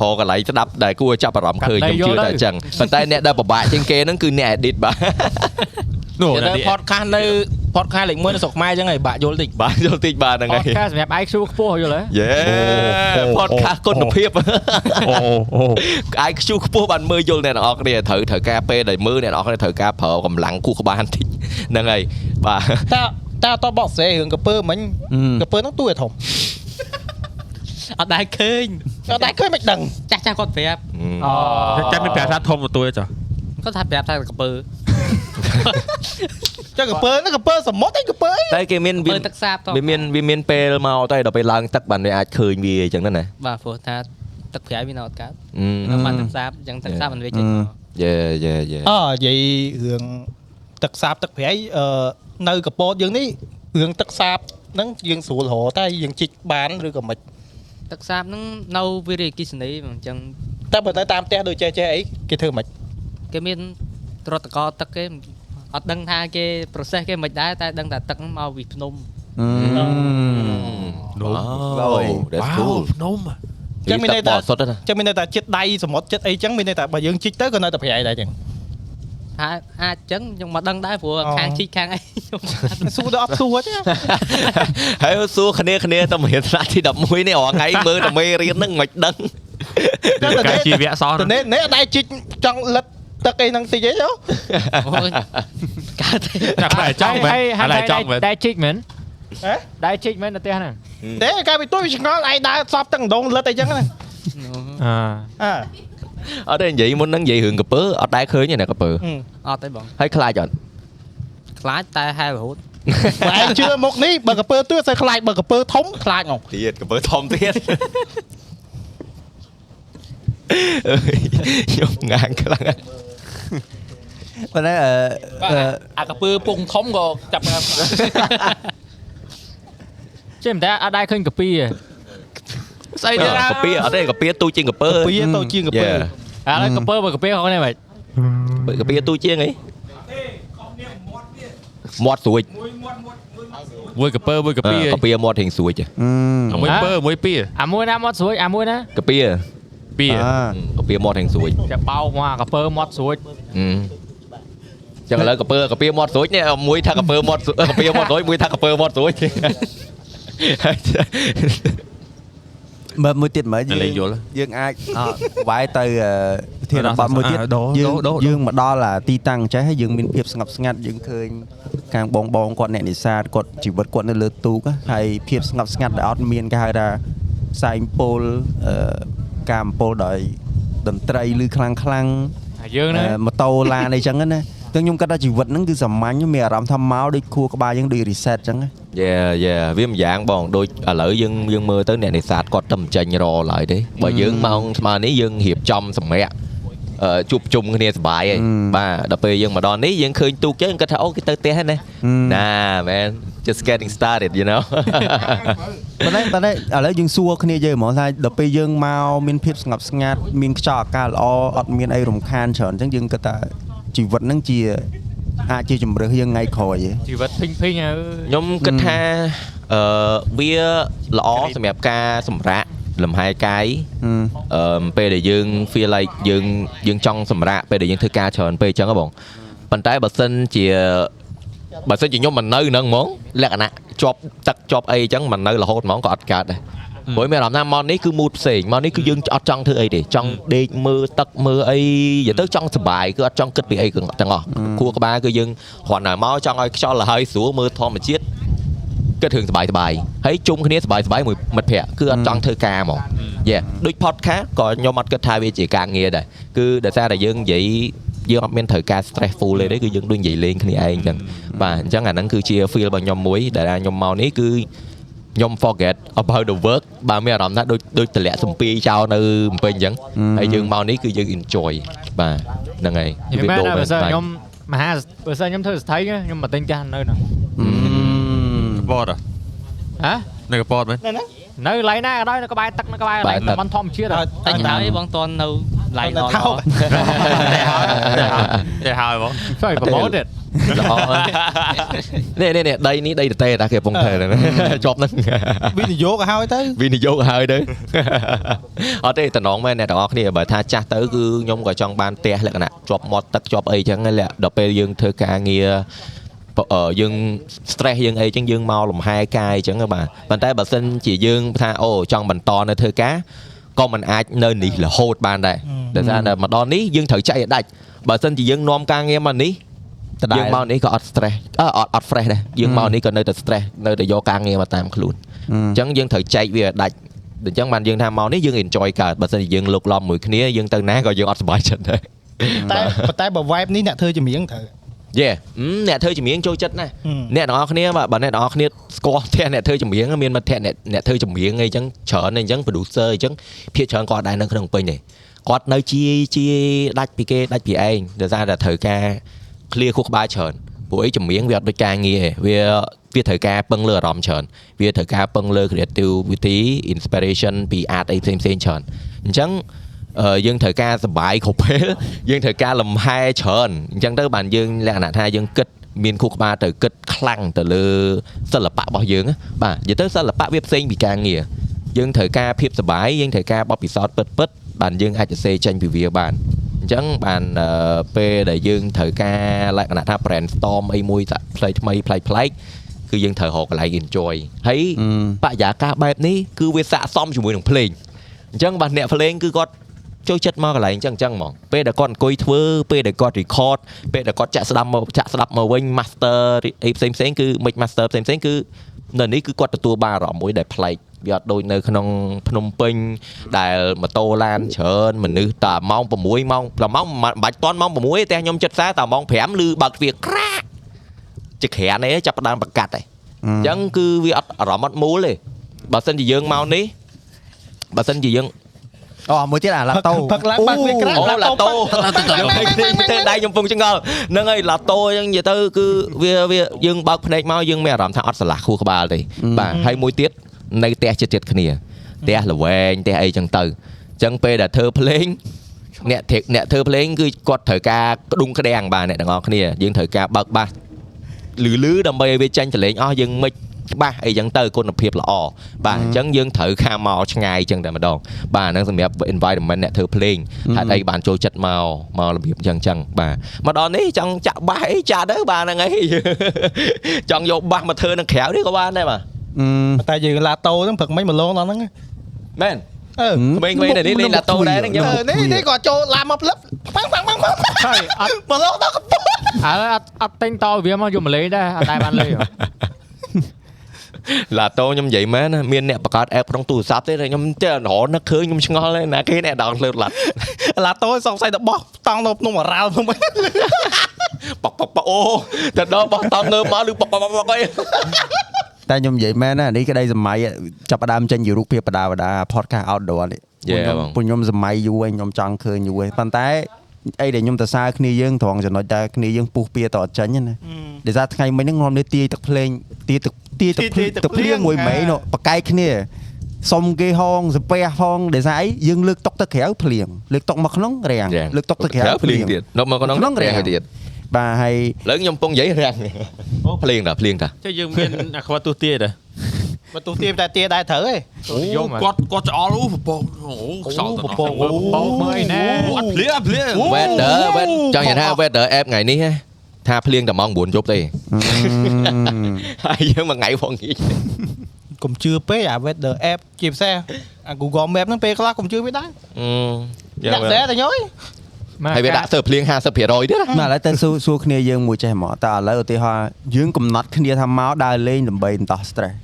ហោកន្លែងស្ដាប់ដែលគួរចាប់អារម្មណ៍ឃើញខ្ញុំជឿថាអញ្ចឹង ប៉ុន្តែអ្នកដែលពិបាកជាងគេហ្នឹងគឺអ្នក edit បាទ
នោះ
ទៅ
នេះ
podcast នៅ podcast លេខ1នៅស្រុកខ្មែរអញ្ចឹងហើយបាក់យល់តិច
បាទយល់តិចបាទហ្នឹង
ផ
ហើយ
តខាសសម្រាប់ IQ ខ្ពស់យល់ទេ
យេ
អូ
ផតខាសគុណភាព
អូអូ
អាចខ្ជូខ្ពស់បានមើលយល់អ្នកនរអគ្នាត្រូវត្រូវការពេលដែលមើលអ្នកនរអគ្នាត្រូវការប្រើកម្លាំងគូក្បាលបន្តិច ហ្នឹងហើយបាទ
តើតើអត់តបបកស្រាយរឿងកពើមិញកពើហ្នឹងទួយធំ
អត់ដែរឃើញ
អត់ដែរឃើញមិនដឹង
ចាស់ចាស់ៗគាត់ប្រាប់
អូ
ចាំមានប្រាសាទធំមួយទួយចុះ
គាត់ថាប្រាប់ថាកពើ
ចឹងកពើហ្នឹងកពើសមុទ្រឯងកពើអី
តែគេមានវា
ពើទឹកសាបត
វាមានវាមានពេលមកតែដល់ពេលឡើងទឹកបានវាអាចឃើញវាអញ្ចឹងណាណា
បាទព្រោះថាទឹកប្រៃវានៅអត់កើត
អឺ
នៅបានទឹកសាបអញ្ចឹង
Dạ.
ទឹកសាបមិនវាចេញមក
យេយេយេ
អនិយាយរឿងទឹកសាបទឹកប្រៃអឺនៅកពតយើងនេះរឿងទឹកសាបហ្នឹងយើងស្រួលរកតែយើងជីកបានឬក៏មិន
ទឹកសាបហ្នឹងនៅវិរិយអគិសនីអញ្ចឹង
តែបើទៅតាមផ្ទះដូចចេះចេះអីគេធ្វើមិន
គេមានត្រតកោទឹកគេអត់ដឹងថាគេ process គេមិនដែរតែដឹងថាទឹកហ្នឹងមកពីភ្នំ
Ờ. Ừ.
នោះអូ that's cool
ភ្នំ
ចឹងមានន័យថាសុទ្ធណា
ចឹងមានន័យថាចិត្តដៃសមុទ្រចិត្តអីចឹងមានន័យថាបើយើងជីកទៅក៏នៅតែប្រៃដែរចឹង
ថាអាចអញ្ចឹងខ្ញុំមិនដឹងដែរព្រោះ
អូ
ខាងជីកខាងអីខ្ញុំ
ស៊ូដល់អត់ស៊ូទេ
ហើយសួរគ្នាគ្នាទៅរៀនថ្នាក់ទី11នេះរាល់ថ្ងៃមើលតែមេរៀនហ្នឹងមិនដឹង
កាយជីវៈសោះ
តែនេះនេះអត់ដែរជីកចង់លិតទឹកអីហ្នឹងតិចទេយោ
អូ យកើតទេ
ចាំតែចង់មែនតែចង់មែន
ដែរជីកមែន
ហេ
ដែរជីកមែននៅផ្ទះហ្នឹង
ទេកាលពីទួយវាឆ្ងល់ឯងដើរសពទាំងដងលិតអីចឹងណា
អឺ
អើ
អត់ទេនិយាយមុនហ្នឹងនិយាយរឿងកពើអត់ដែរឃើញទេណាកពើ
អត់ទេបង
ហើយខ្លាចអត់
ខ្លាចតែហែលរហូត
បើឯងជឿមុខនេះបើកពើទួយសើខ្លាចបើកពើធំខ្លាចហ្មង
ទៀតកពើធំទៀតអើយខ្ញុំងាងខ្លាំងណាស់
ប៉ុន្តែអឺអឺ
អាកពើពងធំក៏ចាប់បាន
ចេះមិនតែអត់ដែរឃើញកាពីទេ
ស្អីទៀតកាពៀអត់ទេកាពៀទូចជាងកពើ
ពីទៅជាងកពើ
យ៉ា
ឥឡូវកាពើបើកាពីខុសនេះមិន
កាពៀទូចជាងអីមាត់ស្រួច
មួយកពើមួយកពី
កាពៀមាត់រៀងស្រួច
មួយពើមួយពី
អាមួយណាមកស្រួយអាមួយណា
កាពៀ
ពី
កាពៀមាត់រៀងស្រួច
ចាបោកមកអាកាពើមកស្រួយ
អឺចឹងឥឡូវកាពើកាពៀមាត់ស្រួចនេះមួយថាកាពើមាត់ស្រួចកាពៀមាត់ស្រួចមួយថាកាពើមាត់ស្រួច
មើលមួយទៀតមើល
តែលេងយល់
យើងអាចអត់វាយទៅអឺវិធានបទមួយទៀត
ដូរ
យើង
ដូរដូរ
យើងមកដល់អាទីតាំងចេះហើយយើងមានភាពស្ងប់ស្ងាត់យើងឃើញខាងបងបងគាត់អ្នកនេសាទគាត់ជីវិតគាត់នៅលើទូកហ៎ហើយភាពស្ងប់ស្ងាត់ដែលអត់មានគេហៅថាផ្សែងពុលអឺការអំពូលដោយតន្ត្រីឬខ្លាំងខ្លាំងៗ
អាយើងហ្នឹង
ម៉ូតូឡានអីចឹងណា តែខ្ញុំគិតថាជីវិតហ្នឹងគឺសាមញ្ញមានអារម្មណ៍ថាមកដូចខួរក្បាលយើងដូច reset ចឹងណា
យ៉ាយ៉ាវាម្យ៉ាងបងដូចឥឡូវយើងយើងមើលទៅអ្នកនេសាទគាត់តែមិនចេញរឡើយទេបើយើងម៉ោងស្មើនេះយើងរៀបចំសម្រាប់អឺជួបជុំគ្នាសប្បាយហើយបាទដល់ពេលយើងមកដល់នេះយើងឃើញទូកចឹងយើងគិតថាអូគេទៅផ្ទះហើយណាណា man just getting started you know
ប៉ុន្តែប៉ុន្តែឥឡូវយើងសួរគ្នាយើងហ្មងថាដល់ពេលយើងមកមានភាពស្ងប់ស្ងាត់មានខ្យល់អាកាសល្អអត់មានអីរំខានច្រើនចឹងយើងគិតថាជីវិតហ្នឹងជាអាចជាជំរើសយើងថ្ងៃក្រោយឯង
ជីវិតភិញភិញអើយ
ខ្ញុំគិតថាអឺវាល្អសម្រាប់ការសម្រាកលំហែកាយ អឺពេលដែលយើង feel like យើងយើងចង់សម្រាកពេលដែលយើងធ្វើការច្រើនពេកអញ្ចឹងហ៎បងប៉ុន្តែបើសិនជា បើសិនជាខ្ញុំមិននៅហ្នឹងហ្មងលក្ខណៈជាប់ទឹកជាប់អីចឹងមិននៅរហូតហ្មងក៏អត់កើតដែរព្រោះមានអារម្មណ៍ថាម៉ោននេះគឺ mood ផ្សេងម៉ោននេះគឺយើងអត់ចង់ធ្វើអីទេចង់ដេកមើលទឹកមើលអីនិយាយទៅចង់សុបាយគឺអត់ចង់គិតពីអីទាំងអស់ខួរក្បាលគឺយើងគ្រាន់តែមកចង់ឲ្យខ្យល់លហើយស្រួលមើលធម្មជាតិគិតរឿងសុបាយសុបាយហើយជុំគ្នាសុបាយសុបាយមួយមិត្តភក្តិគឺអត់ចង់ធ្វើការហ្មងយេដូច podcast ក៏ខ្ញុំអត់គិតថាវាជាការងារដែរគឺដោយសារតែយើងនិយាយយើងអត់មានត្រូវការ stressful ទេគឺយើងដូចនិយាយលេងគ្នាឯងចឹង បាទអញ្ចឹងអាហ្នឹងគឺជា feel របស់ខ្ញុំមួយដែលថាខ្ញុំមកនេះគឺខ្ញុំ forget about the work បាទមានអារម្មណ៍ថាដូចដូចតម្លាក់សំពីចោលនៅម្ពិលអញ្ចឹងហើយយើងមកនេះគឺយើង enjoy បាទហ្នឹងហើយ
និយាយមែនណាបើសិន
បាទ
ខ្ញុំមហាបើសិនខ្ញុំធ្វើស្ថិតខ្ញុំមកទិញផ្ទះនៅហ្នឹង
បត
ហ៎
នៅកពតមែន
នៅកន្លែងណាក៏ដោយនៅក្បែរទឹកនៅក្បែរកន្លែង
ក្បែរទឹក
តំបន់ធម្មជាតិហ៎
តែច
ờ,
ហើយបងតន់ នៅឡៃណោះ
តែហើយបង
Sorry promoted
ល្អ នេះនេះនេះដីនេះដីតេតាគេកំពុងធ្វើហ្នឹងជាប់ហ្នឹង
វិនិយោគឲ្យហើយទៅ
វិនិយោគឲ្យហើយទៅ អត់ទេតំណងមែនអ្នកទាំងអស់គ្នាបើថាចាស់ទៅគឺខ្ញុំក៏ចង់បានផ្ទះលក្ខណៈជាប់មាត់ទឹកជាប់អីចឹងហើយលក្ខដល់ពេលយើងធ្វើការងារបអឺយើង stress យើងអីចឹងយើងមកលំហែកាយចឹងហ៎បាទប៉ុន្តែបើសិនជាយើងថាអូចង់បន្តនៅធ្វើការក៏មិនអាចនៅនេះរហូតបានដែរតែថារតែមកដល់នេះយើងត្រូវចែកឲ្យដាច់បើសិនជាយើងនាំការងារមកនេះ
ដដែល
យើងមកនេះក៏អត់ stress អឺអត់អត់ fresh ដែរយើងមកនេះក៏នៅតែ stress នៅតែយកការងារមកតាមខ្លួន អញ្ចឹងយើងត្រូវចែកវាឲ្យដាច់ដូចអញ្ចឹងបានយើងថាមកនេះយើង enjoy កើតបើសិនជាយើងលោកលំមួយគ្នាយើងទៅណាក៏យើងអត់សុបាយចិត្តដែរ
តែប៉ុន្តែបើ vibe នេះអ្នកធ្វើចម្រៀងត្រូវ
យេអ្នកធ្វើចម្រៀងចូលចិត្តណាស់អ្នកទាំងអស់គ្នាបើបើអ្នកទាំងអស់គ្នាស្គាល់ ផ្ទះអ្នកធ្វើចម្រៀងមានមិត្តភក្តិអ្នកអ្នកធ្វើចម្រៀងអីចឹងច្រើនអីចឹង producer អីចឹងភាគច្រើនគាត់ដែរនៅក្នុងពេញទេគាត់នៅជាជាដាច់ពីគេដាច់ពីឯងដោយសារតែត្រូវការ clear ខួរក្បាលច្រើនពួកឯងចម្រៀងវាអត់ដូចការងារទេវាវាត្រូវការពឹងលើអារម្មណ៍ច្រើនវាត្រូវការពឹងលើ creativity inspiration ពី art អីផ្សេងផ្សេងៗច្រើនអញ្ចឹងអឺយើងត្រូវការសុបាយគ្រប់ពេល យើងត្រូវការលំហែច្រើនអញ្ចឹងទៅបានយើងលក្ខណៈថាយើងគិតមានខួរក្បាលទៅគិតខ្លាំងទៅលើសិល្បៈរបស់យើងណាបាទនិយាយទៅសិល្បៈវាផ្សេងពីការងារយើងត្រូវការភាពសុបាយយើងត្រូវការបទពិសោធន៍ពិតៗបានយើងអាចសរសេរចេញពីវាបាន អញ្ចឹងបានអឺពេលដែលយើងត្រូវការលក្ខណៈថា brainstorm អីមួយថាផ្លេថ្មីផ្លែកផ្លែកគឺយើងត្រូវរកកន្លែង enjoy ហើយបរិយាកាសបែបនេះគឺវាស័ក្តិសមជាមួយនឹងភ្លេងអញ្ចឹងបាទអ្នកភ្លេងគឺគាត់ចូលចិត្តមកកន្លែងអញ្ចឹងអញ្ចឹងហ្មងពេលដែលគាត់អង្គុយធ្វើពេលដែលគាត់ record ពេលដែលគាត់ចាក់ស្ដាប់មកចាក់ស្ដាប់មកវិញ master អីផ្សេងផ្សេងៗគឺ mix master ផ្សេងផ្សេងៗគឺនៅនេះគឺគាត់ទទួលបានអារម្មណ៍មួយដែលប្លែកវាអត់ដូចនៅក្នុងភ្នំពេញ ដែលម៉ូតូឡានច្រើនមនុស្សតាម៉ោង6ម៉ោងដល់ម៉ោងមិនបាច់តន់ម៉ោង6ទេតែខ្ញុំចិត្តសារតាម៉ោង5ឬបើកទ្វារក្រាក់ជាក្រានឯងចាប់ផ្ដើមប្រកាត់ឯងអញ្ចឹងគឺវាអត់អារម្មណ៍អត់មូលទេបើសិនជាយើងមកនេះបើសិនជាយើង
អូមួយទៀតអាឡាតូ
ផឹក ឡើងបាត់វាក្រាស់
អូឡាតូ ខ្ញុំឃើញទេដៃខ្ញុំពងចង្អល់ហ្នឹងហើយឡាតូអញ្ចឹងនិយាយទៅគឺវាវាយើងបើកភ្នែកមកយើងមានអារម្មណ៍ថាអត់ស្រឡះខួរក្បាលទេបាទហើយមួយទៀតនៅផ្ទះជិតៗគ្នា ផ្ទះល្វែងផ្ទះអីចឹងទៅអញ្ចឹងពេលដែលធ្វើភ្លេងអ្នកធ្វើអ្នកធ្វើភ្លេងគឺគាត់ត្រូវការក្ដុងក្ដាំងបាទអ្នកទាំងអស់គ្នាយើងត្រូវការបើកបាសលឺលឺដើម្បីឲ្យវាចាញ់ចលេងអស់យើងមិនច្បាស់អីចឹងទៅគុណភាពល្អបាទអញ្ចឹងយើងត្រូវការមកឆ្ងាយចឹងតែម្ដងបាទហ្នឹងសម្រាប់ environment អ្នកធ្វើភ្លេងហេតុអីបានចូលចិត្តមកមករបៀបចឹងចឹងបាទ មកដល់នេះចង់ចាក់បាសអីចាក់ទៅបាទហ្នឹងហើយ ចង់យកបាសមកធ្វើនៅក្រៅនេះក៏បានដែរបាទ
ប៉ុន្តែយើងឡាតូហ្នឹងព្រឹកមិញមកលងដល់ហ្នឹង
មែន
អឺ
ក្មេងៗនៅនេះលេងឡាតូដែរហ្នឹងចឹង
អឺនេះនេះគាត់ចូលឡាមកផ្លឹបប៉ាំងប៉ាំងប៉ាំងប៉ាំង
ហើយអត់
មកលងដល់កំពង់
ឥឡូវអត់អត់ទិញតវាមកយកមកលេងដែរអត់ដែរបានលេងហ៎
ឡាតូខ្ញុំនិយាយមែនណាមានអ្នកបង្កើត app ក្នុងទូរស័ព្ទទេតែខ្ញុំចេះរហូតនឹកឃើញខ្ញុំឆ្ងល់ទេណាគេអ្នកដោនឡូតឡាត់
ឡាតូសង្ស័យតែបោះតង់នៅភ្នំអរ៉ាល់ហ្នឹង
ប៉កប៉កប៉កអូតែដល់បោះតង់នៅមកឬប៉កប៉កប៉កប៉កអី
តែខ្ញុំនិយាយមែនណានេះក្តីសម័យចាប់ផ្ដើមចេញជារូបភាពបដាបដា podcast outdoor នេះ
យេ
ពួក
ប
ខ្ញុំ
ង
ពួកខ្ញុំសម័យយូរហើយខ្ញុំចង់ឃើញយូរហើយប៉ុន្តែអីដែលខ្ញុំទៅសារគ្នាយើងត្រង់ចំណុចដែលគ្នាយើងពុះពៀតអត់ចាញ់ហ្នឹងណាដោយសារថ្ងៃមិញហ្នឹងងំនេះទាយទឹកភ្លេងទាយទឹកទាយទឹកភ្លៀងទឹកភ្លៀងមួយម៉េងនោះប្រកែកគ្នាសុំគេហងសំពះផងដោយសារអីយើងលើកតុកទៅក្រៅភ្លៀងលើកតុកមកក្នុងរាំងលើកតុកទៅក្រៅភ្លៀង
ទៀតនៅមកក្នុងរាំងហើយទៀត
បាទហើយ
ឥឡូវខ្ញុំកំពុងនិយាយរាំងអូភ្លេងតាភ្លេងតា
ចុះយើងមាន អាខ្វាត់ទូទាយដែរ
បើទោះទាបតែទាដែរត្រូវឯង
យំហ៎
គាត់គាត់ច្អល់អូប្រពងអូខ្សោយប្រពង
បងមើលឯណែ
អូអត់ភ្លៀងអត់ភ្លៀង
weather ចង់និយាយថា weather app ថ្ងៃនេះ ថាភ្លៀងតែម៉ោង9យប់ទេ ហើយយើងមួយថ្ងៃផងងាយក
ុំជឿពេកអា weather app ជាពិសេសអា Google Map ហ្នឹងពេលខ្លះកុំជឿវាដែរ
យ៉ា
ដាក់
វ៉ែ
តែតែញយ
មក
ហើយវាដាក់សើភ្លៀង50%ទៀតណា
ណាឥឡូវទៅសួរសួរគ្នាយើងមួយចេះហ្មងតើឥឡូវឧទាហរណ៍យើងកំណត់គ្នាថាមកដើរលេងដើម្បីបន្តោះ stress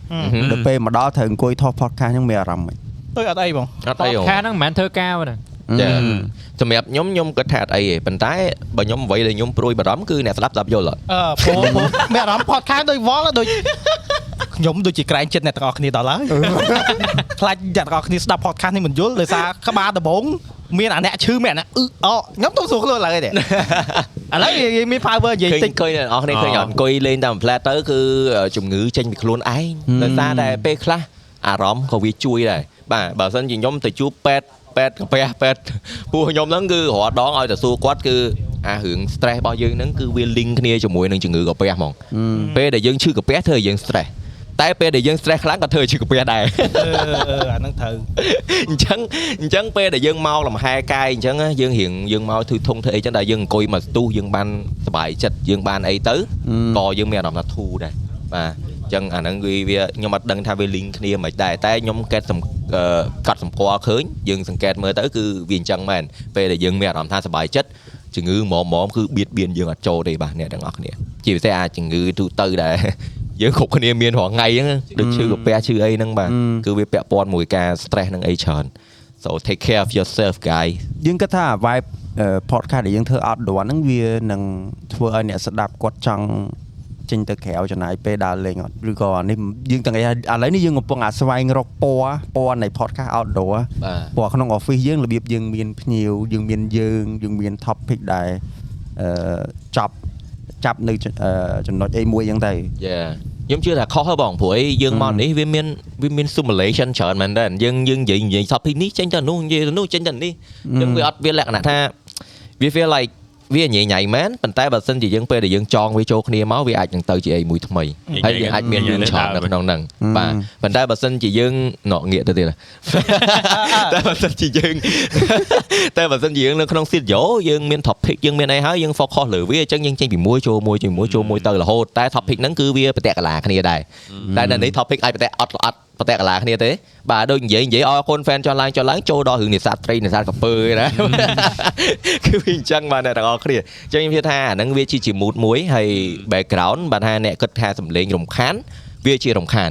ដល់ពេលមកដល់ត្រូវអង្គុយថត podcast ហ្នឹងមានអារម្មណ៍មិន
ដូចអត់អីបង
អត់
ផ
អី
ត
ហ៎
ខាសហ្នឹងមិនមែនធ្វើការហ្នឹង
ចាសម្រាប់ខ្ញុំខ្ញុំគិតថាអត់អីទេប៉ុន្តែបើខ្ញុំអ្វីដែលខ្ញុំព្រួយបារម្ភគឺអ្នកស្ដាប់ស្ដាប់យល់អត់
អឺពូពូមានអារម្មណ៍ podcast ដូចវល់ដូច ខ្ញុំដូចជាក្រែងចិត្តអ្នកទាំងអស់គ្នាដល់ហើយខ្លាចអ្នកទាំងអស់គ្នាស្ដាប់ podcast នេះមិនយល់ដោយសារក្បាលដំបងមានអាអ្នកឈឺមានអាអ្នកអឺអខ្ញុំទៅសួរខ្លួនឡើ យទេឥឡូវនិយាយមាន power និយាយ
ឃើញ
តិច
ឃើញអ្នកនរអស់គ្នាឃើញអត់អង្គុយលេងតាមផ្លែតទៅគឺជំងឺចេញពីខ្លួនឯងដោយសារតែពេលខ្លះអារម្មណ៍ក៏វាជួយដែរបាទបើមិនជាខ្ញុំទៅជួបពេទ្យពេទ្យកាពះពេទ្យពួកខ្ញុំហ្នឹងគឺរាល់ដងឲ្យតែសួរគាត់គឺអារឿង stress របស់យើងហ្នឹងគឺវា link គ្នាជាមួយនឹងជំងឺកាពះហ្មងពេលដែលយើងឈឺកាពះធ្វើឲ្យយើង stress តែពេលដែលយើង stress ខ្លាំងក៏ធ្វើឲ្យឈឺកាពះដែរ
អឺអឺអាហ្នឹងត្រូវ
អញ្ចឹងអញ្ចឹងពេលដែលយើងមកលំហែកាយអញ្ចឹងណាយើងរៀងយើងមកធ្វើធំធ្វើអីចឹងដែរយើងអង្គុយមកស្ទុះយើងបានសប្បាយចិត្តយើងបានអីទៅក៏យើងមានអារម្មណ៍ថាធូរដែរបាទអញ្ចឹងអាហ្នឹងវាវាខ្ញុំអត់ដឹងថាវា link គ្នាមិនដែរតែខ្ញុំកែតសំអឺកត់សម្គាល់ឃើញយើងសង្កេតមើលទៅគឺវាអញ្ចឹងមែនពេលដែលយើងមានអារម្មណ៍ថាសប្បាយចិត្តជំងឺមមមគឺបៀតបៀនយើងអត់ចូលទេបាទអ្នកទាំងអស់គ្នាជាពិសេសអាជំងឺទូទៅដែរ យើងគ្រប់គ្នាមានរាល់ថ្ងៃហ្នឹងណាដូចឈឺកាពះឈឺអីហ្នឹងបាទ គឺវាពាក់ព័ន្ធមួយការ stress នឹងអីច្រើន so take care of yourself guy
យើងគិតថា vibe អឺ podcast ដែលយើងធ្វើ outdoor ហ្នឹងវានឹងធ្វើឲ្យអ្នកស្ដាប់គាត់ចង់ចេញទៅក្រៅចំណាយពេលដើរលេងអត់ឬក៏អានេះយើងទាំងឯងឥឡូវនេះយើងកំពុងអាស្វែងរកពណ៌ពណ៌នៃ podcast outdoor
បាទ
ពណ៌ក្នុង office យើងរបៀបយើងមានភ្ញៀវយើងមានយើងយើងមាន topic ដែលអឺចាប់ចាប់នៅចអឺចំណុចអីមួយអញ្ចឹងទៅ
yeah ខ្ញុំជឿថាខុសហើយបងព្រោះអីយើងមកនេះវាមានវាមាន simulation ច្រើនមែនដែរយើងយើងនិយាយនិយាយ topic នេះចេញទៅនោះនិយាយទៅនោះចេញទៅនេះអញ្ចឹងវាអត់វាលក្ខណៈថាវា feel like វាញ៉ៃញ៉ៃមែនប៉ុន្តែបើសិនជាយើងពេលដែលយើងចងវាចូលគ្នាមកវាអាចនឹងទៅជាអីមួយថ្មីហើយយើងអាចមានរឿងច្រើននៅក្នុងហ្នឹងបាទប៉ុន្តែបើសិនជាយើងណក់ងាកទៅទៀត តែបើសិនជាយើង តែបើសិនជាយើងនៅក្នុង studio យើងមាន topic យើងមានអីហើយយើង focus លើវាអញ្ចឹងយើងចេញពីមួយចូលមួយជាមួយចូលមួយទៅរហូតតែ topic ហ្នឹងគឺវាប្រតិកលាគ្នាដែរតែនៅនេះ topic អាចប្រតិកអត់អត់ប្រតិកលាគ្នាទេបាទដូចនិយាយនិយាយអរគុណ fan ចុះឡើងចុះឡើងចូលដល់រឿងនេសាទត្រីនេសាទកាពើឯណា គឺវាអញ្ចឹងបាទអ្នកទាំងអស់គ្នាអញ្ចឹងខ្ញុំជឿថាអាហ្នឹងវាជាជា mood មួយហើយ background បាទថាអ្នកគិតថាសំឡេងរំខានវាជារំខាន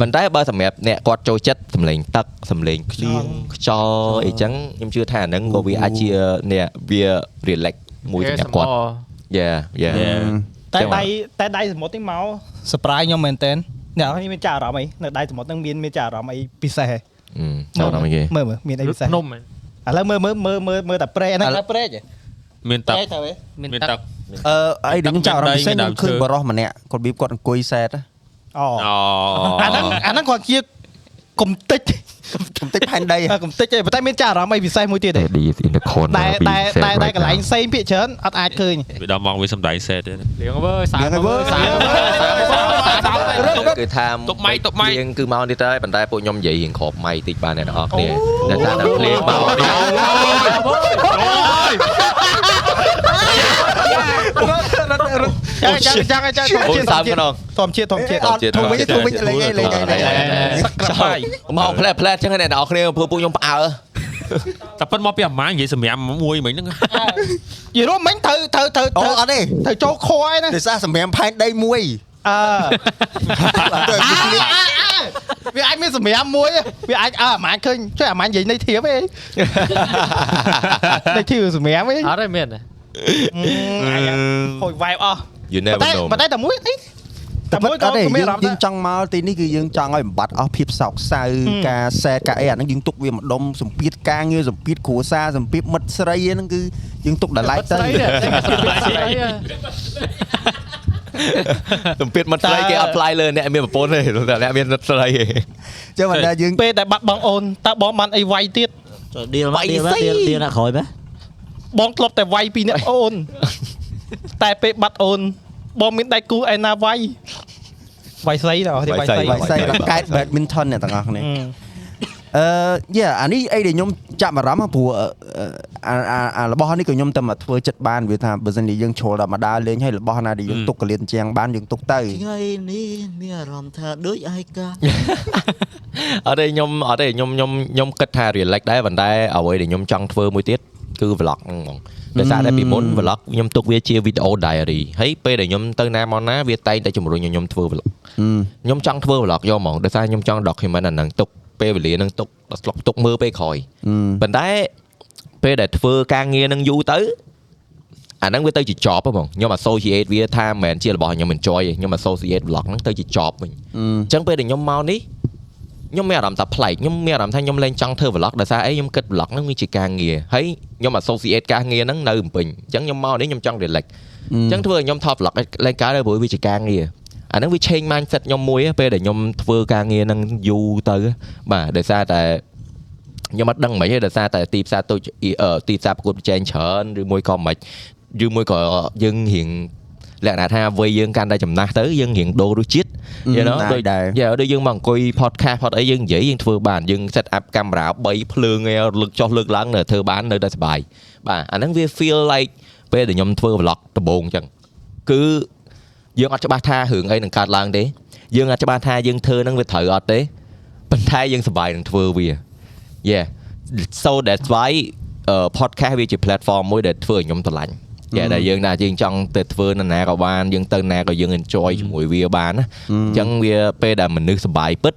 ប៉ុន្តែបើសម្រាប់អ្នកគាត់ចូលចិត្តសំឡេងទឹកសំឡេងភ្លៀងខ្យល់អីចឹងខ្ញុំជឿថាអាហ្នឹងក៏វាអាចជាអ្នកវា relax មួយសម្រាប់គាត់ Yeah yeah
តែ
ចឹងបាទ
ដៃតែដៃសមុទ្រនេះមក surprise ខ្ញុំមែនតើអ្នកនរមានចារអារម្មណ៍អីនៅដៃសមុទ្រហ្នឹងមានមានចារអារម្មណ៍អីពិសេសហ៎
អឺចូលដល់មកគេ
មើលមើលមានអីពិសេស
ភ្នំហ៎
ឥឡូវមើលមើលមើលមើលមើលតែព្រែកអាហ្នឹងតែព្រែកហ៎
មានទឹក
ព្រែកទៅហ៎
មាន
មាន
ទឹក
ទឹក
អឺអីដែលខ្ញុំចាប់អារម្មណ៍ពិសេសខ្ញុំឃើញ
ដើមឈើ
បរោះម្នាក់គាត់របៀបគាត់អង្គុយសែត
អូ
អូ
អាហ្នឹងអាហ្នឹងគាត់ជាកំតិច
ខ្ញុំតិចផែន ដីហ៎
កំតិចទេប៉ុន្តែមានចារអារម្មណ៍អីពិសេសមួយទៀតទេ
Daddy is in the corner
តែតែតែតែកន្លែងផ្សេងភាគច្រើនអត់អាចឃើញ
វាដល់ម៉ោងវាសំដែងសេតទៀត
លៀងវើសា
លៀងហើយវើ
សា
គឺថា
តុបម៉ៃតុបម៉ៃ
យើងគឺមកនេះទៅហើយប៉ុន្តែពួកខ្ញុំនិយាយរៀងក្របម៉ៃតិចបាទអ្នកនរអគ្នាតែថាដល់ភ្លេងបោកនេះ
ចាំចាំចាំចាំធម្ម
អូន
ជាតិ
សាមក្នុង
ធម្មជាតិធម្មជាតិ
អត់ធំវិញធំវិញលេងឯងលេងឯងលេងឯង
មកផ្លែផ្លែចឹងអ្នកនរគ្នាព្រោះពួកខ្ញុំផ្អើ
តែប៉ិនមកពីអាម៉ានិយាយសម្រាប់មួយមិញហ្នឹង
និយាយរួមមិញត្រូវត្រូវត្រូវ
អូ
ត្រូវ
អត់ទេ
ត្រូវចូលខហើយណា
ដោយសារសម្រាប់ផែនដីមួយ
អឺ វាអាចមានសម្រាប់មួយវាអាចអើអាម៉ាញឃើញជួយអាម៉ាញនិយាយនៃធៀបឯងនៃធៀបសម្រាប់ឯង
អត់ទេមានទេ
ហួយ vibe អស់
You
តែ
never know
ប៉ុន្តែតែមួយនេះតែមួយក៏
ទេ
គ្មានអារម្ម
យើ
ណ៍ដែរ
ងចង់មកទីនេះគឺយើងចង់ឲ្យបំបត្តិអស់ភាពសោកសៅ
ហឹម
ការសែការអីអាហ្នឹងយើងទុកវាម្ដុំសម្ពាធការងារសម្ពាធគ្រួសារសម្ពាធមិត្តស្រីហ្នឹងគឺយើងទុកដល់ឡែកទៅ
ờ,
ទំពាធមិនស្រីគេអត់ផ្លាយលើអ្នកមានប្រពន្ធទេតែអ្នកមានស្រីទេ
ចឹងបើថាយើង
ពេលដែលបាត់បងអូនតើបងបានអីវាយទៀត
ចូលឌីលមកឌីលមកឌីលឌីលដាក់ក្រោយបែ
បងធ្លាប់តែវាយពីអ្នកអូន តែពេលបាត់អូន បងមានដៃគូឯណាវាយវាយស្រីដល់វាយស្រី
វាយសៃរកែត badminton អ្នកទាំងអស់គ្នា អឺយ៉ាអានេះអីដែលខ្ញុំចាប់អារម្មណ៍ណាព្រោះអឺអាអាអារបស់នេះក៏ខ្ញុំតែមកធ្វើចិត្តបានវាថាបើសិនជាយើងជ្រុលធម្មតាលេងហើយរបស់ណាដែលយើងទុកកលៀនជាងបានយើងទុកទៅ
ថ្ងៃនេះមានអារម្មណ៍ថាដូចឯកា
អត់ទេខ្ញុំអត់ទេខ្ញុំខ្ញុំខ្ញុំគិតថា relax ដែរប៉ុន្តែអ្វីដែលខ្ញុំចង់ធ្វើមួយទៀតគឺ vlog ហ្នឹងហ្មងដោយសារតែពីមុន vlog ខ្ញុំទុកវាជា video diary ហើយពេលដែលខ្ញុំទៅណាមកណាវាតែងតែជំរុញឲ្យខ្ញុំធ្វើ vlog ខ្ញុំចង់ធ្វើ vlog យកហ្មងដោយសារខ្ញុំចង់ document អាហ្នឹងទុកពេលវេលាហ្នឹងទុកដល់ស្លុកទុកមើលពេលក្រោយប៉ុន្តែពេលដែលធ្វើការងារហ្នឹងយូរទៅអាហ្នឹងវាទៅជា job ហ្មងខ្ញុំ associate វាថាមិនមែនជារបស់ខ្ញុំ enjoy ទេខ្ញុំ associate vlog ហ្នឹងទៅជា job វិញអញ្ចឹងពេលដែលខ្ញុំមកនេះ ខ្ញុំមានអារម្មណ៍ថាប្លែកខ្ញុំមានអារម្មណ៍ថាខ្ញុំលែងចង់ធ្វើ vlog ដោយសារអីខ្ញុំគិត vlog ហ្នឹងវាជាការងារហើយខ្ញុំ associate ការងារហ្នឹងនៅភ្នំពេញអញ្ចឹងខ្ញុំមកនេះខ្ញុំចង់ relax អញ្ចឹងធ្វើឲ្យខ្ញុំថត vlog លែងកើតទេព្រោះវាជាការងារអាហ្នឹងវា À, change mindset ខ្ញុំមួយពេលដែលខ្ញុំធ្វើការងារហ្នឹងយូរទៅបាទដោយសារតែខ្ញុំអត់ដឹងមិនទេដោយសារតែទីផ្សារទូចអឺទីផ្សារប្រកួតប្រជែងច្រើនឬមួយក៏មិនឬមួយក៏យើងរៀងលក្ខណៈថាវ័យយើងកាន់តែចំណាស់ទៅយើងរៀងដូររសជាតិ you know
ដែរ
ដូច
ដែរ
យ៉ាដូចយើងមកអង្គុយ podcast ផតអីយើងនិយាយយើងធ្វើបានយើង set up កាមេរ៉ា3ភ្លើងឯងលើកចុះលើកឡើងនៅធ្វើបាននៅតែសប្បាយបាទអាហ្នឹងវា feel like ពេលដែលខ្ញុំធ្វើ vlog ដំបូងអញ្ចឹងគឺយើងអត់ច្បាស់ថារឿងអីនឹងកើតឡើងទេយើងអត់ច្បាស់ថាយើងធ្វើហ្នឹងវាត្រូវអត់ទេប៉ុន្តែយើងសប្បាយនឹងធ្វើវា yeah so that's why អឺ podcast វាជា platform មួយដែលធ្វើឲ្យខ្ញុំស្រឡាញ់គេដែលយើងណាយើងចង់ទៅធ្វើនៅណាក៏បានយើងទៅណាក៏យើង enjoy ជាមួយវាបានណាអញ្ចឹងវាពេលដែលមនុស្សសប្បាយពិត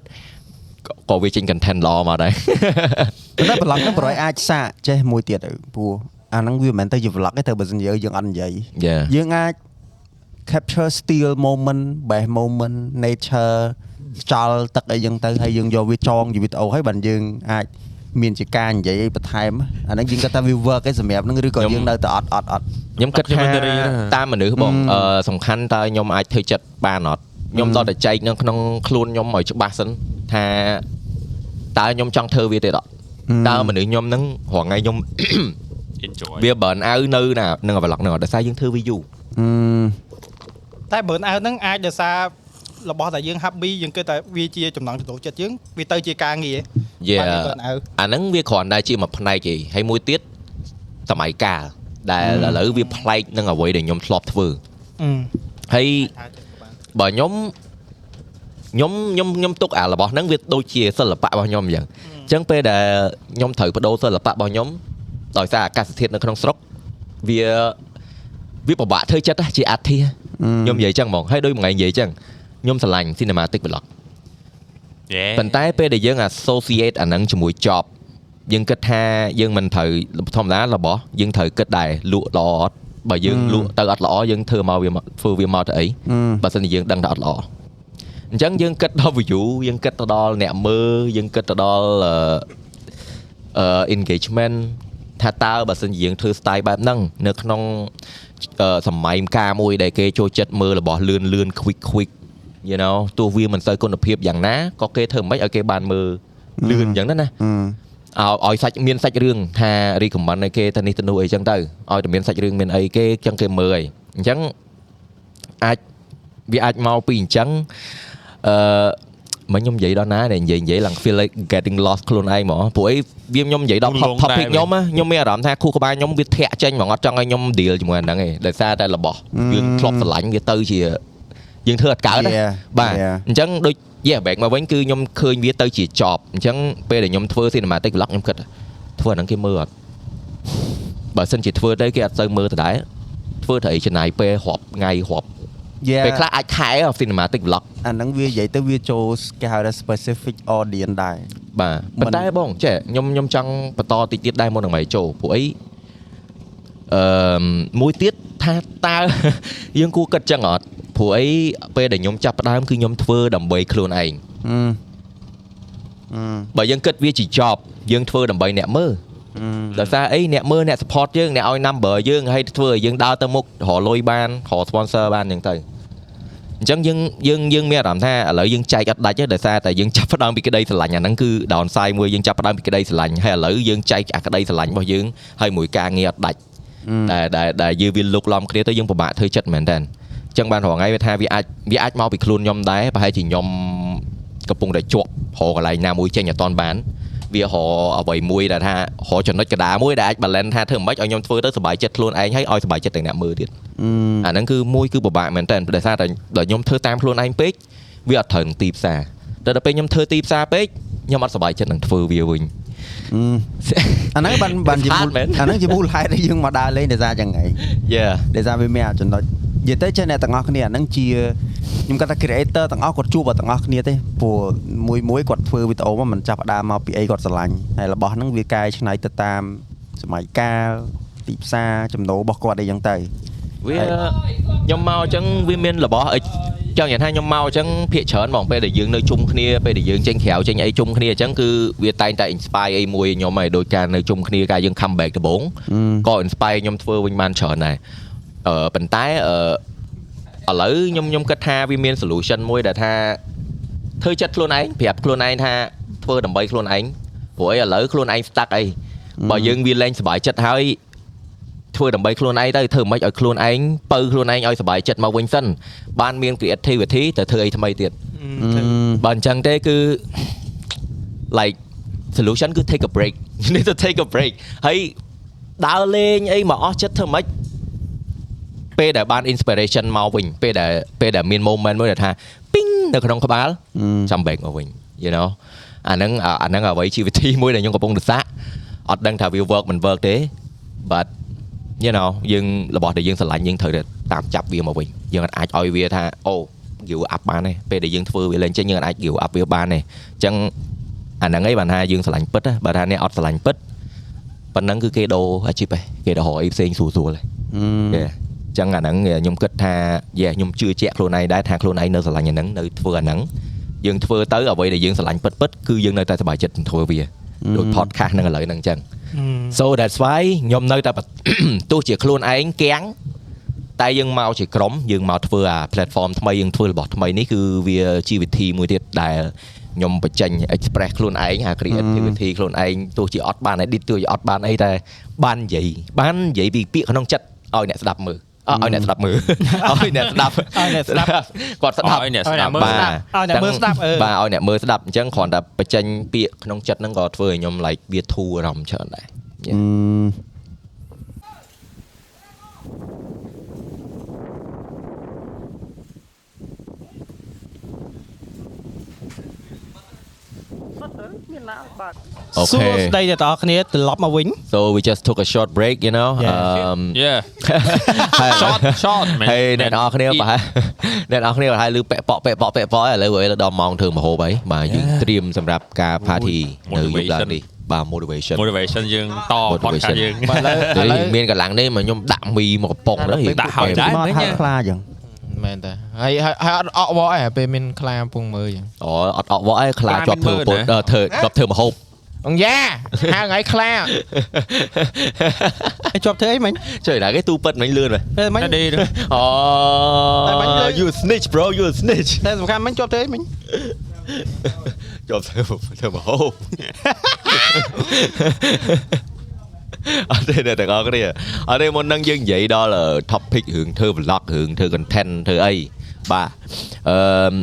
ក៏ក៏វាចេញ content ល្អមកដែរ
ប៉ុន្តែប្លុកហ្នឹងប្រយអាចសាកចេះមួយទៀតទៅព្រោះអាហ្នឹងវាមិនមែនទៅជា vlog ទេទៅបើសិនជាយើងអត់និយាយ
Yeah.
យើងអាច capture still moment best moment nature ខ្យល់ទឹកអីចឹងទៅហើយយើងយកវាចងជា វីដេអូហើយបានយើងអាចមានជាការនិយាយអីបន្ថែមអាហ្នឹងយើងគាត់ថាវា work ឯងសម្រាប់ហ្នឹងឬក៏យើ
ខ្ញុំ
ងនៅតែអត់អត់អត់
ខ្ញុំគិតថា
Documentary ណា
តាមមនុស្សបងអឺសំខាន់តើខ្ញុំអាចធ្វើចិត្តបានអត់ខ្ញុំដល់តែចែកនៅក្នុងខ្លួនខ្ញុំឲ្យច្បាស់សិនថាតើខ្ញុំចង់ធ្វើវាទៀតអត់តើមនុស្សខ្ញុំហ្នឹងរងថ្ងៃខ្ញុំ
enjoy
វា burn out នៅណានឹង vlog ហ្នឹងអត់ដោយសារយើងធ្វើវាយូរ
តែ burn out ហ្នឹងអាចដោយសាររបស់ដែលយើង happy យើងគិតតែវាជាចំណងចំណូលចិត្តយើងវាទៅជាការងារ
Yeah
បានយើង burn out
អាហ្នឹងវាគ្រាន់តែជាមួយផ្នែកឯងហើយមួយទៀតសម័យកាលដែលឥឡូវវាប្លែកនឹងអ្វីដែលខ្ញុំធ្លាប់ធ្វើ
អឺ
ហើយបើខ្ញុំខ្ញុំខ្ញុំខ្ញុំទុកអារបស់ហ្នឹងវាដូចជាសិល្បៈរបស់ខ្ញុំអញ្ចឹងអញ្ចឹងពេលដែលខ្ញុំត្រូវបដូរសិល្បៈរបស់ខ្ញុំដោយសារអាកាសធាតុនៅក្នុងស្រុកវាវាពិបាកធ្វើចិត្តណាស់ជាអាធិខ្ញុំនិយាយអញ្ចឹងហ្មងហើយដូចមួយថ្ងៃនិយាយអញ្ចឹងខ្ញុំស្រឡាញ់ cinematic vlog ប៉ុន្តែពេលដែលយើង associate អាហ្នឹងជាមួយ job យើងគិតថាយើងមិនត្រូវធម្មតារបស់យើងត្រូវគិតដែរលក់ល្អអត់បើយើង
ម
លក់ទៅអត់ល្អយើងធ្វើមកវាមកធ្វើវាមកទៅអីបើសិនជាយើងដឹងថាអត់ល្អអញ្ចឹងយើងគិតដល់ view យើងគិតទៅដល់អ្នកមើលយើងគិតទៅដល់អអឺ engagement ថាតើបើសិនជាយើងធ្វើ style បែបហ្នឹងនៅក្នុងអឺសម័យកាលមួយដែលគេចូលចិត្តមើលរបស់លឿនលឿន quick quick you know ទោះវាមិនសូវគុណភាពយ៉ាងណាក៏គេធ្វើមិនឲ្យគេបានមើលលឿនយ៉ាងហ្នឹងណា ឲ្យឲ្យសាច់មានសាច់រឿងថា recommend ឲ្យគេទៅនេះទៅនោះអីចឹងទៅឲ្យតែមានសាច់រឿងមានអីគេចឹងគេមើលហើយអញ្ចឹងអាចវាអាចមកពីអញ្ចឹងអឺមិនខ្ញុំនិយាយដល់ណាដែលនិយាយនិយាយឡើង feel like getting lost ខ្លួនឯងហ្មងព្រោះអីវាខ្ញុំនិយាយដល់
លង
top-
ដែរ
topic ខ្ញុំណាខ្ញុំមានអារម្មណ៍ថាខួរក្បាលខ្ញុំវាធាក់ចេញហ្មងអត់ចង់ឲ្យខ្ញុំ deal ជាមួយអាហ្នឹងឯងដោយសារតែរបស់យើងធ្លាប់ស្រឡាញ់វាទៅជាយើងធ្វើអត់កើតណា
Yeah,
បាទ
yeah.
អញ្ចឹងដូច yeah back មកវិញគឺខ្ញុំឃើញវាទៅជា job អញ្ចឹងពេលដែលខ្ញុំធ្វើ cinematic vlog ខ្ញុំគិតធ្វើអាហ្នឹងគេមើលអត់បើសិនជាធ្វើទៅគេអត់ទៅមើលដដែលធ្វើទៅអីច្នៃពេលរាប់ថ្ងៃរាប់
យ៉ា
ពេលខ្លះអាចខែ cinematic vlog
អាហ្នឹងវានិយាយទៅវាចូលគេហៅថា specific audience ដែរ
បាទ
មិន
ប៉ុន្តែបងចេះខ្ញុំខ្ញុំចង់បន្តតិចទៀតដែរមុននឹងមកចូលព្រោះអីអឺមមួយទៀតថាតើ យើងគួរគិតចឹងអត់ព្រោះអីពេលដែលខ្ញុំចាប់ផ្ដើមគឺខ្ញុំធ្វើដើម្បីខ្លួនឯង
អឺអឺ
បើយើងគិតវាជា job យើងធ្វើដើម្បីអ្នកមើលដោយសារអីអ្នកមើលអ្នក support យើងអ្នកឲ្យ number យើងហើយធ្វើឲ្យយើងដើរទៅមុខរកលុយបានរក sponsor បានអញ្ចឹងទៅអញ្ចឹងយើងយើងយើងមានអារម្មណ៍ថាឥឡូវយើងចែកអត់ដាច់ទេដោយសារតែយើងចាប់ផ្ដើមពីក្តីស្រឡាញ់អាហ្នឹងគឺ downside មួយយើងចាប់ផ្ដើមពីក្តីស្រឡាញ់ហើយឥឡូវយើងចែកអាក្តីស្រឡាញ់របស់យើងហើយមួយការងារអត់ដាច់ដែលដែលដែលយើងវាលុកលំគ្នាទៅយើងពិបាកធ្វើចិត្តមែនតើអញ្ចឹងបានរងថ្ងៃវាថាវាអាចវាអាចមកពីខ្លួនខ្ញុំដែរប្រហែលជាខ្ញុំ កំពុងតែជាប់រកកន្លែងណាមួយចេញអត់តាន់បាន វារកអ្វីមួយដែលថារកចំណុចកណ្ដាលមួយដែលអាច balance ថាធ្វើម៉េចឲ្យខ្ញុំធ្វើទៅសុបាយចិត្តខ្លួនឯងហើយឲ្យសុបាយចិត្តទាំងអ្នកមើលទៀតអាហ្នឹងគឺមួយគឺពិបាកមែនតើដោយសារតែដល់ខ្ញុំធ្វើតាមខ្លួនឯងពេកវាអត់ត្រូវនឹងទីផ្សារតែដល់ពេលខ្ញុំធ្វើទីផ្សារពេកខ្ញុំអត់សុបាយចិត្តនឹងធ្វើវាវិញ
អាហ្នឹងបានបានជាមូល
Hard man.
អាហ្នឹងជាមូលហេតុដែលយើងមកដើរលេងដោយសារយ៉ាង ហ្នឹង
Yeah
ដោយសារវាមានអាចំណុចនិយាយទៅចេះអ្នកទាំងអស់គ្នាអាហ្នឹងជាខ្ញុំគាត់ថា creator ទាំងអស់គាត់ជួបតែទាំងអស់គ្នាទេព្រោះមួយមួយគាត់ធ្វើវីដេអូមកมันចាប់ផ្ដើមមកពីអីគាត់ស្រឡាញ់ហើយរបស់ហ្នឹងវាកែច្នៃទៅតាមសម័យកាលទីផ្សារចំណូលរបស់គាត់អីយ៉ាងទៅ
វាខ្ញុំមកអញ្ចឹងវាមានរបស់អីចង់និយាយថាខ្ញុំមកអញ្ចឹងភាកច្រើនហ្មងពេលដែលយើងនៅជុំគ្នាពេលដែលយើងចេញក្រៅចេញអីជុំគ្នាអញ្ចឹងគឺវាតែងតែ inspire អីមួយខ្ញុំហើយដោយការនៅជុំគ្នាការយើង comeback ដំបូងក៏ inspire ខ្ញុំធ្វើវិញបានច្រើនដែរអឺប៉ុន្តែអឺឥឡូវខ្ញុំខ្ញុំគិតថាវាមាន solution មួយដែលថាធ្វើចិត្តខ្លួនឯងប្រាប់ខ្លួនឯងថាធ្វើដើម្បីខ្លួនឯងព្រោះអីឥឡូវខ្លួនឯង stuck អីបើយើងវាលែងសុបាយចិត្តហើយ ធ្វើដើម្បីខ្លួនឯងទៅធ្វើមិនឲ្យខ្លួនឯងបើខ្លួនឯងឲ្យសុបាយចិត្តមកវិញសិនបានមាន creativity ទៅធ្វើអីថ្មីទៀតបើអញ្ចឹងទេគឺ like solution គឺ take a break you need to take a break ហើយដើរលេងអីមកអស់ចិត្តធ្វើមិនពេលដែលបាន inspiration មកវិញពេលដែលពេលដែលមាន moment មួយដែលថា ping នៅក្នុងក្បាលចាំ back មកវិញ you know អាហ្នឹងអាអាហ្នឹងអ្វីជីវវិធីមួយដែលខ្ញុំកំពុងទៅសាក់អត់ដឹងថាវា work មិន work ទេ but you know យើងរបស់ដែលយើងស្រឡាញ់យើងត្រូវតែតាមចាប់វាមកវិញយើងអត់អាចឲ្យវាថាអូ give up បានទេពេលដែលយើងធ្វើវាលែងចេញយើងអត់អាច give up វាបានទេអញ្ចឹងអាហ្នឹងឯងបានថាយើងស្រឡាញ់ពិតណាបើថាអ្នកអត់ស្រឡាញ់ពិតប៉ុណ្ណឹងគឺគេដូរអាជីពឯងគេដូរអីផ្សេងស្រួលស្រួលឯង Yeah. អញ្ចឹងអាហ្នឹងខ្ញុំគិតថាយេខ្ញុំជឿជាក់ខ្លួនឯងដែរថាខ្លួនឯងនៅស្រឡាញ់អាហ្នឹងនៅធ្វើអាហ្នឹងយើងធ្វើទៅអ្វីដែលយើងស្រឡាញ់ពិតពិតៗគឺយើងនៅតែសប្បាយចិត្តនឹងធ្វើវាដូច podcast ហ្នឹងឥឡូវហ្នឹងអញ្ចឹង So that's why ខ្ញុំនៅតែប ទោះជាខ្លួនឯងកៀងតែយើងមកជាក្រុមយើងមកធ្វើអា platform ថ្មីយើងធ្វើរបស់ថ្មីនេះគឺវាជាវិធីមួយទៀតដែលខ្ញុំបញ្ចេញ express ខ្លួនឯងអា creativity ខ្លួនឯងទោះជាអត់បាន edit ទោះជាអត់បានអីតែបាននិយាយបាននិយាយពីពាក្យក្នុងចិត្តឲ្យអ្នកស្ដាប់មើលអឲ្យអ្នកស្ដាប់មើ ល ឲ្យអ្នកស្ដាប់ឲ្យអ្នកស្ដាប់ គាត់ស្ដាប់
ឲ្យអ្នកស្ដាប់
បាទ
ឲ្យអ្នកមើលស្ដាប់អឺ
បាទឲ្យអ្នកមើលស្ដាប់អញ្ចឹងគ្រាន់តែបញ្ចេញពាក្យក្នុងចិត្តហ្នឹងក៏ធ្វើឲ្យខ្ញុំ like វាធូរអារម្មណ៍ច្រើនដែរ Yeah.
អូខេសួ
Okay.
ស្ដីអ្នកទាំងអស់គ្នាត្រឡប់មកវិញ
So we just took a short break, you know.
Yeah.
Um
Yeah
short
shot man
ហើយអ្នកនរគ្នាប្រហែលអ្នកនរគ្នាប្រហែលឮប៉ែកប៉ក់ប៉ែកប៉ក់ប៉ែកប៉ក់ឥឡូវឥឡូវដល់ម៉ោងធ្វើមហូបហើយបាទយើងត្រៀមសម្រាប់ការ party នៅយប់ឡើងនេះបាទ motivation
motivation យើងត podcast យើង
បាទឥឡូវមានកម្លាំងទេមកខ្ញុំដាក់មីមកកំប៉ុងទៅ
ដាក់ហើយដែរ
មកហាត់ខ្លាចឹង
មែនតាហើយហើយហើយអត់អក់វ៉អីពេលមានខ្លាពុងមើលចឹង
អូអត់អត់វ៉អីខ្លាចជាប់ធ្វើពុតធ្វើជាប់ធ្វើមហូប
អង្យ៉ាហៅថ្ងៃខ្លា
ហើយជាប់ធ្វើអីមិញ
ជួយដល់គេទូពិតមិញលឿន
ពេលមិញ
Daddy
អូ Ờ. you snitch bro you snitch
តែសំខាន់មិញជាប់ធ្វើអីមិញ
ជាប់ធ្វើធ្វើមហូបអត់ទេអ្នកទាំងអស់គ្នាអត់ទេមុននឹងយើងនិយាយដល់អឺ topic រឿងធ្វើ vlog រឿងធ្វើ content ធ្វើអីបាទអឺម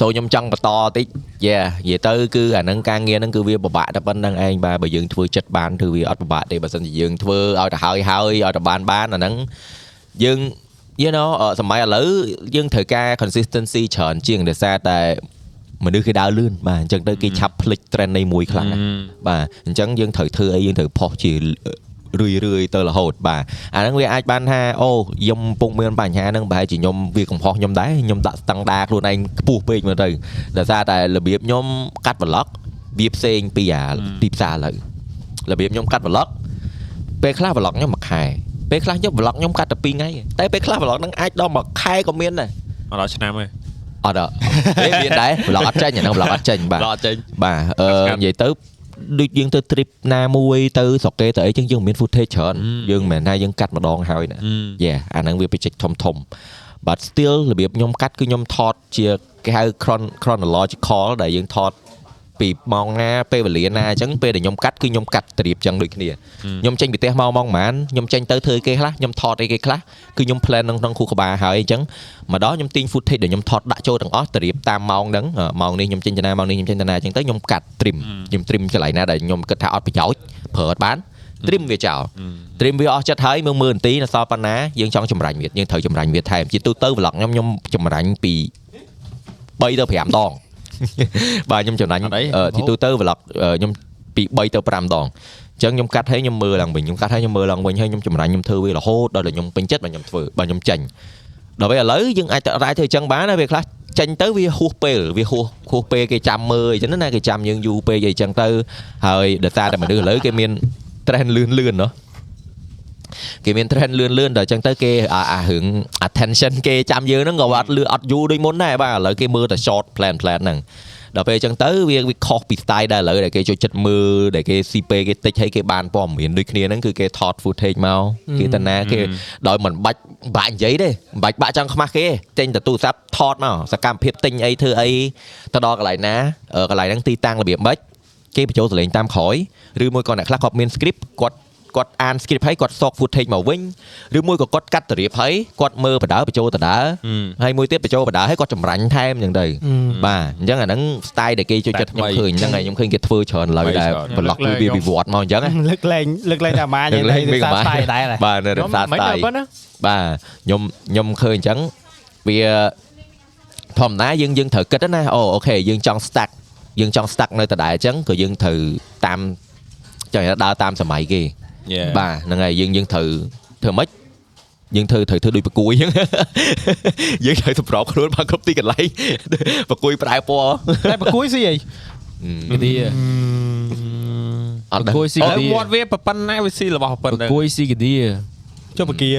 so ខ្ញុំចង់បន្តតិច yeah និយាយទៅគឺអាហ្នឹងការងារហ្នឹងគឺវាពិបាកតែប៉ុណ្្នឹងឯងបាទបើយើងធ្វើចិត្តបានគឺវាអត់ពិបាកទេបើសិនជាយើងធ្វើឲ្យទៅហើយហើយឲ្យទៅបានបានអាហ្នឹងយើង you know អឺសម័យឥឡូវយើងត្រូវការ consistency ច្រើនជាងដោយសារតែមនុស្សគេដើរលឿនបាទអញ្ចឹងទៅគេឆាប់ភ្លេច trend នៃមួយខ្លាំងណាស់បាទអញ្ចឹងយើងត្រូវធ្វើអីយើងត្រូវផុសជារឿយរឿយៗទៅរហូតបាទអាហ្នឹងវាអាចបានថាអូខ្ញុំពុកមានបញ្ហាហ្នឹងប្រហែលជាខ្ញុំវាកំហុសខ្ញុំដែរខ្ញុំដាក់ស្តង់ដារខ្លួនឯងខ្ពស់ពេកមើលទៅដោយសារតែរបៀបខ្ញុំកាត់ vlog វាផ្សេងពីអាទីផ្សារឥឡូវរបៀបខ្ញុំកាត់ vlog ពេលខ្លះ vlog ខ្ញុំមួយខែពេលខ្លះយក vlog ខ្ញុំកាត់តែ2ថ្ងៃតែពេលខ្លះ vlog ហ្នឹងអាចដល់មួយខែក៏មានដែរ
មកដល់ឆ្នាំហើយ
អត់ទេ មានដែរប្លុកអត់ចេញអាហ្នឹងប្លុកអត់ចេញបាទ
Vlog អត់ចេញ
បាទអឺនិយាយទៅដូចយើងទៅ trip ណាមួយទៅស្រុកគេទៅអីចឹងយើងមាន footage ច្រើន
អឺ
យើងមិនមែនថាយើងកាត់ម្ដងហើយណា
អឺ
Yeah អាហ្នឹងវាបច្ចេកធំធំ but still របៀបខ្ញុំកាត់គឺខ្ញុំថតជាគេហៅ chron- chronological ដែលយើងថត ពីម៉ោងណាពេលវេលាណាអញ្ចឹងពេលដែលខ្ញុំកាត់គឺខ្ញុំកាត់ត្រៀបចឹងដូចគ្នាខ្ញុំចេញពីផ្ទះមកម៉ោងប៉ុន្មានខ្ញុំចេញទៅធ្វើអីគេខ្លះខ្ញុំថតអីគេខ្លះគឺខ្ញុំ plan នៅក្នុងខួរក្បាលហើយអញ្ចឹងមកដល់ខ្ញុំទាញ footage ដែលខ្ញុំថតដាក់ចូលទាំងអស់ត្រៀបតាមម៉ោងហ្នឹងអ่าម៉ោងនេះខ្ញុំចេញទៅណាម៉ោងនេះខ្ញុំចេញទៅណាអញ្ចឹងទៅខ្ញុំកាត់ trim ខ្ញុំ trim កន្លែងណាដែលខ្ញុំគិតថាអត់ប្រយោជន៍ប្រើអត់បាន trim វាចោល trim វាអស់ចិត្តហើយមើលមើលនាទីនៅសល់ប៉ុណ្ណាយើងចង់ចម្រាញ់វាយើងត្រូវចម្រាញ់វាថែមជាទូទៅ vlog ខ្ញុំខ្ញុំចម្រាញ់ពី3ទៅ5ដង បាទខ្ញុំចំណាញ់អឺទីទូទៅ vlog អឺខ្ញុំពី3ទៅ5ដងអញ្ចឹងខ្ញុំកាត់ហើយខ្ញុំមើលឡើងវិញខ្ញុំកាត់ហើយខ្ញុំមើលឡើងវិញហើយខ្ញុំចម្រាញ់ខ្ញុំធ្វើវារហូតដល់តែខ្ញុំពេញចិត្តបាទខ្ញុំធ្វើបាទខ្ញុំចេញដល់ពេលឥឡូវយើងអាចតរាយធ្វើអញ្ចឹងបានហើយវាខ្លះចេញទៅវាហួសពេលវាហួសហួសពេលគេចាំមើលអញ្ចឹងណាគេចាំយើងយូរពេកអីអញ្ចឹងទៅហើយដោយសារតែមនុស្សឥឡូវគេមាន trend លឿនលឿនៗเนาะ គេមាន trend លឿនលឿនដល់អញ្ចឹងទៅគេអាអារឿង attention គេចាំយើងហ្នឹងក៏អត់លឿនអត់យូរដូចមុនដែរបាទឥឡូវគេមើលតែ short plan plan ហ្នឹងដល់ពេលអញ្ចឹងទៅវាវាខុសពី style ដែរឥឡូវដែលគេចូលចិត្តមើលដែលគេស៊ីពេលគេតិចហើយគេបានព័ត៌មានដូចគ្នាហ្នឹងគឺគេថត footage មកគេតាណាគេដោយមិនបាច់បាក់និយាយទេមិនបាច់បាក់ចង់ខ្មាស់គេចេញតែទូរស័ព្ទថតមកសកម្មភាពទិញអីធ្វើអីទៅដល់កន្លែងណាអឺកន្លែងហ្នឹងទីតាំងរបៀបម៉េច គេបញ្ចូលសលេងតាមក្រោយឬមួយក៏អ្នកខ្លះគាត់មាន script គាត់គាត់អាន script ហើយគាត់សក footage មកវិញឬមួយក៏គាត់កាត់ទៅរៀបហើយគាត់មើលបដើបញ្ចូលតដើហើយមួយទៀតបញ្ចូលបដើហើយគាត់ចម្រាញ់ថែមអញ្ចឹងទៅបាទអញ្ចឹងអាហ្នឹង style ដែលគេចូលចិត្តខ្ញុំឃើញហ្នឹងហើយខ្ញុំឃើញគេធ្វើច្រើនឡើយដែរ blog គឺវាវិវត្តមកអញ្ចឹ ងណា
លើកលែងលើកលែងតែអាម៉ាញ
លើកលែង
ឯង
មាន
សា
អាម៉ា
ស្តាយដែរ
បាទនៅរក្សា
មិន
ស្តា
ទៅ
យ
ប៉ុណ្ណា
បាទខ្ញុំខ្ញុំឃើញអញ្ចឹងវាធម្មតាយើងយើងត្រូវគិតណាអូអូខេយើងចង់ stack យើងចង់ stack នៅដដែលអញ្ចឹងក៏យើងត្រូវតាមចង់និយាយថាដើរតាមសម័យគេ បាទហ្នឹងហើយយើងយើងត្រូវធ្វើម៉េចយើងធ្វើត្រូវធ្វើដូចប្រគួយអញ្ចឹ ង យើងត្រូវសម្របខ្លួនមកគ្រប់ទីកន្លែង ប្រគួយប្រែពណ៌
តែប្រគួយស៊ីអី
អឺ
ទី
អត់ដឹ
ប្រ
ង
គួយ
ឥឡូ
CKD
វវត្តវាប៉ុណ្ណាវាស៊ីរបស់ប៉ុណ្ណា
ប្រគួយ CKD
ចុះប្រគា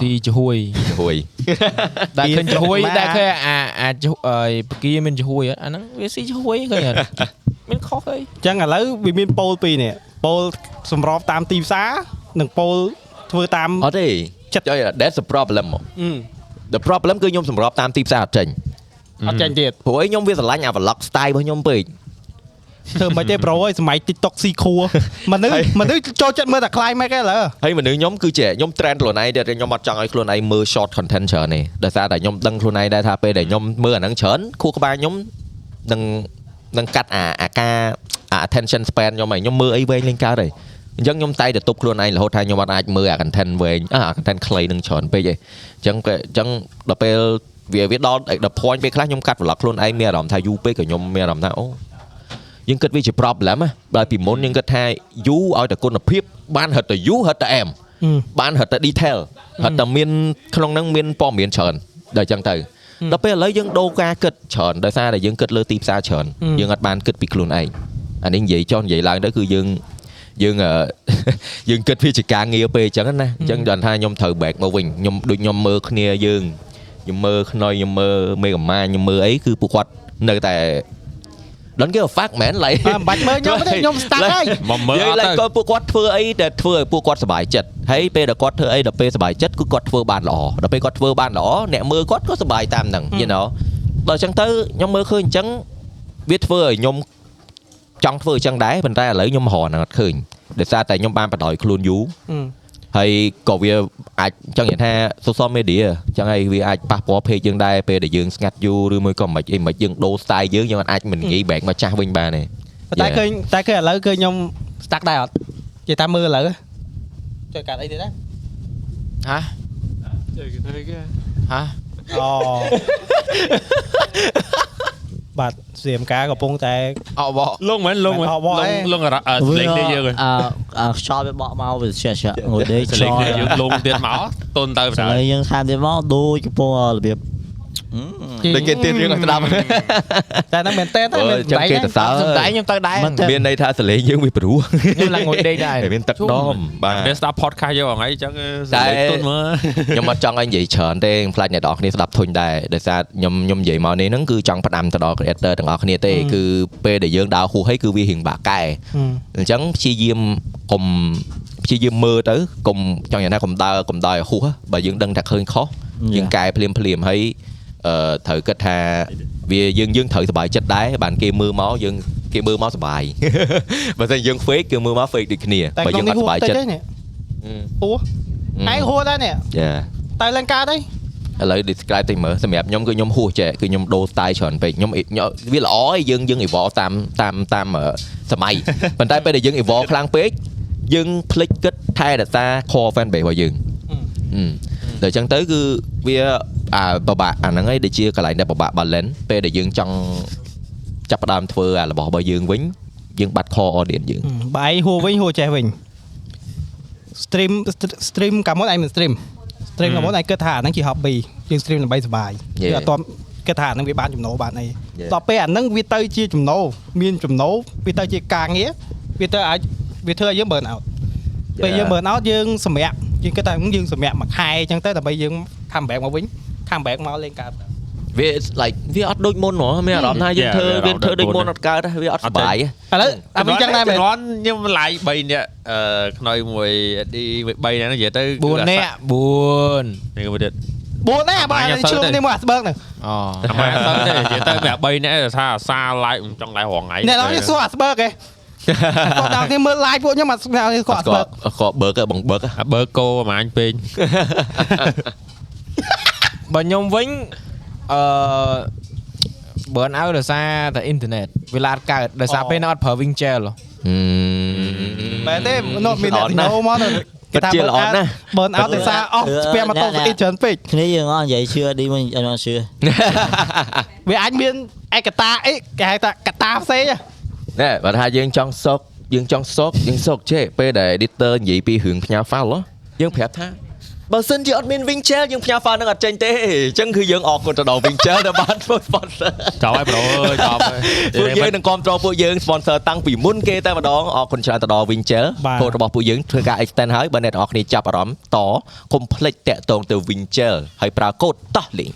ស៊ីជ្រួយ
ហួយ
ដែលឃើញជ្រួយដែលឃើញអាអាជ្រួយអីប្រគីមានជ្រួយអត់អាហ្នឹងវាស៊ីជ្រួយឃើញអត់ មានខុសអី
អញ្ចឹងឥឡូវវាមានប៉ូលពីរនេះប៉ូលសម្របតាមទីផ្សារនិងប៉ូលធ្វើតាម
អត់ទេ
ចិត្ត
ចុយ that's the problem ហ្មង
អឺ
the problem គឺខ្ញុំសម្របតាមទីផ្សារអត់ចេញ
អត់ចាញ់ទៀត
ព្រោះអីខ្ញុំវាស្រឡាញ់អា vlog style របស់ខ្ញុំពេក
ធ្វើមិនទេប្រូអើយសម័យ TikTok ស៊ីខួរ មនុស្សមនុស្សចូលចិត្តមើលតែ climax ឯងឥឡូវ
ហើយមនុស្សខ្ញុំគឺជាខ្ញុំ trend ខ្លួនឯងតែខ្ញុំអត់ចង់ឲ្យខ្លួនឯងមើល short content ច្រើនទេដោយសារតែខ្ញុំដឹងខ្លួនឯងដែរថាពេលដែលខ្ញុំមើលអាហ្នឹងច្រើនខួរក្បាលខ្ញុំនឹងនឹងកាត់អាអាការអា attention span ខ្ញុំឯងខ្ញុំមើលអីវែងលេងកើតឯងអញ្ចឹងខ្ញុំតែងតែទប់ខ្លួនឯងរហូតថាខ្ញុំអត់អាចមើលអា content វែងអា content ខ្លីនឹងច្រើនពេកឯងអញ្ចឹងក៏អញ្ចឹងដល់ពេលវាវាដល់ដល់ point ពេលខ្លះខ្ញុំកាត់ vlog ខ្លួនឯងមានអារម្មណ៍ថាយូរពេកក៏ខ្ញុំមានអារម្មណ៍ថាអូ យើងគិតវាជា problem ហ៎ដល់ពីមុនយើងគិតថាយូឲ្យតែគុណភាពបានហិតតែយូហិតតែអែមបានហិតតែ detail ហិតតែមានក្នុងហ្នឹងមានព័ត៌មានច្រើនដល់អញ្ចឹងទៅដល់ពេលឥឡូវយើងដូរការគិតច្រើនដោយសារតែយើងគិតលើទីផ្សារច្រើនយើងអត់បានគិតពីខ្លួនឯងអានេះនិយាយចុះនិយាយឡើងទៅគឺយើងយើង អឺ យើងគិតវាជាការងារពេកអញ្ចឹងណាអញ្ចឹងដល់ថាខ្ញុំត្រូវ back មកវិញខ្ញុំដូចខ្ញុំមើលគ្នាយើងខ្ញុំមើលខ្នុយខ្ញុំមើលមេកាម៉ាខ្ញុំមើលអីគឺពួកគាត់នៅតែ don't give a fuck man ឡៃ
អើមិនបាច់មើលខ្ញុំទេខ្ញុំ stuck ហើយ
មកមើល
យើ
អ
ង
ត់
ឡើយ
ទៅ
គាត់ពួកគាត់ធ្វើអីដែលធ្វើឲ្យពួកគាត់សុបាយចិត្តហើយពេលដែលគាត់ធ្វើអីដល់ពេលសុបាយចិត្តគឺគាត់ធ្វើបានល្អដល់ពេលគាត់ធ្វើបានល្អអ្នកមើលគាត់ក៏សុបាយតាមហ្នឹង you know ដល់អញ្ចឹងទៅខ្ញុំមើលឃើញអញ្ចឹងវាធ្វើឲ្យខ្ញុំចង់ធ្វើអញ្ចឹងដែរប៉ុន្តែឥឡូវខ្ញុំរហនឹងអត់ឃើញដោយសារតែខ្ញុំបានបដ ாய் ខ្លួនយូរហើយក៏វាអាចចង់និយាយថា social media អញ្ចឹងហើយវាអាចប៉ះពាល់ page យើងដែរពេលដែលយើងស្ងាត់យូរឬមួយក៏មិនអីមិនយើងដូរ style យើងយើងអាចមិនងាយ back មកចាស់វិញបានទេ
ប៉ុន្តែ
Yeah.
ឃើញតែឃើញឥឡូវឃើញខ្ញុំ stuck ដែរអត់និយាយតាមមើលឥឡូវជួយកាត់អីទៀតដែរ
ហ៎ហ៎
អូបាទសៀមការកំពុងតែ
អបអ
លងមែនលងមែន
អត់ប
ល
ក
ង
ទេ
លងអារអឺលេងនេះយើងហ៎
អាអាខ្យល់វាបក់មកវាឆាឆាអូដេកខ្យ
លេង
ល់
នេះយើងលងទៀតមកតូនទៅបដា
ស្លេងយើងតាមទៀតមកដូចកំពុងរបៀប
ដូចគេទៀតយើងឲ្យស្ដាប់
តែហ្នឹងមែនតើតែមែន
ចាំគេ
តែ
ទៅសើ
សំដែងខ្ញុំទៅដែរ
មិនទេ
មានន័យថាសលេងយើងវាព្រោះ
ខ្ញុំឡើងងុយដេកដែរ
តែមានទឹកដមបា
ពេល
ទ
ស្ដាប់ podcast យើងហ្នឹងអីចឹងអឺ
តែ
លេងតូនមើល
ខ្ញុំអត់ចង់ឲ្យនិយាយច្រើនទេខ្ញុំខ្លាចអ្នកនរគ្នាស្ដាប់ធុញដែរដោយសារខ្ញុំខ្ញុំនិយាយមកនេះហ្នឹងគឺចង់ផ្ដាំទៅដល់ creator ទាំងអស់គ្នាទេគឺពេលដែលយើងដើរហួសហើយគឺវារៀងបាក់កែអញ្ចឹងព្យាយាមកុំព្យាយាមមើលទៅកុំចង់និយាយថាកុំដើរកុំដើរឲ្យហួសបើយើងដឹងថាឃើញខុស
Yeah.
យើងកែភ្លាមភ្លាម ờ, ហើយអឺត្រូវគិតថាវាយើងយើងត្រូវសុបាយចិត្តដែរបានគេមើលមកយើង គេមើលមកសុបាយ បើមិនយើង fake គេមើលមក fake ដូចគ្នា
តែ
បើ
ក្រុ
យើង ងអ
នេះ
ត់
ហួ
សុ
រ
បាយ
តិច
ចិត្ត
ទេនេះហួរ
Ừ.
ឯងហួរដែរនេះ
ចា
តែលេងការទេ
ឥឡូវ describe តិចមើលសម្រាប់ខ្ញុំគឺខ្ញុំហួសចេះគឺខ្ញុំដូរ style ច្រើនពេកខ្ញុំខ្ញុំវាល្អឯងយើងយើង evolve តាមតាមតាមអឺសម័យ ប៉ុន្តែពេលដែលយើង evolve ខ្លាំងពេកយើងភ្លេចគិតថែរក្សា core fan base របស់យើងអឺដល់អញ្ចឹងទៅគឺវាអាពិបាកអាហ្នឹងឯងដែលជាកន្លែងដែលពិបាក balance ពេលដែលយើងចង់ចាប់ផ្ដើមធ្វើអារបស់របស់យើងវិញយើងបាត់ core audience យើង
បើឯងហួរវិញហួរចេះវិញ stream str- stream កាលមុនឯងមិន stream stream កាលមុនឯងគិតថាអាហ្នឹងជា hobby យើង stream ដើម្បីសុបាយ
Yeah.
យើងអត់ទាន់គិតថាអាហ្នឹងវាបានចំណូលបានអី
Yeah.
ដល់ពេលអាហ្នឹងវាទៅជាចំណូលមានចំណូលវាទៅជាការងារវាទៅអាចវាធ្វើឲ្យយើង burn out ពេល
Yeah.
យើង burn out យើងសម្រាកយើងគិតថាហឹមយើងសម្រាកមួយខែអញ្ចឹងទៅដើម្បីយើង come back មកវិញ come back មកលេងកើត
វា it's like វាអត់ដូចមុនហ៎មានអារម្មណ៍ថាយើង
Yeah,
ធ្វើ
វា
វា
អារម្មណ៍
ធ្វើដូច
ដូចមុ
មុន
ន
អត់កើតទេវាអត់សុបាយទេ
ឥឡូវអាវិញចឹងដែរមែន
រាន់ខ្ញុំឡាយ3នាក់អឺខ្នើយមួយឌី3នាក់ហ្នឹងនិយាយទៅគឺ
4នាក់4
នេះមួយទៀត
បួនណាបើ
អញ្ញា
ឥឡូវ
សូវ
ឈ្លោះ
ទេ
នេះមកអាស្បើកហ្នឹង
អូ
អាម៉ែអត់ទៅទេនិយាយទៅប្រាប់3នាក់ឯងថាអាសាឡាយចង់ឡាយរងថ្ងៃ
អ្នកនរនេះសួរអាស្បើកឯង គាត់ ដល់គ្នាមើល live ពួកខ្ញុំអាស្បើកនេះគាត់
គាត់
អាស្បើក
គាត់បើកបងបើក
អាបើកោអាម៉ាញពេក
បើខ្ញុំវិញអឺ burn out ដោយសារតែអ៊ីនធឺណិតវាឡាតកើតដោយសារ
Ờ.
អូ
ពេលហ្នឹងអត់ប្រើ Wingchair ហ៎
មែនទេនោះមាន
អ
អ្នក
ត់
ណូ
ណាស់
មកទៅ
ពិតជាល្អណាស់
បើអត់ទេសារអស់ស្ពែម៉ូតូស្អីច្រើនពេក
គ្នាយើងអត់និយាយជឿឌីមិនអត់ជឿ
វាអាចមានឯកតាអីគេហៅថាកតាផ្សេងហ៎
ណែបើថាយើងចង់សុកយើងចង់សុកយើងសុកចេះពេលដែល editor និយាយពីរឿងផ្ញើ file ហ៎យើងប្រាប់ថាបើសិនជាអត់មាន Winchell យើងផ្ញើ file នឹងអត់ចេញទេអញ្ចឹងគឺយើងអរគុណទៅដល់ Winchell ដែលបានធ្វើ sponsor
ចោលហើយប្រូអើយចប់ ហើយ
ពួកយើងនឹងគ្រប់គ្រងពួកយើង sponsor តាំងពីមុនគេតែម្ដងអរគុណច្រើនទៅដល់ Winchell
បាទ
កូនរបស់ពួកយើងធ្វើការ extend ហើយបើអ្នកនរគ្នាចាប់អារម្មណ៍តកុំភ្លេចតាក់ទងទៅ Winchell ហើយប្រើកូដតោះលេង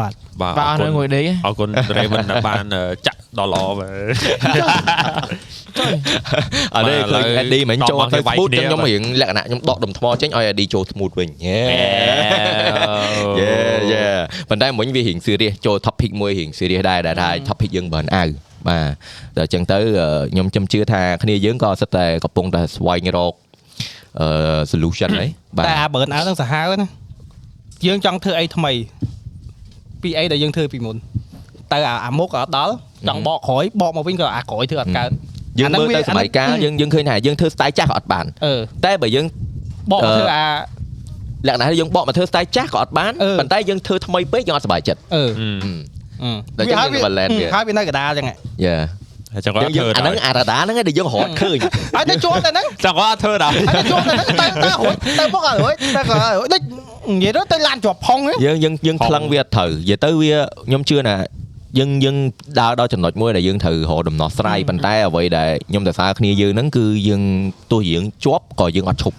បាទ
បាទ
បាទអរនៅមួយដេក
អរគុណ Raymond ដែលបានអឺចាក់ដល់ល្អបាទ
ឥ
À,
ឡូវឃើញ
បាទឥឡូវ
Eddie មិញចូល
តបមក
ទៅ
វាយ
smooth
គ្នា
ចឹងខ្ញុំរៀងលក្ខណៈខ្ញុំដកដុំថ្មចេញឲ្យ Eddie ចូល smooth វិញ យេយេប៉ុន្តែមិញវារៀង serious ចូល topic មួយរៀង serious ដែរដែលថា topic យើងបានអាវបាទដល់ចឹងទៅអឺខ្ញុំខ្ញុំជឿថាគ្នាយើងក៏សិតតែកំពុងតែស្វែងរកអឺ solution ហ្នឹងបាទ
តែអា burn out ហ្នឹងសាហាវណាយើងចង់ធ្វើអីថ្មីពីអីដែលយើងធ្វើពីមុនទៅអាអាមុខក៏អត់ដល់ចង់បកក្រោយបកមកវិញក៏អាក្រោយធ្វើអត់កើត
យើង
អាហ្នឹង
មើល
វា
ទៅសម័យកាល
អាហ្នឹ
យើង
ង
យើងឃើញថាយើងធ្វើ style ចាស់ក៏អត់បាន
អឺ
តែបើយើង
បកមកធ្វើ
អឺ
អា
លក្ខណៈថាយើងបកមកធ្វើ style ចាស់ក៏អត់បាន
អឺ
ប៉ុន្តែយើងធ្វើថ្មីពេកយើងអត់សប្បាយចិត្ត
អឺ
អឺដល់ចឹងយើង balance វា
ហើយវានៅកណ្ដាលចឹងហ៎
Yeah
អញ្ចឹងគាត់
យើងយើង
ធ្វើ
អា
ដល់
ហ្នឹងអារដាហ្នឹងឯងដែលយើងរត់ឃើញ
ហើយទៅជួលតែហ្នឹង
ចង់គាត់ធ្វើដល់
អត់ជួលតែហ្នឹងតែតែរួចតែមករួចតែក៏រួចដូចនិយាយទៅទៅឡានជាប់ផុងហ្នឹង
យើងយើងយើង
ផង
ខ្លឹងវាអត់ត្រូវនិយាយទៅវាខ្ញុំជឿណាយើងយើងដើរដល់ចំណុចមួយដែលយើងត្រូវរកដំណោះស្រាយប៉ុន្តែអ្វីដែលខ្ញុំទៅសារគ្នាយើងហ្នឹងគឺយើងទោះយើងជាប់ក៏យើងអត់ឈប់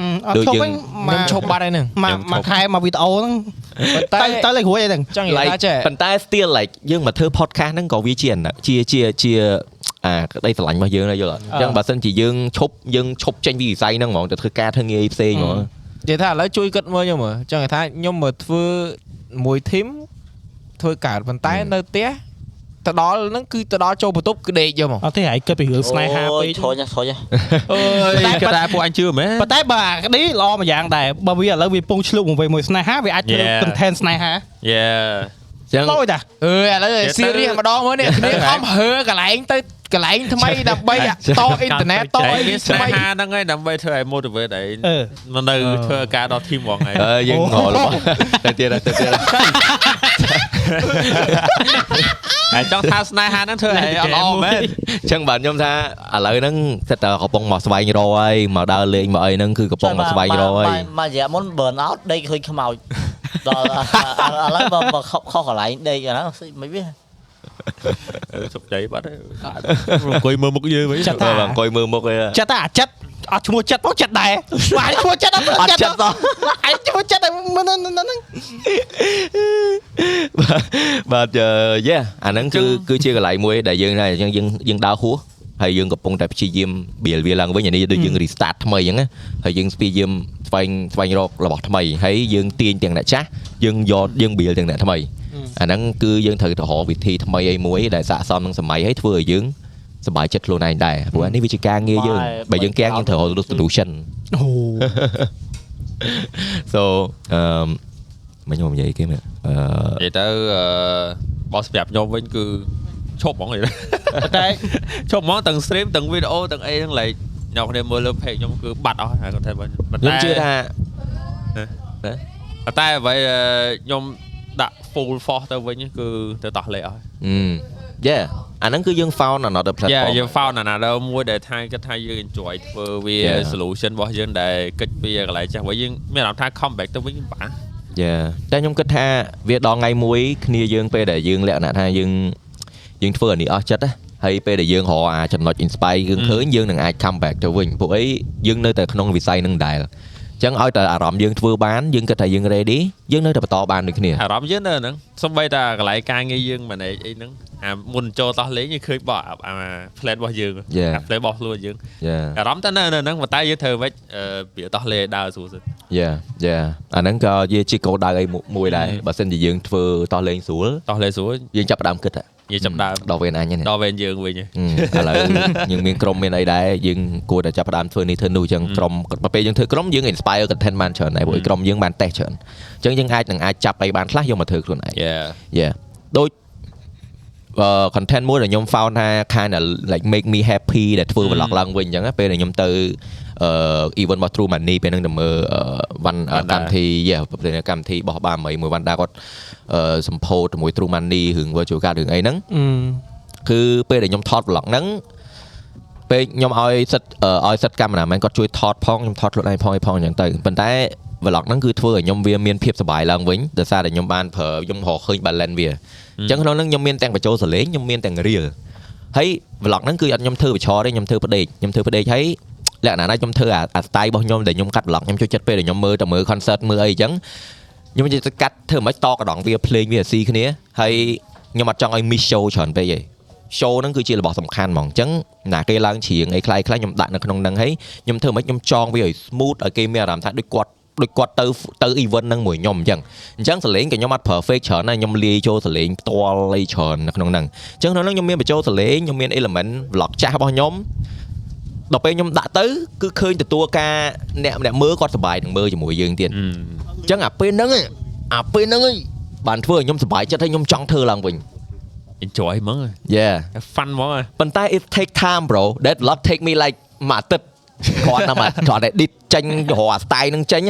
អឺអត់
ដូច
ឈប់
យើង
វិញ
ខ្ញុំ
មក
ឈប់បាត់ហើយហ្នឹង
មកមកខែមកវីដេអូហ្នឹង
តែ
តែតែលេខរួចអីហ្នឹង
ចង់និយាយ
Like
ថាចេះ
ប៉ុន្តែ still like យើងមកធ្វើ podcast ហ្នឹងក៏វាជាអាណជាជាជាអាក្តីស្រឡាញ់របស់យើងដែរយល់អត់អញ្ចឹងបើសិនជាយើងឈប់យើងឈប់ចេញពីវិស័យហ្នឹងហ្មងទៅធ្វើការធ្វើងារផ្សេងហ្មង
និយាយថាឥឡូវជួយគិតមើលខ្ញុំមើលចង់និយាយថាខ្ញុំមកធ្វើមួយ team ធ្វើកើតប៉ុន្តែនៅផ្ទះទៅដល់ហ្នឹងគឺទៅដល់ចូលបន្ទប់គឺដេកយកមក
អត់ទេហើយគិតពីរឿងស្នេហាពេក
ថយណាថយណា
អើយគេតែពួកអញជឿមែន
ប៉ុន្តែបើអានេះល្អមួយយ៉ាងដែរបើវាឥឡូវវាពងឆ្លុះមកវិញមួយស្នេហាវាអាចធ្វើ
Yeah.
content ស្នេហា
Yeah
អញ្ចឹង
ដូចតា
អើយឥឡូវ serious ម្ដងមើលនេះគ្នាខំហើកន្លែងទៅកន្លែងថ្មីដើម្បីតអ៊ីនធឺណិតតអី
មានស្នេ
ថ្មី
ហាហ្នឹងឯងដើម្បីធ្វើឲ្យ motivate ឯង
អឺ
មកនៅធ្វើការដល់ team ហ្មងឯង
អើយើងងល់របស់តែទៀតតែទៀត
ហើយចង់ថាស្នេហាហ្នឹងធ្វើឲ្យអត់ល្អមែន
អញ្ចឹងបាទខ្ញុំថាឥឡូវហ្នឹងសិតតែកំពុងមកស្វែងរកហើយមកដើរលេងមកអីហ្នឹងគឺកំពុងមកស្វែងរកហើយ
មករយៈមុន dạ burn out ដេកឃើញខ្មោចដល់ឥឡូវបើខខកន្លែងដេកអាហ្នឹងមិនវា
សុខចិត្តបាត់ហើយ អង្គុយមើលមុខយើងវិញ
បាទអង្គុយមើលមុខឯង
ចិត្តតែអាចិត្តអត់ឈ្មោះចិត្តមកចិត្តដែរបាទឈ្មោះចិត្តអត់
អត់ចិត្ត
ទេ
សោះ
អាយឈ្មោះចិត្តតែមិនហ្នឹង
បាទយេអាហ្នឹងគឺគឺជាកន្លែងមួយដែលយើងដែរអញ្ចឹងយើងយើងដើរហួសហើយយើងកំពុងតែព្យាយាមបៀលវាឡើងវិញអានេះដូចយើង restart ថ្មីអញ្ចឹងណាហើយយើងព្យាយាមស្វែងស្វែងរករបស់ថ្មីហើយយើងទាញទាំងអ្នកចាស់យើងយកយើងបៀលទាំង À, អ្នកថ្មី អាហ្នឹងគឺយើងត្រូវទៅរកវិធីថ្មីអីមួយដែលស័ក្តិសមនឹងសម័យហើយធ្វើឲ្យយើង សប្បាយចិត្តខ្លួនឯងដែរព្រោះអានេះវាជាការងារយើង
បាទ
បើយើងកៀងយើងត្រូវរក solution
អូ
so um, អឺមមិនខ្ញុំនិយាយគេមែនអឺ
និយាយទៅអឺបោះសម្រាប់ខ្ញុំវិញគឺឈប់ហ្មងនិយាយទៅ
តែ
ឈប់ហ្មងទាំង stream ទាំង video ទាំងអីទាំង like អ្នកគ្នាមើលលើ page ខ្ញុំគឺបាត់អស់ហើយគាត់ថាបើប៉ុន្តែ
ខ្ញុំជឿថា
ប៉ុន្តែអ្វីដែលខ្ញុំដាក់ full force ទៅវិញគឺទៅតោះលេខអស់
Ừ. យេអាហ្នឹងគឺយើង found another
យ៉ា
platform
យើង found another មួយដែលថាគិតថាយើង enjoy ធ្វើវា
Yeah.
solution របស់យើងដែលគិតពីកន្លែងចាស់វិញយើងមានអារម្មណ៍ថា comeback ទៅវិញបាក់
យេតែខ្ញុំគិតថាវាដល់ថ្ងៃមួយគ្នាយើងពេលដែលយើងលក្ខណៈថាយើងយើងធ្វើអានេះអស់ចិត្តណាហើយពេលដែលយើងរកអាចំណុច à, inspire យើងឃើញយើងនឹងអាច come back ទៅវិញពួកអីយើងនៅតែក្នុងវិស័យហ្នឹងដែរអញ្ចឹងឲ្យតែអារម្មណ៍យើងធ្វើបានយើងគិតថាយើង ready យើងនៅតែបន្តបានដូចគ្នា
អារម្មណ៍យើងនៅហ្នឹងសំបីតាកន្លែងការងារយើង manage អីហ្នឹងអាមុនចូលតោះលេងយើងឃើញបោះអាអា plan របស់យើង
Yeah.
អា plan របស់ខ្លួនយើង
យេ
អារម្មណ៍តែនៅនៅហ្នឹងប៉ុន្តែយើងធ្វើមិនអឺពីតោះលេងឲ្យដើរស្រួលសិន
យ៉ាយ៉ាអាហ្នឹងក៏ជាជាគោលដៅអីមួយមួយដែរបើសិនជាយើងធ្វើតោះលេងស្រួល
តោះលេងស្រួល
យើងចាប់ផ្ដើមគិតហ៎
យើងចាប់ផ្ដើម
ដល់វេនអញហ្នឹង
ដល់វិញយើងវិញហ្នឹង
អឺឥឡូវ យើងមានក្រុមមានអីដែរយើងគួរតែចាប់ផ្ដើមធ្វើនេះធ្វើនោះអញ្ចឹងក្រុមបើពេលយើងធ្វើក្រុមយើង inspire content បានច្រើនដែរព្រោះក្រុមយើងបានតេស្តច្រើនអញ្ចឹងយើងអាចនឹងអាចចាប់អីបានខ្លះយកមកធ្វើខ្លួនឯង
Yeah
Yeah ដូចអឺ content មួយដែលខ្ញុំ found ថា kind of like make me happy ដែលធ្វើ vlog ឡើងវិញអញ្ចឹងណាពេលដែលខ្ញុំទៅអឺ event របស់ True Money ពេលហ្នឹងទៅមើលអឺវ៉ាន់
វ៉ាន់ដា
កម្មវិធី yeah ពេលហ្នឹងកម្មវិធីរបស់បាមីមួយវ៉ាន់ដាគាត់អឺសម្ពោធជាមួយ True Money រឿង virtual card រឿងអីហ្នឹង គឺពេលដែលខ្ញុំថត vlog ហ្នឹងពេលខ្ញុំឲ្យសិតអឺឲ្យសិតកាមេរ៉ាមែនគាត់ជួយថតផងខ្ញុំថតខ្លួនឯងផងអីផងអញ្ចឹងទៅប៉ុន្តែ vlog ហ្នឹងគឺធ្វើឲ្យខ្ញុំវាមានភាពសប្បាយឡើងវិញដោយសារតែខ្ញុំបានប្រើខ្ញុំរកឃើញ balance វាអញ្ចឹងក្នុងហ្នឹងខ្ញុំមានទាំងបញ្ចូលសលេងខ្ញុំមានទាំង reel ហើយ vlog ហ្នឹងគឺអត់ខ្ញុំធ្វើបិឈរទេខ្ញុំធ្វើផ្ដេកខ្ញុំធ្វើផ្ដេកហើយលក្ខណៈណាខ្ញុំធ្វើអាអា style របស់ខ្ញុំដែលខ្ញុំកាត់ vlog ខ្ញុំចូលចិត្តពេលដែលខ្ញុំមើលតែមើល concert មើលអីអញ្ចឹង ខ្ញុំនិយាយទៅកាត់ធ្វើមិនតកដងវាភ្លេងវាឲ្យស៊ីគ្នាហើយខ្ញុំអត់ចង់ឲ្យ miss show ច្រើនពេកទេ show ហ្នឹងគឺជារបស់សំខាន់ហ្មងអញ្ចឹងណាគេឡើងច្រៀងអីខ្លះៗខ្លះខ្ញុំដាក់នៅក្នុងហ្នឹងហើយខ្ញុំធ្វើមិនខ្ញុំចងវាឲ្យ smooth ឲ្យគេមានអារម្មណ៍ថាដូចគាត់ដូចគាត់ទៅទៅ event ហ្នឹងមួយខ្ញុំអញ្ចឹងអញ្ចឹងសលេងក៏ខ្ញុំអត់ប្រើ fake ច្រើនណាខ្ញុំលាយចូលសលេងផ្ទាល់អីច្រើននៅក្នុងហ្នឹងអញ្ចឹងក្នុងហ្នឹងខ្ញុំមានបញ្ចូលសលេងខ្ញុំមាន element vlog ចាស់របស់ខ្ញុំ ដល់ពេលខ្ញុំដាក់ទៅគឺឃើញទទួលការអ្នកម្នាក់មើលគាត់សប្បាយនឹងមើលជាមួយយើងទៀតអញ្ចឹងអាពេលហ្នឹងឯងអាពេលហ្នឹងឯងបានធ្វើឲ្យខ្ញុំសប្បាយចិត្តហើយខ្ញុំចង់ធ្វើឡើងវិញ
enjoy ហ្មង
Yeah
fun ហ្មងហ៎
ប៉ុន្តែ it take time bro that vlog take me like មួយអាទិត្យគាត់ណាមកគាត់តែ edit ចេញរកអា style ហ្នឹងចេញ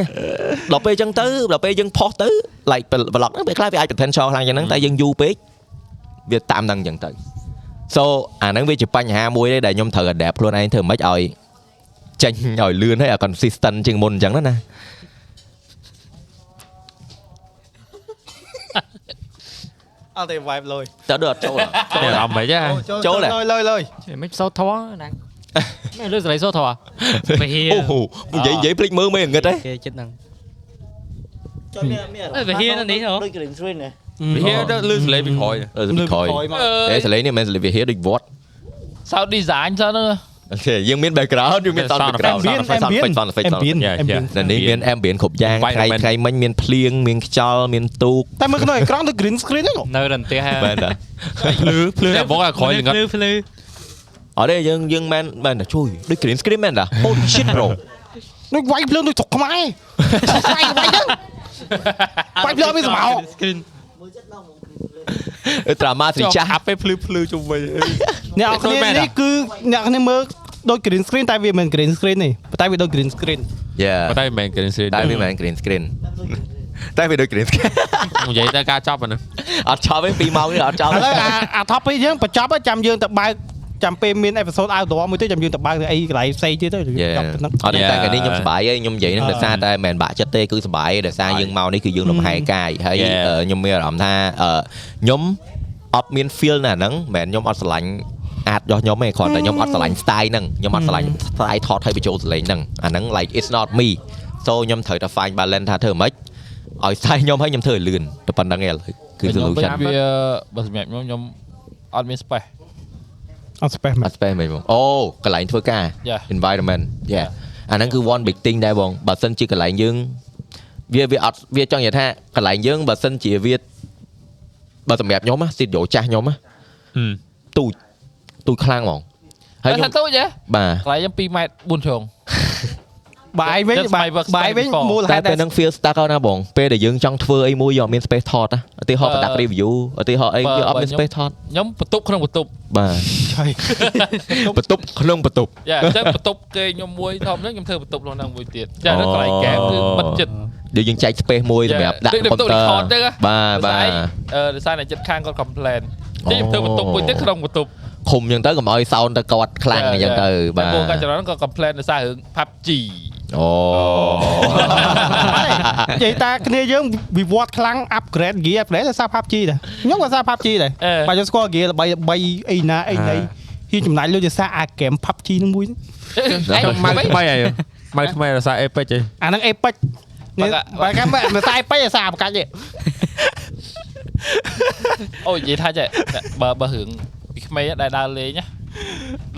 ដល់ពេលអញ្ចឹងទៅដល់ពេលយើងផុសទៅ like vlog ហ្នឹងពេលខ្លះវាអាច potential ខ្លាំងយ៉ាងហ្នឹងតែយើងយូរពេកវាតាមហ្នឹងអញ្ចឹងទៅ so អាហ្នឹងវាជាបញ្ហាមួយដែរដែលខ្ញុំត្រូវ adapt ខ្លួនឯងធ្វើម៉េចឲ្យចេញឲ្យលឿនហើយឲ្យ consistent ជាងមុនអញ្ចឹងណាណា
អត់ទេ vibe លុយ
តើដូចអត់ចូល
មានអារម្មណ៍ ហ្មងចា
ចូលដែរ
លុយលុយលុយ
Trời, mấy số thó nè Mấy đứa lấy số thó à?
វាហៀ
អូហូនិយាយនិយាយភ្លេចមើលមេងឹតហ៎
គេចិត្តហ្នឹង
ចុះមានមាន
អេវាហ៊ានណាស់នេះហ៎
ដូច green screen នេះ
វាទៅលឺសលេងពីក្រោយទៅ
អឺពីក្រោយអេសលេងនេះមិនមែនសលេងវាហៀដូចវត្ត
sound design ចឹងហ្នឹង
អូខេយើងមាន background យើងមាន sound
Sound
background
effect,
sound effect,
ambient,
sound effect, sound effect
ambient,
Yeah,
ambient.
yeah.
នៅនេះមាន ambient គ្រប់យ៉ាង
Environment.
ថ្ងៃថ្ងៃមិញមានភ្លៀងមានខ្យល់មានទូក
តែមើលក្នុងអេក្រង់ទៅ green screen ហ្នឹង
Nơi đằng tia
មែន
ha
តា
ភ្លឺភ្លឺតែបងឲ្យក្រោយលងឹត
ភ្លឺភ្លឺ
អត់ទេយើងយើងមែនមែនតាជួយដូច green screen មែនតា holy shit bro
ដូចវាយភ្លើងដូចស្រុកខ្មែរវាយវាយហ្នឹងវាយភ្លើងមានសមោក
screen
អឺ drama ស្រីចាស់
អាប់ពេលភ្លឺភ្លឺជុំវិញ
អ្នកនរគ្នានេះគឺអ្នកនរគ្នាមើលដូច green screen តែវាមិនមែន green screen ទេប៉ុន្តែវាដូច green screen
yeah
ប៉ុន្តែមិនមែន green screen
តែ
ទេ
វាមិនមែន green screen តែវាដូច green screen
និយាយទៅការចប់អាហ្នឹង
អត់ចប់ទេ2ម៉ោងនេះអត់ចប់
ឥឡូវ
ទេ
អាអា topic យើងបញ្ចប់ហើយចាំយើងទៅបើកចាំពេលមាន episode outdoor មួយទៀតចាំយើងទៅបើកទៅអីកន្លែងផ្សេងទៀតទៅយើង
យេអ
ចប់ប៉ុណ្ណឹង
ត់ទេតែកាលនេះខ្ញុំសប្បាយហើយខ្ញុំនិយាយហ្នឹងដោយសារតែមិនមែនបាក់ចិត្តទេគឺសប្បាយដោយសារយើងមកនេះគឺយើងលំហែកាយហើយ
Yeah.
អឺខ្ញុំមានអារម្មណ៍ថាអឺខ្ញុំអត់មាន feel ណាហ្នឹងមិនមែនខ្ញុំអត់ស្រឡាញ់អាចរបស់ខ្ញុំទេគ្រាន់តែខ្ញុំអត់ស្រឡាញ់ style ហ្នឹងខ្ញុំអត់ស្រឡាញ់ style ថតឲ្យបញ្ចូលសលេងហ្នឹងអាហ្នឹង like it's not me so ខ្ញុំត្រូវតែ find balance ថាធ្វើម៉េចឲ្យ style ខ្ញុំឲ្យខ្ញុំធ្វើឲ្យលឿនតែប៉ុណ្្នឹងឯងឥឡូវគឺ
ខ្ញុំវិញ
solution
វាបើសម្រាប់ខ្ញុំខ្ញុំអត់មាន space
អត់ space
អ
មែន
ត់ស្ពេសមិនបងអូកន្លែងធ្វើការ
Yeah.
environment yeah អាហ្នឹងគឺ one big thing ដែរបងបើសិនជាកន្លែងយើងវាវាអត់វាចង់និយាយថាកន្លែងយើងបើសិនជាវាបើសម្រាប់ខ្ញុំណាស្ទីឌីយោចាស់ខ្ញុំណា
ហឹម
ទូចទូចខ្លាំងហ្មង ហើ
ហើយ យ
ខ្ញុំ
ថាតូចហ៎
បាទ
កន្លែងខ្ញុំ2ម៉ែត្រ4ជ្រុង
បាយវិញ
Just
បាយ
fireworks
បាយវិញ
before
មូលហេ
តែពេល
តុដែ
ហ្នឹង feel stuck ហើយណាបងពេលដែលយើងចង់ធ្វើអីមួយយកអត់មាន space ថតណាឧទាហរណ៍
បើ
ប្រដាប់ review ឧទាហរណ៍អី
បើ
គឺអត់
បើ
មាន
ខ្ញុំ
space ថត
ខ្ញុំបន្ទប់ក្នុងបន្ទប់
បាទ បន្ទប់ក្នុងបន្ទប់
យ៉ាអញ្ចឹងបន្ទប់គេខ្ញុំមួយធំហ្នឹងខ្ញុំធ្វើបន្ទប់ក្នុងហ្នឹងមួយទៀតចាហ្នឹងកន្លែងហ្គេមគឺបិទចិត្ត
ដែលយើងចែក space មួយសម្រាប់ដាក់
ដូច
computer
បន្ទប់ record ចឹងហ៎
បាទ
ដោយ
បា
សារឯងអឺដោយ
ទ
សារអ្នកចិត្តខាងគាត់ complain តែខ្ញុំធ្វើ
អូ
បន្ទប់មួយទៀតក្នុងបន្ទប់
ឃុំអញ្ចឹងទៅកុំឲ្យ sound ទៅគាត់ខ្លាំងអញ្ចឹងទៅ
តែ
បាទ
ពួកកាចរ៉ាន់ក៏ complain ដោយសាររឿង PUBG
អូ
រនិយាយតាគ្នាយើងវិវត្តខ្លាំង upgrade gear ប្រហែលតែសារ PUBG ដែរខ្ញុំក៏សារ PUBG ដែរ
អេ
បាទខ្ញុំស្គាល់ gear ល្បីល្បីអីណាអីណីហ៊ានចំណាយលុយទៅសារអា game PUBG ហ្នឹងមួយហ្នឹង
ឯង
ម៉ៅ
ម៉ៅ
ថ្មីហើយម៉ៅថ្មីរសារ Apex ឯង
អាហ្នឹង Epic នេះបើ កាមមិនសារ Epic ឯសារប្រកាច់ទេ
អូនិយាយថាចេះបើបើរឿងពីក្មេងហ្នឹងដែលដើរលេងណា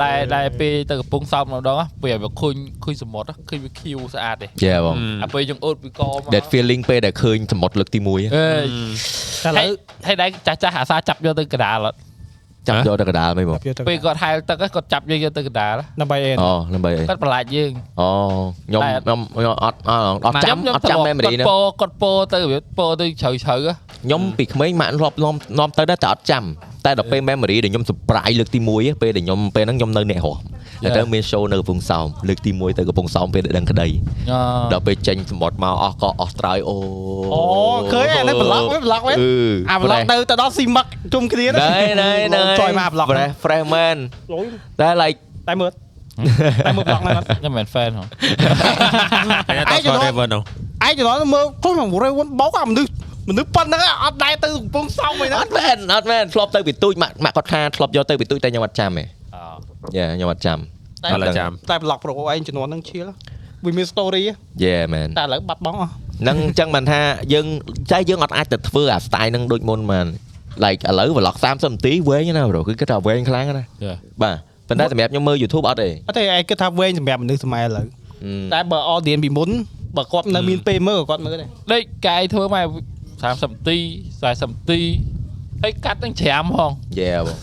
ដែលដែលពេលទៅកំពង់សោមម្ដងណាពេលឲ្យវាឃើញឃើញសមុទ្រណាឃើញវាខៀវស្អាតទេ
យេបង
អាពេលយើងអូតពីកមក
that feeling ពេលដែលឃើញសមុទ្រលើកទី1
អេតែឥឡូវហើយដែរចាស់ចាស់អាសាចាប់យកទៅកណ្ដាលអត់
ចាប់យកទៅកណ្ដាលមិនបង
ពេលគាត់ហែលទឹកហ្នឹងគាត់ចាប់យើងយកទៅកណ្ដាល
ដើម្បីអី
អូដើម្បីអី
គាត់ប្រឡាចយើង
អូខ្ញុំ
តែ
ខ្ញុំខ្ញុំអត់អត់អត់ចាំអត់ចាំ memory ហ្នឹង
គាត់ពោគាត់ពោទៅវាពោទៅជ្រៅជ្រៅហ៎
ខ្ញុំពីក្មេងម៉ាក់លាប់នាំនាំទៅដែរតែអត់ចាំតែដល់ពេល memory ដែលខ្ញុំ surprise លើកទី1ពេលដែលខ្ញុំពេលហ្នឹងខ្ញុំនៅអ្នករស់តែទៅមាន show នៅកំពង់សោមលើកទី1ទៅកំពង់សោមពេលដែលដឹងក្តី ដល់ពេលចេញសម្បត្តិមកអស់ក៏អស់ត្រើយអូ
អូឃើញអាហ្នឹង block វិញ block វិញ អាប្លុកទៅទៅដល់ស៊ីម៉ាក់ជុំគ្នា
ណែណែណែ
ចយមកអាប្លុក
ហ្វ្រេសហ្វ្រេសមែន
លុយ
តែ like
តែមើលតែមើលប្លុកហ្នឹងអត់
ខ្ញុំមិនមែន fan ហ៎
តែតោះ
ឯងទៅ
Forever នោះ
ឯងទៅដល់មើលខ្លួនរេវ៉ុនបោកអាមនុស្សមនុស្សប៉ុណ្ណឹងអត់ដែរទៅកំពង់សោមអី
អ
ណា
ត់មែនអត់មែនធ្លាប់ទៅពីទូចម៉ាក់ម៉ាក់គាត់ថាធ្លាប់យកទៅពីទូចតែខ្ញុំអត់ចាំទេយេខ្ញុំអត់ចាំ
អត់ឡើយចាំ
តែប្លុកប្រូឯងជំនាន់ហ្នឹងឈៀលវាមាន story
យេមែន
តែឥឡូវបាត់បង់អស់
ហ្នឹងអញ្ចឹងបានថាយើងតែយើងអត់អាចទៅធ្វើអា style ហ្នឹងដូចមុនបាន like ឥឡូវ vlog 30នាទីវែងណាប្រូគឺគេថាវែងខ្លាំងណាបាទប៉ុន្តែសម្រាប់ខ្ញុំមើល YouTube អត់ទេ
អត់ទេឯងគិតថាវែងសម្រាប់មនុស្សសម័យឥឡូវតែបើ audience ពីមុនបើគាត់នៅមានពេលមើលក៏គាត់មើលដែរ
ដូចកាយធ្វើមក30នាទី40នាទីហើយកាត់នឹងច្រាមហង
យេបង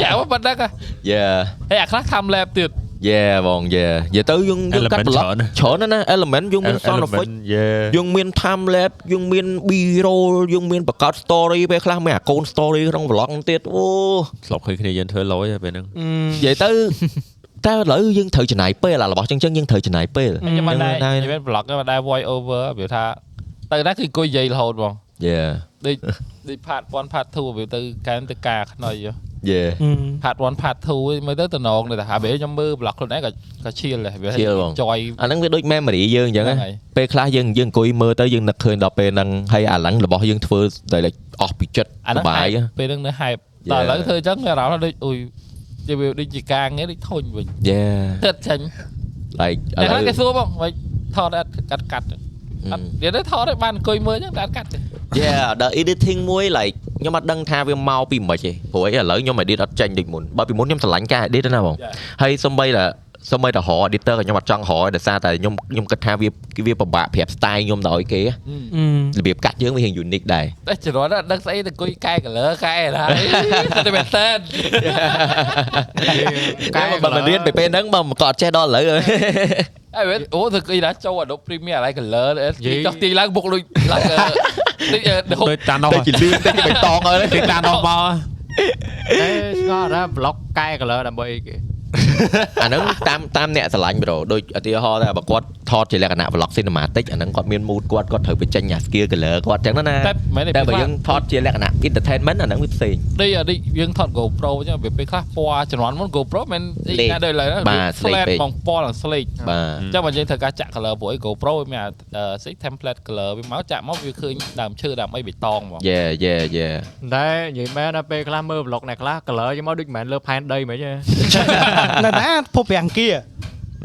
ច្រាមប៉ុណ្ណឹងហ៎
យេ
ហើយអាខ្លះ time lap ទៀត
យេបងយេនិយាយទៅយើងយើងកាត់
Element
vlog
ច្រើនណាស់
ច្រើនណាស់ណា element យើងមាន sound effect
យេ
យើងមាន time lapse យើងមាន B roll យើងមានបង្កើត story ពេលខ្លះមានអាកូន story ក្នុង vlog ហ្នឹងទៀតអូ
ធ្លាប់ឃើញគ្នាយើងធ្វើលយពេលហ្នឹង
និយាយទៅ តែឥឡូវយើងត្រូវចំណាយពេលអារបស់ចឹងចឹងយើងត្រូវចំណាយពេល
ហើយខ្ញុំមិនដែរខ្ញុំ
ខ្ញុំមិនដែរ
មាន vlog ខ្ញុំមិនដែរ voice over វាថាទៅណាគឺអង្គុយនិយាយរហូតហ្មង
Yeah
ដូចដូច part 1 part 2វាទៅកែមទៅការខ្នុយហ៎
Yeah
part 1 part 2ឯងមើលទៅតំណងទៅថាអាពេលខ្ញុំមើល vlog ខ្លួនឯងក៏ក៏ឈៀលដែរវា
Chill ហ្មង
enjoy
អាហ្នឹងវាដូច memory យើងអញ្ចឹង
ហ្នឹង
ណា
ហើយ
ពេលខ្លះយើងយើងអង្គុយមើលទៅយើងនឹកឃើញដល់ពេលហ្នឹងហើយអាឡើងរបស់យើងធ្វើតែលេចអស់ពីចិត្ត
អា
ស
ហ្នឹង
ប្បាយ
hype ពេលហ្នឹងនៅ hype តែ
Yeah.
ឥឡូវធ្វើអញ្ចឹងមានអារម្មណ៍ថាដូចអ៊ុយនិយាយវាដូចជាការងារដូចធុញវិញ
Yeah
ទឹកចាញ់
like ឥ
តែ
ឡូវ
ហ្នឹងគេសួរបងមិនថតអត់កាត់កាត់ទេ
Ừ.
អត់និយាយទៅថតឲ្យបានអង្គុយមើលអញ្ចឹងតែអត់កាត់ទេ
Yeah ដល់ editing មួយ like ខ្ញុំអត់ដឹងថាវាមកពីមិនទេព្រោះអីឥឡូវខ្ញុំ edit អត់ចេញដូចមុនបើពីមុនខ្ញុំស្រឡាញ់ការ edit ណាបងហើយសំបីតែសំបីតែរក editor ក៏ខ្ញុំអត់ចង់រកដោយសារតែខ្ញុំខ្ញុំគិតថាវាវាពិបាកប្រាប់ style ខ្ញុំទៅឲ្យគេហ៎របៀបកាត់យើងវារៀង unique ដែរ
តែជំនាន់អត់ដឹងស្អីទៅអង្គុយកែ color កែណា តែតែមែនតើ
តែបើមិនរៀនពីពេលហ្នឹងបើមិនក៏អត់ចេះដល់ឥឡូវ
អីវិញអូទៅគេណាចូល Adobe Premiere ឲ្យ color
យេ
ចុះទីឡើងបុកដូចឡើងអឺ ដូចអឺដុំ
ដូចតាណោះ
តែជាលឿនតែជាបៃតងអើយ
គេតាណោះមក
េស្គាល់ដែរ block កែ color ដើម្បីអីគេ
អាហ្នឹងតាមតាមអ្នកស្រឡាញ់ប្រូដូចឧទាហរណ៍ថាបើគាត់ថតជាលក្ខណៈ vlog cinematic អាហ្នឹងគាត់មាន mood គាត់គាត់ត្រូវបញ្ចេញអា skill color គាត់ចឹងណាណា
តែមែនទេ
តែ
ពី
បើ
ខ្លះ
យើងថតជាលក្ខណៈ entertainment អាហ្នឹងវាផ្សេង
ដូចអឺដូចយើងថត GoPro អញ្ចឹងវាពេលខ្លះពណ៌ជំនាន់មុន GoPro មិនអី
លេខ
ណាដូចឡើយណា
បាទ
វា
ស្លេក
flat
ពេក
មកពណ៌ឡើងស្លេក
បាទ
អញ្ចឹងបើយើងធ្វើការចាក់ color ពួកអី GoPro វាមានអាអឺស្អី template color វាមកចាក់មកវាឃើញដើមឈើដើមអីបៃតងហ្មង
Yeah yeah yeah
តែនិយាយមែនដល់ពេលខ្លះមើល block អ្នកខ្លះ color យើងមកដូចមិនមែនលើផែនដីហ្មងទេ
នៅណាភពរាំងគា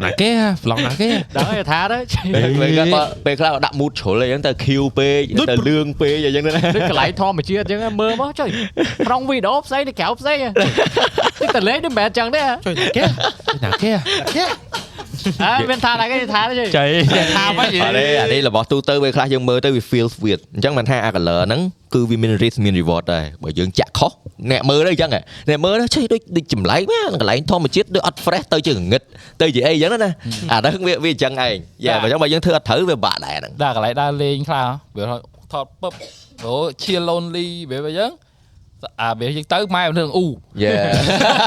ណាគេហ៎ vlog ណា គេ
ដឹងហើយថាទៅ
ពេលខ្លះគាត់ពេលខ្លះគាត់ដាក់ mood ជ្រុលអីចឹងទៅ Q ពេកទៅលឿងពេកអីចឹងទៅណា
ដូចកន្លែងធម្មជាតិអញ្ចឹងមើលមកចុយក្នុងវីដេអូផ្សេងទៅ à. ក្រៅផ្សេងតែលេងដូចមិនមែនអញ្ចឹងទេ
ជួយតែគេ
ណាគេ
គេ
អើមានថាតែគេថាទេ
ចៃ
ថាមកយី
អរេអានេះរបស់ទូទៅពេលខ្លះយើងមើលទៅវា feel weird អញ្ចឹងមិនថាអា color ហ្នឹងគឺវាមាន risk មាន reward ដែរបើយើងចាក់ខុសអ្នកមើលទៅអញ្ចឹងហ៎អ្នកមើលទៅចេះដូចដូចចម្លែកណាកន្លែងធម្មជាតិដូចអត់ fresh ទៅជាងងឹតទៅជាអីអញ្ចឹងណាអាហ្នឹងវាវាអញ្ចឹងឯងយ៉ាបើអញ្ចឹងបើយើងធ្វើអត់ត្រូវវាបាក់ដែរហ្នឹង
ដាក់កន្លែងដើរលេងខ្លះវាថតពឹបអូឈៀ lonely វាបែបយ៉ាងអាវាយើងទៅម៉ែនឹងអ៊ូ
Yeah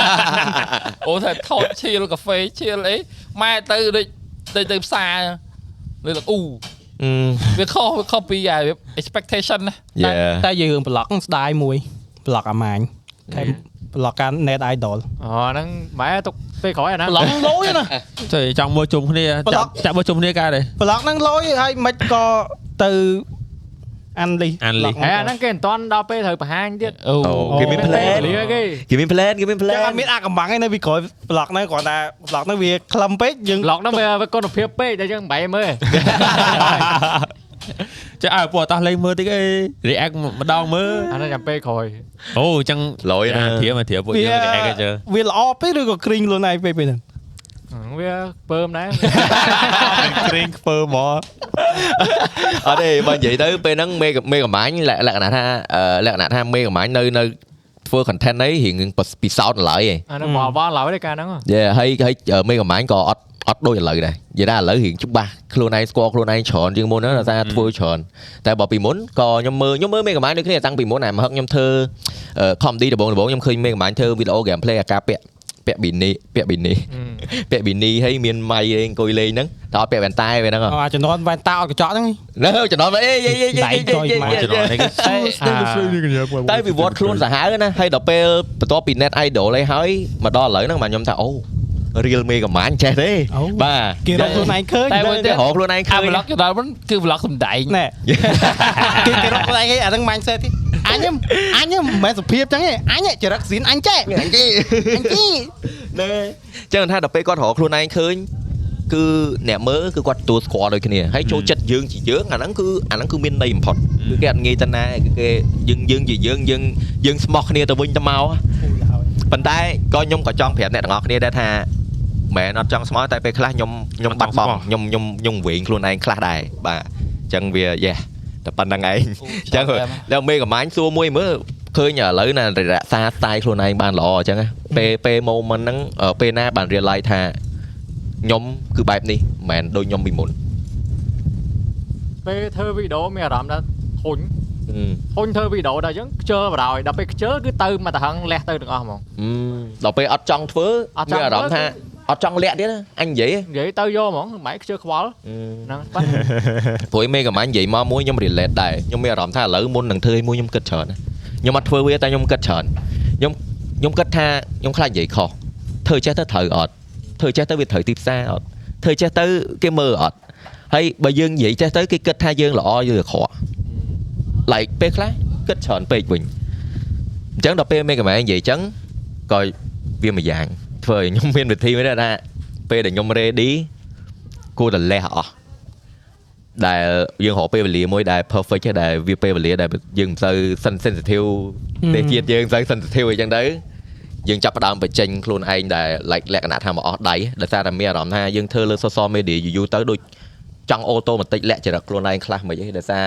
អូតែថតឈៀលកាហ្វេឈៀលអីម៉ែទៅដូចទៅទៅផ្សារលើអ៊ូវាខុសវាខុសពីអា expectation ណា
Yeah
តែយើងរឿងប្លុកស្ដាយមួយ ប្លុកអាម៉ាញតែប្លុកការ net idol
អូហ្នឹងម៉ែទុកពេលក្រោយអាហ្នឹង
ប្លុកលយណា
ចៃចង់មើលជុំគ្នាចាក់ចាក់មើលជុំគ្នាកើតទេ
ប្លុកហ្នឹងលយហើយមិនក៏ទៅអានលី
Unleash
ហើយអាហ្នឹងគេមិនតាន់ដល់ពេលត្រូវបង្ហាញទៀត
អូ
Oh, give me
ពេល
plan
វេលាគេ
give me plan give me
ចឹង
plan
អត់មានអាកំបាំងឯនៅពីក្រោយប្លុកហ្នឹងគ្រាន់តែប្លុកហ្នឹងវាខ្លឹមពេកយើង
ឡុកហ្នឹងវាវាគុណភាពពេកតែយើងមិនបែរមើល
ចាក់ឲ្យពួកអត់តោះលេងមើលតិចអី react ម្ដងមើល
អាហ្នឹងចាំពេលក្រោយ
អូអញ្ចឹង
លយណា
អាធៀបអាធៀបពួកយើង react អញ្ចឹង
វាល្អពេកឬក៏គ្រីងខ្លួនឯងពេកពេលហ្នឹង
វាពើមដែរ
ត្រេងខ្ពើហ្មង
អត់ទេបើនិយាយទៅពេលហ្នឹងមេមេកំាញ់លក្ខលក្ខណៈថាអឺលក្ខណៈថាមេកំាញ់នៅនៅធ្វើ content នេះរៀងពិសោធន៍ឡើយឯង
អាហ្នឹងមកវល់ឡើយទេកាលហ្នឹង
យេហើយហើយមេកំាញ់ក៏អត់អត់ដូចឥឡូវដែរនិយាយថាឥឡូវរៀងច្បាស់ខ្លួនឯងស្គាល់ខ្លួនឯងច្រើនជាងមុនណាដោយសារធ្វើច្រើនតែបើពីមុនក៏ខ្ញុំមើលខ្ញុំមើលមេកំាញ់ដូចគ្នាតាំងពីមុនតែមកហឹកខ្ញុំធ្វើ comedy ដំបូងដំបូងខ្ញុំឃើញមេកំាញ់ធ្វើ video gameplay អាការពាក់ពាក់ប៊ីនីពាក់ប៊ីនីពាក់ប៊ីនីហើយមានម៉ៃឯងអង្គុយលេងហ្នឹងតោះពាក់វ៉ែនតែវាហ្នឹងហ៎
អអាជំនាន់វ៉ែនតាអត់កញ្ចក់ហ្នឹង
នៅចំណងអេយេយេយេយេចំណងនេះ តែវិវត្តខ្លួនសាហាវណាហើយដល់ពេលបន្ទាប់ពី net idol ឯងហើយមកដល់ឥឡូវហ្នឹងបាទខ្ញុំថាអូ real មេកំាញ់ចេះទេបាទ
គេរកខ្លួនឯងឃើញ
តែ
តែ
មួយ
តែរកខ្លួនឯង
អា
ឃើញ
vlog ទៅដល់មិនគឺ vlog សំដែង
ណែគេគេរកខ្លួនឯងឯងអាហ្នឹង mindset ទេអញហ្នឹងអញហ្នឹងមិនមែនសុភាពចឹងទេអញហ្នឹងចរិតស៊ីនអញចេះអញជីអញជី
ចឹងថាដល់ពេលគាត់រកខ្លួនឯងឃើញគឺអ្នកមើលគឺគាត់ទទួលស្គាល់ដូចគ្នាហើយចូលចិត្តយើងជាយើងអាហ្នឹងគឺអាហ្នឹងគឺមានន័យបំផុតគឺគេអត់ងាយទៅណាគឺគេយើងយើងជាយើងយើងយើងស្មោះគ្នាទៅវិញទៅមកប៉ុន្តែក៏ខ្ញុំក៏ចង់ប្រាប់អ្នកទាំងអស់គ្នាដែរថាមិនមែនអត់ចង់ស្មោះតែពេលខ្លះខ្ញុំខ្ញុំបាត់បង់ខ្ញុំខ្ញុំខ្ញុំវែងខ្លួនឯងខ្លះដែរបាទអញ្ចឹងវាយេតែប៉ុណ្្នឹងឯង ចឹង
អូ
ដល់មេកំាញ់សួរមួយមើលឃើញឥឡូវណារក្សា style ខ្លួនឯងបានល្អអញ្ចឹងណាពេលពេល moment ហ្នឹងអឺពេលណាបាន realize ថាខ្ញុំគឺបែបនេះមិនមែនដូចខ្ញុំពីមុន
ពេលធ្វើវីដេអូមានអារម្មណ៍ថាហ៊ុញហ៊ុញធ្វើវីដេអូដល់អញ្ចឹងខ្ជិលបណ្ដោយដល់ពេលខ្ជិលគឺទៅមកតាហឹងលះទៅទាំងអស់ហ្មង
ហឹមដល់ពេលអត់ចង់ធ្វើ
អត់ចង់
មានអារម្មណ៍
ធ្វើ
ថាអត់ចង់លាក់ទៀតណាអញនិយាយហ៎
និយាយទៅយកហ្មងមិនខ្ជិលខ្វល់ហ្នឹងប៉ះ
ព្រោះឯមេកំាញ់និយាយមកមួយខ្ញុំ relate ដែរខ្ញុំមានអារម្មណ៍ថាឥឡូវមុននឹងធ្វើឲ្យមួយខ្ញុំគិតច្រើនណាខ្ញុំអត់ធ្វើវាតែខ្ញុំគិតច្រើនខ្ញុំខ្ញុំគិតថាខ្ញុំខ្លាចនិយាយខុសធ្វើចេះទៅត្រូវអត់ធ្វើចេះទៅវាត្រូវទីផ្សារអត់ ធ្វើចេះទៅគេមើលអត់ហើយបើយើងនិយាយចេះទៅគេគិតថាយើងល្អយើងអាក្រក់ like ពេលខ្លះគិតច្រើនពេកវិញអញ្ចឹងដល់ពេលមេកម្លាំងនិយាយអញ្ចឹងក៏វាមួយយ៉ាងធ្វើ ឲ្យខ្ញុំមានវិធីមួយដែរថាពេលដែលខ្ញុំ ready គួរតែលះអស់ដែលយើងរកពេលវេលាមួយដែល perfect ទេដែលវាពេលវេលាដែលយើងមិនសូវ sen- sensitive ទេជាតិយើងមិនសូវ sensitive អីចឹងទៅយើងចាប់ផ្ដើមបញ្ចេញខ្លួនឯងដែល like លក្ខណៈថាមកអស់ដៃដោយសារតែមានអារម្មណ៍ថាយើងធ្វើលើ social media យូរៗទៅដូចចង់ automatic លក្ខចរិតខ្លួនឯងខ្លះមិនអីដោយសារ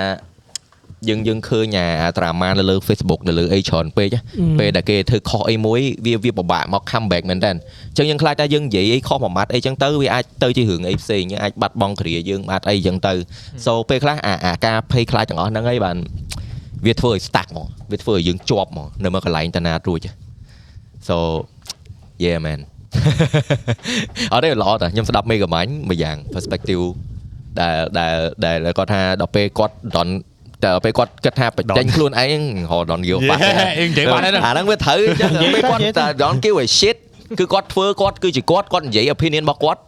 យើងយើងឃើញអាអាត្រាម៉ាននៅលើ Facebook នៅលើអីច្រើនពេកហ៎ពេលដែលគេធ្វើខុសអីមួយវាវាពិបាកមក comeback មែនតើអញ្ចឹងយើងខ្លាចថាយើងនិយាយអីខុសមួយម៉ាត់អីចឹងទៅវាអាចទៅជារឿងអីផ្សេងយើងអាចបាត់បង់គ្រាយើងបាត់អីចឹងទៅ so ពេលខ្លះអាអាការភ័យខ្លាចទាំងអស់ហ្នឹងឯងបានវាធ្វើឲ្យ stuck ហ្មងវាធ្វើឲ្យយើងជាប់ហ្មងនៅមកកន្លែងតាណារួច so yeah man អរេល្អតាខ្ញុំស្ដាប់មេកំាញ់មួយយ៉ាង perspective ដែលដែលដែលគាត់ថាដល់ពេលគាត់ don តែដល់ពេលគាត់គិតថាបញ្ចេញខ្លួនឯងហៅ don យកបាត់
យេ អីនិយាយបាត់ហើយណា
អាហ្នឹងវា ត្រូវអញ្ចឹងពេលគាត់តែ don give a shit គឺគាត់ធ្វើគាត់គឺជាគាត់គាត់និយាយ opinion របស់គាត់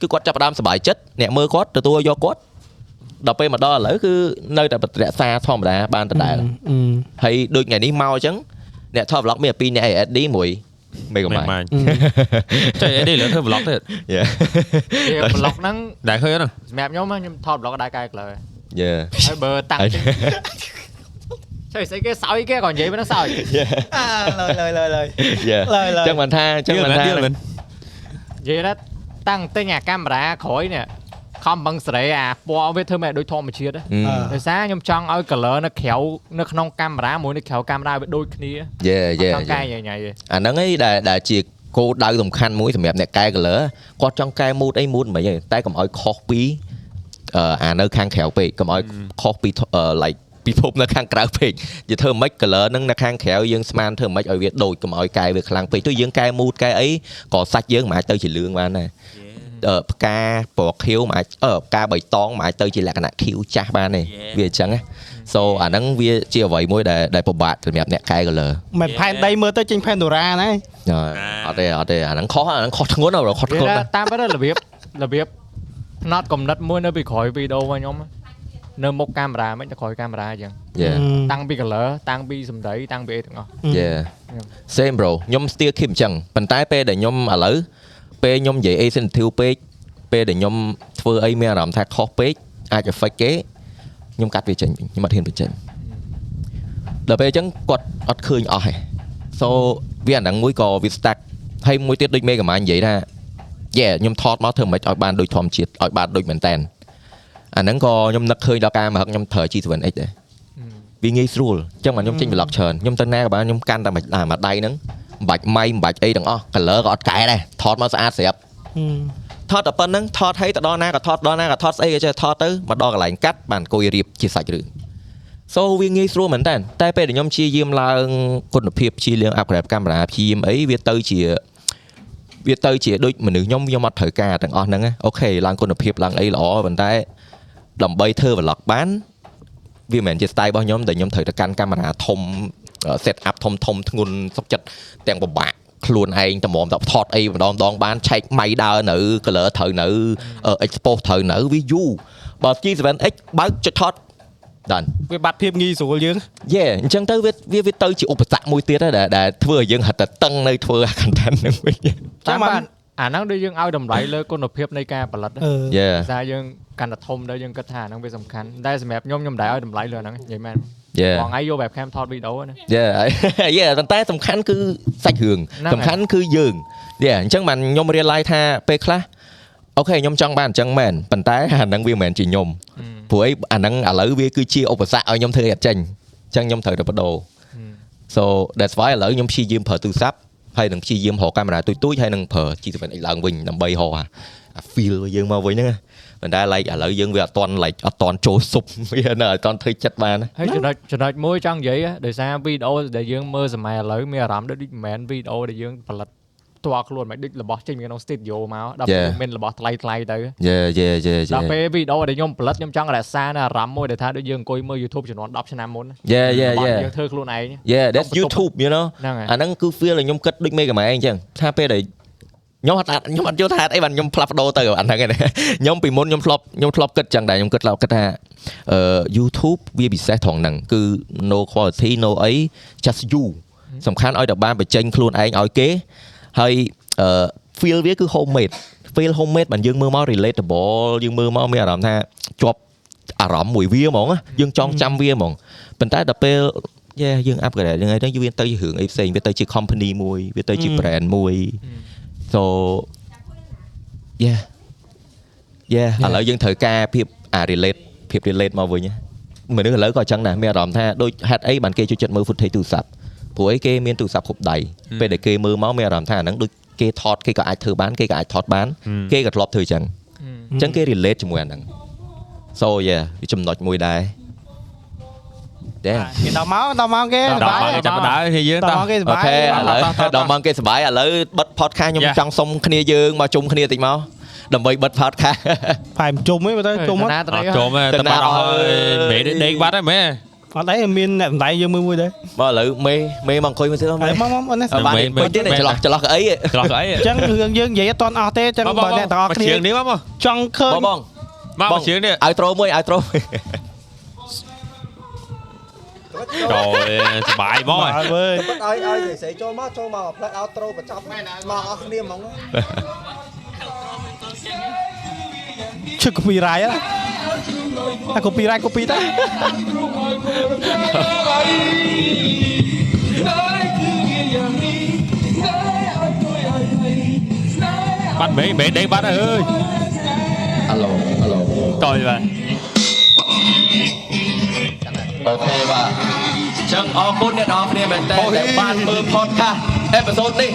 គឺគាត់ចាប់ផ្ដើមសប្បាយចិត្តអ្នកមើលគាត់ទទួលយកគាត់ដល់ពេលមកដល់ឥឡូវគឺនៅតែបរិយាធម្មតាបានដដែល ហើយដូចថ្ងៃនេះមកអញ្ចឹងអ្នកថត vlog មានតែពីរអ្នក ASD មួយមេកុំ
មិន
បា
បា
ញ់
ញ់ ចៃអីនេះលើធ្វើ vlog ទេ
Yeah
វាប្លុកហ្នឹង
ដែរឃើញអត់
សម្រាប់ខ្ញុំខ្ញុំថតប្លុកដែរកែក្លើយ
Yeah
ហើយបើតាំង
ហើយ
ចុះស្អីគេសោយគេក៏និយាយមិនដឹងសោយ
Dạ. Yeah អញ្ចឹងមិនថាអញ្ចឹងមិនថា
Deal
មិន
man
និយាយណា តាំងទិញអាកាមេរ៉ាក្រោយនេះខំបឹងសេរីអាពណ៌វាធ្វើមកឲ្យដូចធម្មជាតិ
អឺ
ហ៎ដោយសារខ្ញុំចង់ឲ្យ color នៅក្រៅនៅក្នុងកាមេរ៉ាមួយនៅក្រៅកាមេរ៉ាវាដូចគ្នា
យេយេ
ចង់កែញ៉ៃញ៉ៃទេ
អាហ្នឹងឯងដែលដែលជាគោលដៅសំខាន់មួយសម្រាប់អ្នកកែ color គាត់ចង់កែ mood អី mood មិនអីទេតែកុំឲ្យខុសពីអឺអានៅខាងក្រៅពេកកុំឲ្យខុសពីធអឺ like ពិភពនៅខាងក្រៅពេកនិយាយធ្វើម៉េច color ហ្នឹងនៅខាងក្រៅយើងស្មានធ្វើម៉េចឲ្យវាដូចកុំឲ្យកែវាខ្លាំងពេកទោះយើងកែ mood កែអីក៏សាច់យើងមិនអាចទៅជាលឿងបានដែរអឺផ្កាពណ៌ខៀវមិនអាចអឺផ្កាបៃតងមិនអាចទៅជាលក្ខណៈខៀវចាស់បានទេវាអញ្ចឹងណា so អាហ្នឹងវាជាអ្វីមួយដែលដែលពិបាកសម្រាប់អ្នកកែ color
មិនផែនដីមើលទៅចេញផែនដូរ៉ាណា
អត់ទេអត់ទេអាហ្នឹងខុសអាហ្នឹងខុសធ្ងន់អត់ខុសធ្ង
វា
ន់ណាស់
តាមពិតរបៀបរបៀបផ្នត់កំណត់មួយនៅពីក្រោយវីដេអូរបស់ខ្ញុំនៅមុខកាមេរ៉ាមិនទៅក្រោយកាមេរ៉ាអញ្ចឹង
Yeah
តាំងពី color តាំងពីសម្ដីតាំងពីអីទាំងអស់
Yeah same bro ខ្ញុំ steer keep អញ្ចឹងប៉ុន្តែពេលដែលខ្ញុំឥឡូវពេលខ្ញុំនិយាយ sensitive ពេកពេលដែលខ្ញុំធ្វើអីមានអារម្មណ៍ថាខុសពេកអាច affect គេខ្ញុំកាត់វាចេញវិញខ្ញុំអត់ហ៊ានបញ្ចេញដល់ពេលអញ្ចឹងគាត់អត់ឃើញអស់ហេ so វាអាហ្នឹងមួយក៏វា stack ហើយមួយទៀតដូចមេកម្មានិយាយថា yeah ខ្ញុំថតមកធ្វើមិនឲ្យបានដូចធម្មជាតិឲ្យបានដូចមែនតែនអាហ្នឹងក៏ខ្ញុំនឹកឃើញដល់ការមកខ្ញុំប្រើ G7X ដែរ វាងាយស្រួលអញ្ចឹងបានខ្ញុំចេញ vlog ច្រើនខ្ញុំទៅណាក៏បានខ្ញុំកាន់តែមួយអាមួយដៃហ្នឹងមិនបាច់ម៉ៃមិនបាច់អីទាំងអស់ color ក៏អត់កែដែរថតមកស្អាតស្រាប់ថតតែប៉ុណ្្នឹងថតឲ្យទៅដល់ណាក៏ថតដល់ណាក៏ថតស្អីក៏ចេះថតទៅមកដល់កន្លែងកាត់បានអង្គុយរៀបជាសាច់រឿង so វាងាយស្រួលមែនតើតែពេលដែលខ្ញុំព្យាយាមឡើងគុណភាពព្យាយាម upgrade កាមេរ៉ាព្យាយាមអីវាទៅជាវាទៅជាដូចមនុស្សខ្ញុំខ្ញុំអត់ត្រូវការទាំងអស់ហ្នឹងណាអូខេឡើងគុណភាពឡើងអីល្អប៉ុន្តែដើម្បីធ្វើ vlog បាន វាមិនមែនជា style របស់ខ្ញុំដែលខ្ញុំត្រូវទៅកាន់កាមេរ៉ាធំ set up ធំធំធ្ងន់សុកចិត្តទាំងពិបាកខ្លួនឯងតម្រាំតថតអីម្ដងម្ដងបានឆែកម៉ៃដើរនៅ color ត្រូវនៅ expose ត្រូវនៅវាយូរបើ G7X បើកចុចថត done
វាបាត់ភាពងាយស្រួលយើង
យេអញ្ចឹងទៅវាវាវាទៅជាឧបសគ្គមួយទៀតដែរដែលដែលធ្វើឲ្យយើងហត់តែតឹងនៅធ្វើអា content ហ្នឹងវិញ
តាមបាទអាហ្នឹងដូចយើងឲ្យតម្លៃលើគុណភាពនៃការផលិត
អឺ
Yeah
សារយើងកាន់តែធំដែរយើងគិតថាអាហ្នឹងវាសំខាន់តែសម្រាប់ខ្ញុំខ្ញុំមិនដែរឲ្យតម្លៃលើអាហ្នឹងនិយាយមែន
Yeah
បងឯងយក webcam ថតវីដេអូណា
យេ យេប៉ុន្តែសំខាន់គឺសាច់រឿង
ហ្នឹងហើយ
សំខាន់គឺយើងយេអញ្ចឹងបានខ្ញុំរៀនឡាយថាពេលខ្លះអូខេខ្ញុំចង់បានអញ្ចឹងមែនប៉ុន្តែ អាហ្នឹងវាមិនមែនជាខ្ញុំព្រោះអីអាហ្នឹងឥឡូវវាគឺជាឧបសគ្គឲ្យខ្ញុំធ្វើឲ្យអត់ចេញអញ្ចឹងខ្ញុំត្រូវតែបដូរ so that's why ឥឡូវខ្ញុំព្យាយាមប្រើទូរស័ព្ទហើយនឹងព្យាយាមរកកាមេរ៉ាទូចទូចហើយនឹងប្រើ G7X ឡើងវិញដើម្បីរកអាអា feel របស់យើងមកវិញហ្នឹងណាប៉ុន្តែ like ឥឡូវយើងវាអត់តន់ like អត់តន់ចូល សុបវានៅអត់តន់ធ្វើចិត្តបានណា
ហើយចំណុចចំណុចមួយចង់និយាយហ៎ដោយសារវីដេអូដែលយើងមើលសម័យឥឡូវមានអារម្មណ៍ដូចដូចមិនមែនវីដេអូដែលយើងផលិតផ្ទាល់ខ្លួនមិនដូចរបស់ចេញពីក្នុង studio មកដល់ពេល
Yeah.
មានរបស់ថ្លៃថ្លៃៗទៅ
យេយេយេ
ដល់ពេលវីដេអូដែលខ្ញុំផលិតខ្ញុំចង់រក្សានៅអារម្មណ៍មួយដែលថាដូចយើងអង្គុយមើល YouTube ចំនួន10ឆ្នាំមុន
Yeah, yeah,
បាត់
yeah.
យើងធ្វើខ្លួនឯង
Yeah that's YouTube you know
ហ្នឹងហើយ
អាហ្នឹងគឺ feel ឲ្យខ្ញុំគិតដូចមេកាម៉ែអញ្ចឹងថាពេលដែលខ្ញុំអត់អាចខ្ញុំអត់យល់ថាហេតុអីបានខ្ញុំផ្លាស់ប្ដូរទៅអាហ្នឹងឯង ខ្ញុំពីមុនខ្ញុំធ្លាប់ខ្ញុំធ្លាប់គិតចឹងដែរខ្ញុំគិតឡើងគិតថាអឺ YouTube វាពិសេសត្រង់ហ្នឹងគឺ no quality no អី just you សំខាន់ឲ្យតែបានបញ្ចេញខ្លួនឯងឲ្យគេហើយអឺ feel វាគឺ homemade feel homemade បានយើងមើលមក relatable យើងមើលមកមានអារម្មណ៍ថាជាប់អារម្មណ៍មួយវាហ្មងណាយើងចង់ចាំវាហ្មងប៉ុន្តែដល់ពេល យេយើង upgrade យ៉ាងហ្នឹងវាទៅជារឿងអីផ្សេងវាទៅជា company មួយវាទៅជា
Mm.
brand មួយ so yeah yeah ឥឡូវយើងត្រូវការភាពអា relate ភាព relate មកវិញណាមនុស្សឥឡូវក៏អញ្ចឹងដែរមានអារម្មណ៍ថាដូចហេតុអីបានគេចូលចិត្តមើល footage ទូរស័ព្ទព្រោះអីគេមានទូរស័ព្ទគ្រប់ដៃពេលដែលគេមើលមកមានអារម្មណ៍ថាអាហ្នឹងដូចគេថតគេក៏អាចធ្វើបានគេក៏អាចថតបាន
Mm.
គេក៏ធ្លាប់ធ្វើអញ្ចឹងអញ្ចឹងគេ relate ជាមួយអាហ្នឹង so yeah វាចំណុចមួយដែរ Yeah
គេដល់មកដល់មកគេ
ដល់មកគេចាប់ដើរគ្នាយើង
ដ
តោះ
ល់មកគេស
អូ
បាយ
ខេឥឡូវ ដល់មកគេសប្បាយឥឡូវបិទ podcast ខ្ញុំ
Yeah.
ចង់សុំគ្នាយើងមកជុំគ្នាតិចមកដើម្បីបិទ podcast
ផែមជុំហ្នឹងបើទៅជុំមក
ណា
អ
ត្រី
ត់ចូលទេតែបាត់អស់ហើយមេដេកបាត់ហើយមេ
អត់ដែរមានអ្នកសំដែងយើងមួយមួយដែរ
មកឥឡូវមេមេមកអង្គុយមើលទៀត
ហើយ
មក
មកមកអូនណាអ
បានពេញទៀតចន្លោះចន្លោះអី
ច្រោះក៏អី
ញ្ចឹងរឿងយើងនិយាយអត់តន់អស់ទេអញ្ចឹងបើអ្នកទាំងអស់គ្នា
ជើងនេះមកមក
ចង់ឃើញ
បងបង
មកជើងនេះ
ឲ្យត្រូមួយឲ្យត្រូ
ចូលសបាយមក
អើយវើយ
ឲ្យឲ្យនិយាយចូលមកចូលមកផ្លិតឲ្យត្រូបញ្ចប់មកអស់គ្នាហ្មង
ឈឹក copyright ហ៎តែ copyright copy តើ
បាត់ មេមេដេកបាត់ហើយអើយ
ហៅឡូហៅឡូ
តយបាទ
អូខេបាទអញ្ចឹងអរគុណអ្នកនរគ្នាមែនតើដែលបានមើល podcast អេពីសូតនេះ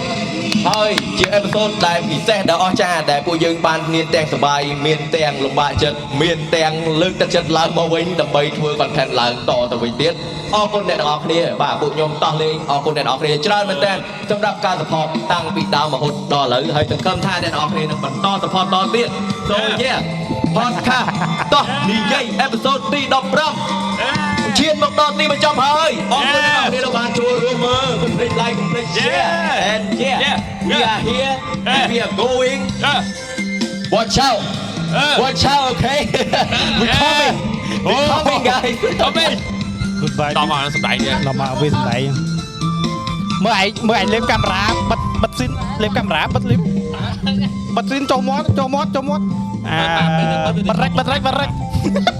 ហើយជាអេពីសូតដែលពិសេសដ៏អស្ចារ្យដែលពួកយើងបានមានទាំងសប្បាយមានទាំងលំបាកចិត្តមានទាំងលើកទឹកចិត្តឡើងមកវិញដើម្បីធ្វើ content ឡើងតទៅវិញទៀតអរគុណអ្នកនរគ្នាបាទពួកខ្ញុំតោះលេងអរគុណអ្នកនរគ្នាច្រើនមែនតើសម្រាប់ការ support តាំងពីដើមរហូតដល់ឥឡូវហើយសង្ឃឹមថាអ្នកនរគ្នានឹងបន្ត support តទៀតសូម yeah podcast តោះនិយាយអេពីសូតទី15 ឈានមកដល់ទីបញ្ចប់ហើយអរគុណអ្នកនរគ្នាដែលបានចូលរួមមើលកុំភ្លេច like កុំភ្លេច share and yeah we are here and we are going watch out watch out okay we coming we coming guys coming
goodbye ដល់មកសម្ដែងនេះ
ដល់មកវាសម្ដែងមើលឯងមើលឯងលេបកាមេរ៉ាបិទបិទស៊ីនលេបកាមេរ៉ាបិទលេបបិទស៊ីនចូលមាត់ចូលមាត់ចូលមាត់អាបិទរិចបិទរិចបិទរិច